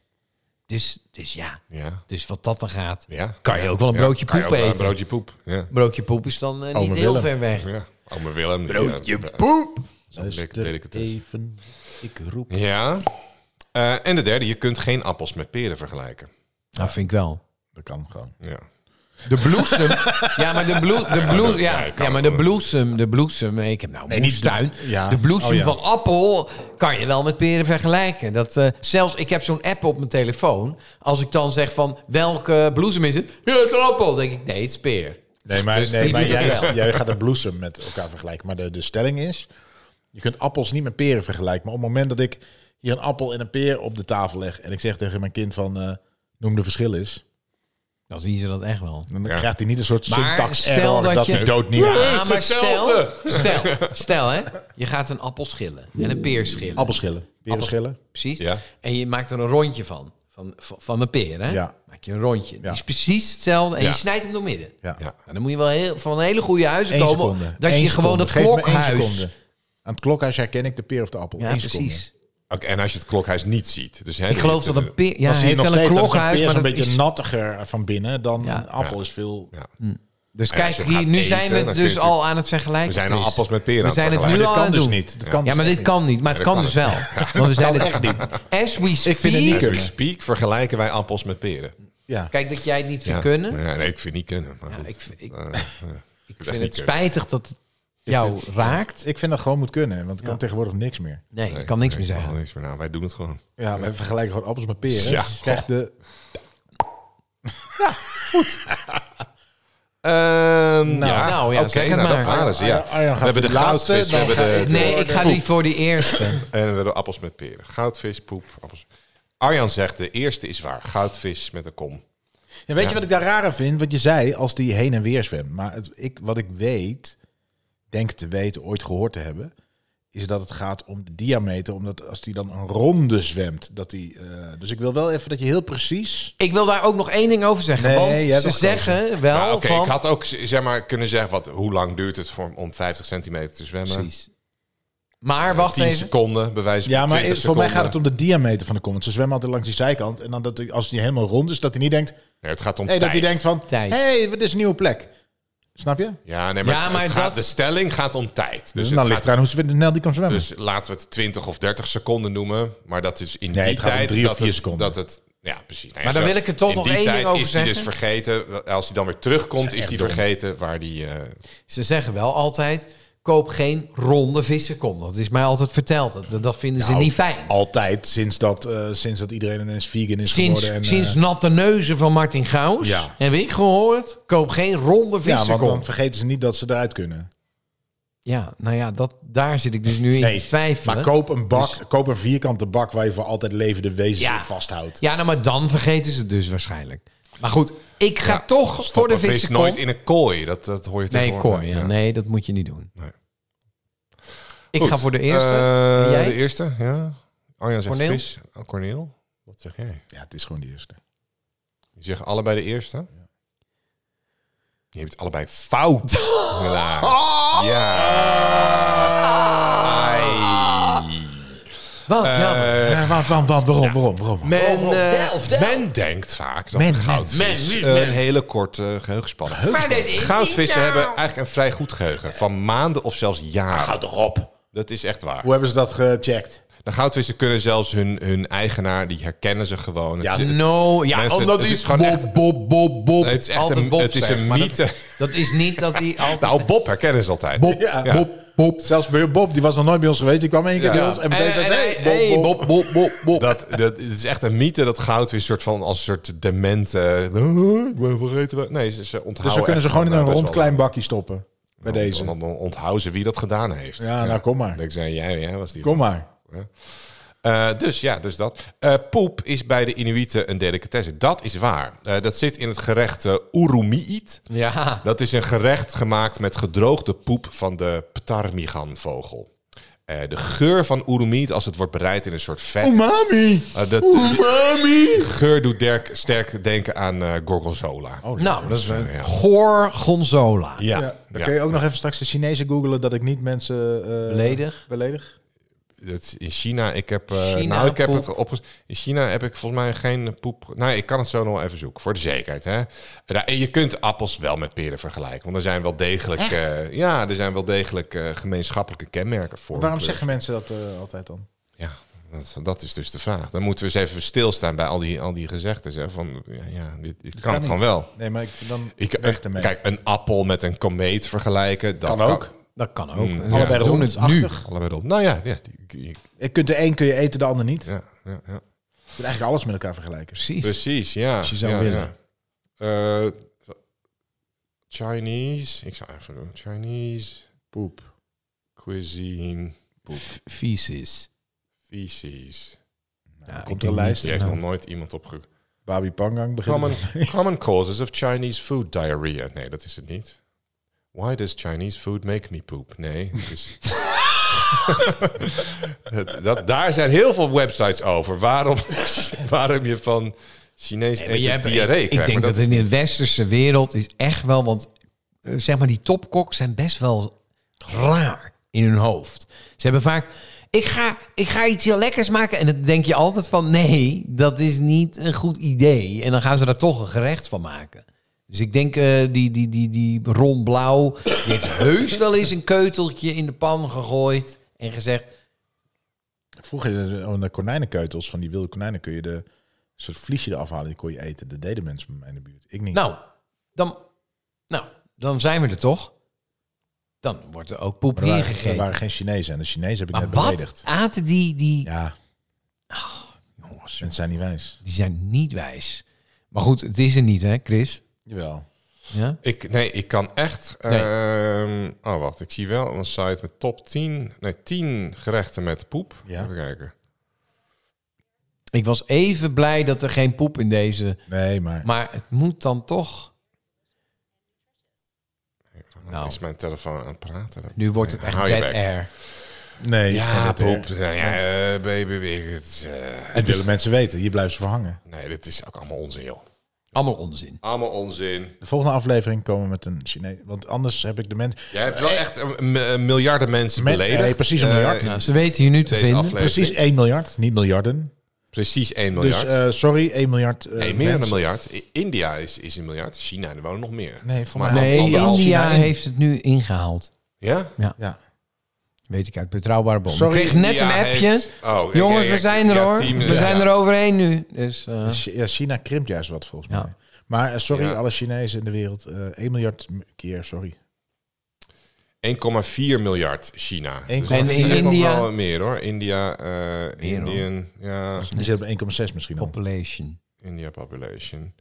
[SPEAKER 4] Dus, dus ja,
[SPEAKER 2] Ja.
[SPEAKER 4] dus wat dat dan gaat,
[SPEAKER 2] Ja.
[SPEAKER 4] kan je ook wel een broodje
[SPEAKER 2] Kan je
[SPEAKER 4] poep
[SPEAKER 2] ook wel
[SPEAKER 4] eten.
[SPEAKER 2] Een broodje poep. Ja.
[SPEAKER 4] Broodje poep is dan eh, niet heel
[SPEAKER 3] Ome Willem.
[SPEAKER 4] ver weg.
[SPEAKER 2] ja. Ome Willem. eh,
[SPEAKER 4] Broodje
[SPEAKER 2] ja.
[SPEAKER 4] poep!
[SPEAKER 2] Lekker delicatesse.
[SPEAKER 3] even, ik roep.
[SPEAKER 2] Ja. Eh, en de derde, je kunt geen appels met peren vergelijken.
[SPEAKER 4] Dat vind ik wel.
[SPEAKER 3] Dat kan gewoon.
[SPEAKER 2] Ja.
[SPEAKER 4] De bloesem. ja, maar de, bloe, de, bloe,
[SPEAKER 2] dat-
[SPEAKER 4] ja,
[SPEAKER 2] ja,
[SPEAKER 4] ja,
[SPEAKER 2] ik kan
[SPEAKER 4] maar
[SPEAKER 2] wel.
[SPEAKER 4] de bloesem, de bloesem, ik heb nou een
[SPEAKER 3] niet
[SPEAKER 4] moestuin.
[SPEAKER 3] de- ja.
[SPEAKER 4] De bloesem
[SPEAKER 3] Oh, ja.
[SPEAKER 4] van appel kan je wel met peren vergelijken. Dat, eh, zelfs, ik heb zo'n app op mijn telefoon. Als ik dan zeg van, welke bloesem is het? Ja, het is een appel. Dan denk ik, nee, het is peer.
[SPEAKER 3] Nee, maar,
[SPEAKER 4] Dus
[SPEAKER 3] nee,
[SPEAKER 4] die
[SPEAKER 3] maar
[SPEAKER 4] doet het
[SPEAKER 3] jij,
[SPEAKER 4] wel.
[SPEAKER 3] jij gaat de bloesem met elkaar vergelijken. Maar de, de stelling is, je kunt appels niet met peren vergelijken. Maar op het moment dat ik hier een appel en een peer op de tafel leg... en ik zeg tegen mijn kind van, eh, noem de verschil is...
[SPEAKER 4] Dan zien ze dat echt wel.
[SPEAKER 3] dan
[SPEAKER 2] Ja.
[SPEAKER 3] krijgt hij niet een soort
[SPEAKER 4] Maar
[SPEAKER 3] syntax
[SPEAKER 4] stel
[SPEAKER 3] error
[SPEAKER 4] dat
[SPEAKER 3] dat
[SPEAKER 4] je-
[SPEAKER 3] hij dood niet
[SPEAKER 4] Ja, maar Dus stel,
[SPEAKER 2] hetzelfde.
[SPEAKER 4] stel, stel hè, je gaat een appel schillen en een peer schillen.
[SPEAKER 3] Appelschillen. Peren
[SPEAKER 4] Appels-
[SPEAKER 3] schillen.
[SPEAKER 4] precies.
[SPEAKER 2] Ja.
[SPEAKER 4] En je maakt er een rondje van. Van, van, van een peer, hè?
[SPEAKER 3] Ja.
[SPEAKER 4] Maak je een rondje.
[SPEAKER 3] Ja.
[SPEAKER 4] Die is precies hetzelfde en
[SPEAKER 2] Ja.
[SPEAKER 4] je snijdt hem door midden.
[SPEAKER 3] Ja.
[SPEAKER 2] Ja.
[SPEAKER 4] Nou, dan moet je wel heel, van een hele goede huizen
[SPEAKER 3] Eén
[SPEAKER 4] komen.
[SPEAKER 3] seconde.
[SPEAKER 4] Dat
[SPEAKER 3] Eén
[SPEAKER 4] je gewoon
[SPEAKER 3] seconde.
[SPEAKER 4] dat
[SPEAKER 3] Geef me één
[SPEAKER 4] klokhuis...
[SPEAKER 3] seconde. Aan het klokhuis herken ik de peer of de appel.
[SPEAKER 4] Ja,
[SPEAKER 3] Eén seconde.
[SPEAKER 4] precies.
[SPEAKER 2] Oké, en als je het klokhuis niet ziet. Dus, hè,
[SPEAKER 4] Ik geloof
[SPEAKER 2] je-
[SPEAKER 4] dat een peer... Ja,
[SPEAKER 3] Ja,
[SPEAKER 4] hij
[SPEAKER 3] dan zie je
[SPEAKER 4] heeft
[SPEAKER 3] nog
[SPEAKER 4] wel een
[SPEAKER 3] steeds dat zo'n
[SPEAKER 4] klokhuis,
[SPEAKER 3] peer
[SPEAKER 4] maar
[SPEAKER 3] is een
[SPEAKER 4] dat
[SPEAKER 3] beetje
[SPEAKER 4] is...
[SPEAKER 3] nattiger van binnen dan
[SPEAKER 4] Ja.
[SPEAKER 3] een appel is veel...
[SPEAKER 2] Ja.
[SPEAKER 4] Dus
[SPEAKER 2] En als
[SPEAKER 4] kijk,
[SPEAKER 2] je
[SPEAKER 4] hier,
[SPEAKER 2] gaat
[SPEAKER 4] nu
[SPEAKER 2] eten,
[SPEAKER 4] zijn we
[SPEAKER 2] dan
[SPEAKER 4] het
[SPEAKER 2] kun je
[SPEAKER 4] dus
[SPEAKER 2] natuurlijk-
[SPEAKER 4] al aan het vergelijken.
[SPEAKER 2] We zijn al
[SPEAKER 4] Chris.
[SPEAKER 2] appels met peren aan
[SPEAKER 4] We zijn het
[SPEAKER 2] vergelijken.
[SPEAKER 4] nu al
[SPEAKER 3] Dit
[SPEAKER 4] aan
[SPEAKER 3] kan
[SPEAKER 4] het
[SPEAKER 3] dus
[SPEAKER 4] doen.
[SPEAKER 3] niet. Dit kan
[SPEAKER 4] ja,
[SPEAKER 3] dus
[SPEAKER 4] maar dit
[SPEAKER 3] echt niet.
[SPEAKER 4] kan niet. Maar het kan
[SPEAKER 2] Nee, dat
[SPEAKER 4] dus wel. Want we zijn het echt niet. As we
[SPEAKER 3] Ik vind het niet
[SPEAKER 4] speak...
[SPEAKER 2] As we
[SPEAKER 3] kunnen.
[SPEAKER 2] speak vergelijken wij appels met peren.
[SPEAKER 3] Ja.
[SPEAKER 4] Kijk dat jij het niet vindt
[SPEAKER 2] Ja.
[SPEAKER 4] kunnen.
[SPEAKER 2] Ja, nee, ik vind niet kunnen. Maar
[SPEAKER 4] Ja,
[SPEAKER 2] goed.
[SPEAKER 4] ik vind- ik-
[SPEAKER 2] Eh, eh, ik
[SPEAKER 4] Ik vind het
[SPEAKER 2] kunnen.
[SPEAKER 4] spijtig dat het jou raakt.
[SPEAKER 3] Ik vind dat gewoon moet kunnen, want ik kan tegenwoordig niks meer.
[SPEAKER 4] Nee, ik
[SPEAKER 2] Nee,
[SPEAKER 4] kan niks
[SPEAKER 2] nee,
[SPEAKER 4] meer
[SPEAKER 2] ik kan
[SPEAKER 4] zeggen.
[SPEAKER 2] niks meer. Nou, wij doen het gewoon.
[SPEAKER 3] Ja, we vergelijken gewoon appels met peren.
[SPEAKER 2] Ja.
[SPEAKER 3] Ja. Dus je krijgt de...
[SPEAKER 2] nou, Ehm, ja,
[SPEAKER 4] nou ja,
[SPEAKER 2] oké,
[SPEAKER 4] zeg het
[SPEAKER 2] nou, dat
[SPEAKER 4] maar.
[SPEAKER 2] waren ze. Ja.
[SPEAKER 3] Arjan- Arjan gaat
[SPEAKER 2] we hebben de
[SPEAKER 3] voor die laatste,
[SPEAKER 2] goudvis, we
[SPEAKER 3] dan
[SPEAKER 2] hebben
[SPEAKER 3] ga
[SPEAKER 2] de,
[SPEAKER 3] ik-
[SPEAKER 4] Nee, ik ga
[SPEAKER 2] Poep.
[SPEAKER 4] niet voor die eerste.
[SPEAKER 2] en we hebben appels met peren. Goudvis, poep, appels. Arjan zegt, de eerste is waar. Goudvis met een kom.
[SPEAKER 3] En weet je wat ik daar raar aan vind? Wat je zei, als die heen en weer zwemt. Maar het, ik, wat ik weet, denk te weten, ooit gehoord te hebben... is dat het gaat om de diameter. Omdat als die dan een ronde zwemt, dat die... eh, dus ik wil wel even dat je heel precies...
[SPEAKER 4] Ik wil daar ook nog één ding over zeggen.
[SPEAKER 3] Nee,
[SPEAKER 4] want
[SPEAKER 3] jij hebt
[SPEAKER 4] ze
[SPEAKER 3] wel gekozen.
[SPEAKER 4] zeggen wel
[SPEAKER 2] Nou, Oké,
[SPEAKER 4] van...
[SPEAKER 2] ik had ook z- zeg maar, kunnen zeggen, wat, hoe lang duurt het voor, om 50 centimeter te zwemmen?
[SPEAKER 4] Precies. Maar wacht
[SPEAKER 2] 10
[SPEAKER 4] even.
[SPEAKER 2] seconden, bij wijze van
[SPEAKER 3] Ja, maar
[SPEAKER 2] 20
[SPEAKER 3] voor
[SPEAKER 2] seconden.
[SPEAKER 3] mij gaat het om de diameter van de kom. Want ze zwemmen altijd langs die zijkant. En dan dat, die- als die helemaal rond is, dat hij niet denkt...
[SPEAKER 2] Nee, het gaat om
[SPEAKER 3] Nee, dat
[SPEAKER 2] tijd.
[SPEAKER 3] hij denkt van, hé,
[SPEAKER 4] Tijd.
[SPEAKER 3] hey, dit is een nieuwe plek. Snap je?
[SPEAKER 2] Ja, nee, maar,
[SPEAKER 4] Ja,
[SPEAKER 2] het-
[SPEAKER 4] maar
[SPEAKER 2] het gaat,
[SPEAKER 4] dat-
[SPEAKER 2] de stelling gaat om tijd. Dus,
[SPEAKER 3] Dus
[SPEAKER 2] het
[SPEAKER 3] dan
[SPEAKER 2] gaat-
[SPEAKER 3] ligt eraan hoe snel die kan zwemmen.
[SPEAKER 2] dus laten we het 20 of 30 seconden noemen. Maar dat is in
[SPEAKER 3] Nee,
[SPEAKER 2] die
[SPEAKER 3] het gaat om
[SPEAKER 2] tijd
[SPEAKER 3] drie of
[SPEAKER 2] dat,
[SPEAKER 3] vier
[SPEAKER 2] het,
[SPEAKER 3] seconden.
[SPEAKER 2] dat het... Ja, precies. Nou ja,
[SPEAKER 4] Maar dan
[SPEAKER 2] zo-
[SPEAKER 4] wil ik er toch
[SPEAKER 2] in
[SPEAKER 4] nog
[SPEAKER 2] die
[SPEAKER 4] één
[SPEAKER 2] tijd
[SPEAKER 4] ding over
[SPEAKER 2] is hij dus
[SPEAKER 4] zeggen.
[SPEAKER 2] vergeten. Als hij dan weer terugkomt, is hij vergeten waar hij... eh,
[SPEAKER 4] Ze zeggen wel altijd... Koop geen ronde vissenkom. Dat is mij altijd verteld. Dat, dat vinden
[SPEAKER 3] Nou,
[SPEAKER 4] ze niet fijn.
[SPEAKER 3] Altijd, sinds dat, eh, sinds dat iedereen ineens vegan is
[SPEAKER 4] Sinds,
[SPEAKER 3] geworden. En, eh,
[SPEAKER 4] sinds natte neuzen van Martin Gauws
[SPEAKER 3] Ja.
[SPEAKER 4] heb ik gehoord... koop geen ronde
[SPEAKER 3] ja, want
[SPEAKER 4] vissenkom. Ja,
[SPEAKER 3] dan vergeten ze niet dat ze eruit kunnen.
[SPEAKER 4] nou ja, dat, daar zit ik dus nu in te twijfelen. Dus-
[SPEAKER 3] maar koop een bak, koop een vierkante bak waar je voor altijd levende wezens
[SPEAKER 4] Ja.
[SPEAKER 3] in vasthoudt.
[SPEAKER 4] Ja, nou, maar dan vergeten ze het dus waarschijnlijk. Maar goed, ik ga
[SPEAKER 2] Ja,
[SPEAKER 4] toch voor de
[SPEAKER 2] stoppen. Vis
[SPEAKER 4] vissen
[SPEAKER 2] nooit in een kooi. Dat, dat hoor je
[SPEAKER 4] Nee,
[SPEAKER 2] tegenwoordig,
[SPEAKER 4] kooi. Ja.
[SPEAKER 2] ja.
[SPEAKER 4] Nee, dat moet je niet doen.
[SPEAKER 2] Nee.
[SPEAKER 4] Ik
[SPEAKER 2] Goed,
[SPEAKER 4] ga voor de eerste.
[SPEAKER 2] eh,
[SPEAKER 4] En jij?
[SPEAKER 2] De eerste, ja. Arjan zegt
[SPEAKER 4] Corneel?
[SPEAKER 2] vis. Oh, Corneel, wat zeg jij?
[SPEAKER 3] Ja, het is gewoon de eerste.
[SPEAKER 2] Je zegt allebei de eerste. Je hebt allebei fout.
[SPEAKER 4] Ah!
[SPEAKER 2] Helaas. Ja. Ai.
[SPEAKER 4] Wat jammer.
[SPEAKER 3] Eh, wa- wa- wa- waarom, waarom, waarom?
[SPEAKER 2] Men,
[SPEAKER 4] Oh, oh,
[SPEAKER 2] eh,
[SPEAKER 4] del, del.
[SPEAKER 2] men denkt vaak dat
[SPEAKER 3] Men,
[SPEAKER 2] een
[SPEAKER 3] men,
[SPEAKER 2] goudvis
[SPEAKER 1] men, wie,
[SPEAKER 2] een
[SPEAKER 1] men.
[SPEAKER 2] hele korte geheugenspannen
[SPEAKER 4] Maar dat is
[SPEAKER 2] Goudvissen
[SPEAKER 4] niet nou.
[SPEAKER 2] hebben eigenlijk een vrij goed geheugen. Van maanden of zelfs jaren.
[SPEAKER 1] Houd toch op.
[SPEAKER 2] Dat is echt waar.
[SPEAKER 3] Hoe hebben ze dat gecheckt?
[SPEAKER 2] De goudvissen kunnen zelfs hun, hun eigenaar, die herkennen ze gewoon.
[SPEAKER 4] Ja,
[SPEAKER 2] het, is- het-
[SPEAKER 4] no. Ja,
[SPEAKER 2] mensen,
[SPEAKER 4] omdat
[SPEAKER 2] het
[SPEAKER 4] die
[SPEAKER 2] is gewoon
[SPEAKER 4] Bob,
[SPEAKER 2] echt-
[SPEAKER 4] Bob, Bob, Bob.
[SPEAKER 2] het is echt
[SPEAKER 4] altijd
[SPEAKER 2] een,
[SPEAKER 4] Bob
[SPEAKER 2] het is
[SPEAKER 4] zegt,
[SPEAKER 2] een
[SPEAKER 4] maar dat-
[SPEAKER 2] mythe.
[SPEAKER 4] Dat, is niet dat hij altijd...
[SPEAKER 2] Nou, Bob herkennen ze altijd.
[SPEAKER 4] Bob,
[SPEAKER 3] Ja.
[SPEAKER 4] Bob, Bob.
[SPEAKER 3] Zelfs bij Bob, die was nog nooit bij ons geweest. Die kwam één
[SPEAKER 2] Ja.
[SPEAKER 3] keer bij ons en meteen zei ze,
[SPEAKER 4] hey,
[SPEAKER 3] hey,
[SPEAKER 4] eh, hey, hey, Bob, Bob, Bob, Bob.
[SPEAKER 2] Dat, dat het is echt een mythe dat goudvis soort van als een soort demente. eh, Ik ben vergeten. wat- Nee, ze, ze onthouden.
[SPEAKER 3] Dus we kunnen ze gewoon in een rond klein
[SPEAKER 2] bij
[SPEAKER 3] bakje stoppen. Bij
[SPEAKER 2] deze.
[SPEAKER 3] deze.
[SPEAKER 2] Dan onthouden ze wie dat gedaan heeft.
[SPEAKER 3] Nou, Ja, nou kom maar.
[SPEAKER 2] Ik zei, jij, jij was die.
[SPEAKER 3] Kom maar.
[SPEAKER 2] Eh, dus ja, dus dat. Eh, poep is bij de Inuiten een delicatesse. Dat is waar. Eh, dat zit in het gerecht eh, Urumiit.
[SPEAKER 4] Ja.
[SPEAKER 2] Dat is een gerecht gemaakt met gedroogde poep van de ptarmiganvogel. Eh, de geur van Urumiit als het wordt bereid in een soort vet.
[SPEAKER 3] Oh, Umami!
[SPEAKER 2] Eh, dat, De geur doet Dirk sterk denken aan eh, gorgonzola.
[SPEAKER 4] Nou, dat is een
[SPEAKER 2] ja.
[SPEAKER 4] goor gonzola.
[SPEAKER 2] ja.
[SPEAKER 3] Oh, Ja, dan
[SPEAKER 2] Ja.
[SPEAKER 3] kun je ook nog even straks de Chinezen googelen dat ik niet mensen eh,
[SPEAKER 4] Beledig.
[SPEAKER 3] beledig.
[SPEAKER 2] Dat is in China, ik heb, eh,
[SPEAKER 4] China,
[SPEAKER 2] nou, ik heb het
[SPEAKER 4] poep.
[SPEAKER 2] opges- In China heb ik volgens mij geen poep. Nou, ik kan het zo nog wel even zoeken voor de zekerheid. Hè? Nou, En je kunt appels wel met peren vergelijken, want er zijn wel degelijk, eh, ja, er zijn wel degelijk eh, gemeenschappelijke kenmerken voor.
[SPEAKER 3] Waarom
[SPEAKER 2] kleur.
[SPEAKER 3] zeggen mensen dat eh, altijd dan?
[SPEAKER 2] Ja, dat, dat is dus de vraag. Dan moeten we eens even stilstaan bij al die, al die gezegdes. Hè? Van, ja, ja dit, dit kan
[SPEAKER 3] kan
[SPEAKER 2] het gewoon
[SPEAKER 3] niet.
[SPEAKER 2] wel.
[SPEAKER 3] Nee, maar ik vind dan
[SPEAKER 2] Ik, eh,
[SPEAKER 3] weg ermee.
[SPEAKER 2] kijk, een appel met een komeet vergelijken, dat
[SPEAKER 3] Kan
[SPEAKER 2] kan,
[SPEAKER 3] ook.
[SPEAKER 4] Dat kan ook.
[SPEAKER 2] Mm,
[SPEAKER 4] Ja,
[SPEAKER 3] allebei
[SPEAKER 4] we doen het nu.
[SPEAKER 3] rondachtig.
[SPEAKER 2] Allebei erop. Nou ja, ja, die-
[SPEAKER 3] Je kunt de een kun je eten, de ander niet.
[SPEAKER 2] ja, ja, ja.
[SPEAKER 3] Je kunt eigenlijk alles met elkaar vergelijken.
[SPEAKER 4] Precies.
[SPEAKER 2] Precies, ja.
[SPEAKER 4] Als je zou
[SPEAKER 2] ja,
[SPEAKER 4] willen.
[SPEAKER 2] ja. Eh, Chinese, ik zou even doen. Chinese
[SPEAKER 3] Poep.
[SPEAKER 2] cuisine
[SPEAKER 4] Feces.
[SPEAKER 2] feces.
[SPEAKER 4] Ja,
[SPEAKER 3] komt
[SPEAKER 4] ik
[SPEAKER 3] er een
[SPEAKER 4] denk
[SPEAKER 3] lijst.
[SPEAKER 2] Die
[SPEAKER 4] niet,
[SPEAKER 2] heeft
[SPEAKER 4] nou.
[SPEAKER 2] nog nooit iemand opge...
[SPEAKER 3] Babi Pangang begint.
[SPEAKER 2] Common, common causes of Chinese food diarrhea. Nee, dat is het niet. Why does Chinese food make me poop? Nee, het is... Het- dat, daar zijn heel veel websites over. Waarom, waarom je van Chinees
[SPEAKER 4] Maar jij
[SPEAKER 2] eten
[SPEAKER 4] hebt-
[SPEAKER 2] diarree
[SPEAKER 4] ik,
[SPEAKER 2] krijgt.
[SPEAKER 4] ik denk
[SPEAKER 2] Maar
[SPEAKER 4] dat, in de westerse wereld is echt wel, want eh, zeg maar die topkoks zijn best wel raar in hun hoofd. Ze hebben vaak, ik ga, ik ga iets heel lekkers maken en dan denk je altijd van, nee, dat is niet een goed idee. En dan gaan ze daar toch een gerecht van maken. Dus ik denk, eh, die, die, die, die Ron Blauw die heeft heus wel eens een keuteltje in de pan gegooid en gezegd,
[SPEAKER 3] Vroeger eh, aan de konijnenkeutels, van die wilde konijnen, kun je de een soort vliesje eraf halen. Die kon je eten. Dat deden mensen bij mij in de buurt. Ik niet.
[SPEAKER 4] nou, dan, nou, dan zijn we er toch. Dan wordt er ook poep
[SPEAKER 3] Maar er waren-
[SPEAKER 4] ingegeten.
[SPEAKER 3] Er waren geen Chinezen. En de Chinezen heb ik
[SPEAKER 4] Maar
[SPEAKER 3] net
[SPEAKER 4] wat
[SPEAKER 3] beledigd.
[SPEAKER 4] aten die... die...
[SPEAKER 3] Ja,
[SPEAKER 4] Jongens,
[SPEAKER 3] mensen zijn niet wijs.
[SPEAKER 4] die zijn niet wijs. Maar goed, het is er niet, hè, Chris?
[SPEAKER 3] Jawel.
[SPEAKER 4] Ja?
[SPEAKER 2] Ik, nee, ik kan echt.
[SPEAKER 4] Nee.
[SPEAKER 2] ehm, oh, wacht. Ik zie wel een site met top 10. Nee, 10 gerechten met poep.
[SPEAKER 3] Ja.
[SPEAKER 2] Even kijken.
[SPEAKER 4] Ik was even blij dat er geen poep in deze...
[SPEAKER 3] Nee, maar...
[SPEAKER 4] Maar het moet dan toch... Nou.
[SPEAKER 2] Is mijn telefoon aan het praten?
[SPEAKER 4] Nu wordt het echt
[SPEAKER 2] Hou je
[SPEAKER 4] dead
[SPEAKER 2] bek.
[SPEAKER 4] air.
[SPEAKER 3] Nee,
[SPEAKER 2] Ja,
[SPEAKER 3] dat-
[SPEAKER 2] poep. Nou ja, eh, baby. baby, het, eh,
[SPEAKER 3] Dat willen mensen weten. Hier blijven ze voor hangen.
[SPEAKER 2] nee, dit is ook allemaal onzin, joh.
[SPEAKER 4] Allemaal onzin.
[SPEAKER 2] Allemaal onzin.
[SPEAKER 3] De volgende aflevering komen we met een Chinees. Want anders heb ik de mensen.
[SPEAKER 2] Jij hebt
[SPEAKER 4] Eh,
[SPEAKER 2] wel echt een, m- een miljarden mensen
[SPEAKER 3] Met-
[SPEAKER 2] beledigd.
[SPEAKER 3] nee, precies een
[SPEAKER 2] eh,
[SPEAKER 3] miljard.
[SPEAKER 2] in
[SPEAKER 4] Nou, ze weten je nu te
[SPEAKER 2] deze
[SPEAKER 4] vinden.
[SPEAKER 2] aflevering.
[SPEAKER 3] Precies 1 miljard, niet miljarden.
[SPEAKER 2] Precies 1 miljard.
[SPEAKER 3] Dus eh, sorry, 1 miljard. eh,
[SPEAKER 2] nee, meer dan een
[SPEAKER 3] mensen.
[SPEAKER 2] miljard. I- India is, is een miljard. China, er wonen nog meer.
[SPEAKER 3] Nee, voor
[SPEAKER 2] Maar
[SPEAKER 3] mij.
[SPEAKER 4] Nee,
[SPEAKER 2] Anderhalf.
[SPEAKER 4] India
[SPEAKER 3] China in.
[SPEAKER 4] heeft het nu ingehaald.
[SPEAKER 2] Ja?
[SPEAKER 3] Ja.
[SPEAKER 4] Weet ik uit betrouwbare bron.
[SPEAKER 3] Sorry,
[SPEAKER 4] ik kreeg net
[SPEAKER 2] India
[SPEAKER 4] een appje.
[SPEAKER 2] heeft- Oh, ik-
[SPEAKER 4] Jongens,
[SPEAKER 2] ik-
[SPEAKER 4] we zijn er
[SPEAKER 2] ja,
[SPEAKER 4] hoor.
[SPEAKER 2] tien
[SPEAKER 4] we
[SPEAKER 2] minuten.
[SPEAKER 4] zijn er overheen nu. Dus, eh,
[SPEAKER 3] Chi- ja, China krimpt juist wat volgens
[SPEAKER 4] Ja.
[SPEAKER 3] mij. Maar eh, sorry,
[SPEAKER 2] Ja.
[SPEAKER 3] alle Chinezen in de wereld. eh 1 miljard m- keer, sorry.
[SPEAKER 2] 1,4 miljard China.
[SPEAKER 3] En
[SPEAKER 2] dat
[SPEAKER 4] in
[SPEAKER 2] is echt nog
[SPEAKER 4] India?
[SPEAKER 2] wel meer hoor. India, eh
[SPEAKER 4] Meer, hoor.
[SPEAKER 2] Indian, ja,
[SPEAKER 3] Die zit op 1,6 misschien al.
[SPEAKER 4] population.
[SPEAKER 2] India population.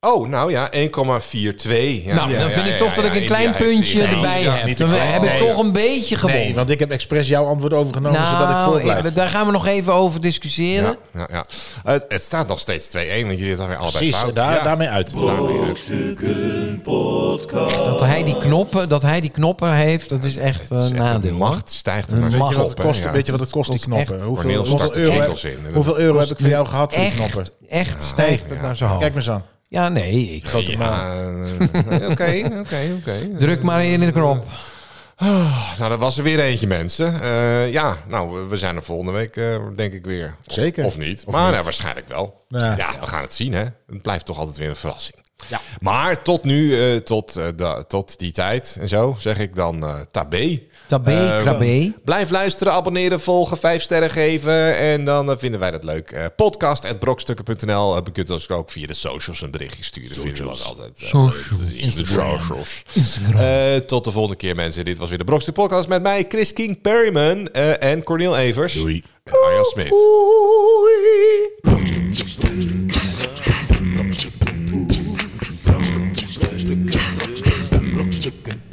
[SPEAKER 2] Oh, nou ja, 1,42. Ja,
[SPEAKER 4] nou,
[SPEAKER 2] ja,
[SPEAKER 4] dan
[SPEAKER 2] ja,
[SPEAKER 4] vind
[SPEAKER 2] ja,
[SPEAKER 4] ik toch dat
[SPEAKER 2] ja,
[SPEAKER 4] ik een
[SPEAKER 2] India
[SPEAKER 4] klein
[SPEAKER 2] heeft
[SPEAKER 4] puntje
[SPEAKER 2] zich-
[SPEAKER 4] erbij
[SPEAKER 2] Ja,
[SPEAKER 4] heb.
[SPEAKER 3] niet
[SPEAKER 4] Dan
[SPEAKER 3] te
[SPEAKER 4] heb ik
[SPEAKER 3] klein.
[SPEAKER 4] toch een beetje gewonnen.
[SPEAKER 3] Nee, want ik heb expres jouw antwoord overgenomen zodat ik voor blijf.
[SPEAKER 4] ik- daar gaan Nou, we nog even over discussiëren.
[SPEAKER 2] Ja, ja, ja. Het, het staat nog steeds 2-1, want jullie zijn weer allebei
[SPEAKER 3] Precies,
[SPEAKER 2] fout.
[SPEAKER 3] daar,
[SPEAKER 2] ja.
[SPEAKER 3] daarmee uit.
[SPEAKER 5] Brokstukken Podcast.
[SPEAKER 4] Dat hij die knoppen, dat hij die knoppen heeft, dat is echt
[SPEAKER 2] Het is
[SPEAKER 4] een
[SPEAKER 2] echt-
[SPEAKER 4] eh, nadeel.
[SPEAKER 2] De
[SPEAKER 4] hoor.
[SPEAKER 2] macht stijgt er
[SPEAKER 4] Een
[SPEAKER 2] maar een
[SPEAKER 4] macht.
[SPEAKER 2] beetje
[SPEAKER 3] Wat
[SPEAKER 2] op. hè,
[SPEAKER 3] kost,
[SPEAKER 2] ja.
[SPEAKER 3] weet je wat het kost, die
[SPEAKER 4] kost
[SPEAKER 3] knoppen?
[SPEAKER 4] echt.
[SPEAKER 3] Hoeveel,
[SPEAKER 2] Cornel
[SPEAKER 3] hoeveel
[SPEAKER 2] start de
[SPEAKER 3] euro,
[SPEAKER 2] jingles
[SPEAKER 3] heb,
[SPEAKER 2] in.
[SPEAKER 3] hoeveel euro heb ik van jou
[SPEAKER 4] Nu
[SPEAKER 3] gehad voor die
[SPEAKER 4] echt,
[SPEAKER 3] knoppen?
[SPEAKER 4] Echt stijgt het naar zo hoog.
[SPEAKER 3] Kijk me eens aan.
[SPEAKER 4] Ja, nee, ik
[SPEAKER 2] Ja, eh, Oké, oké, oké.
[SPEAKER 4] druk maar in de knop.
[SPEAKER 2] Ah, nou, dat was er weer eentje, mensen. Eh, ja, nou, we- we zijn er volgende week, eh, denk ik, weer. Of-
[SPEAKER 3] Zeker.
[SPEAKER 2] Of niet.
[SPEAKER 3] Of
[SPEAKER 2] maar
[SPEAKER 3] niet.
[SPEAKER 2] nou, waarschijnlijk wel.
[SPEAKER 3] Ja.
[SPEAKER 2] Ja. we gaan het zien, hè. Het blijft toch altijd weer een verrassing. Ja. Maar tot nu, eh, tot, eh, da- tot die tijd en zo, zeg ik dan eh tabé.
[SPEAKER 4] Tabé,
[SPEAKER 2] Eh,
[SPEAKER 4] krabé.
[SPEAKER 2] Blijf luisteren, abonneren, volgen, vijf sterren geven. En dan eh, vinden wij dat leuk. Eh podcast.brokstukken.nl. Eh, Je kunt ons ook via de socials een berichtje sturen. Vinden we ook altijd. eh, leuk. Dat is in de socials. Eh, tot de volgende keer, mensen. Dit was weer de Brokstuk Podcast met mij, Chris King Perryman eh, en Cornel Evers. Doei. En Arjan Smit.
[SPEAKER 5] Brokstukken. Brokstukken.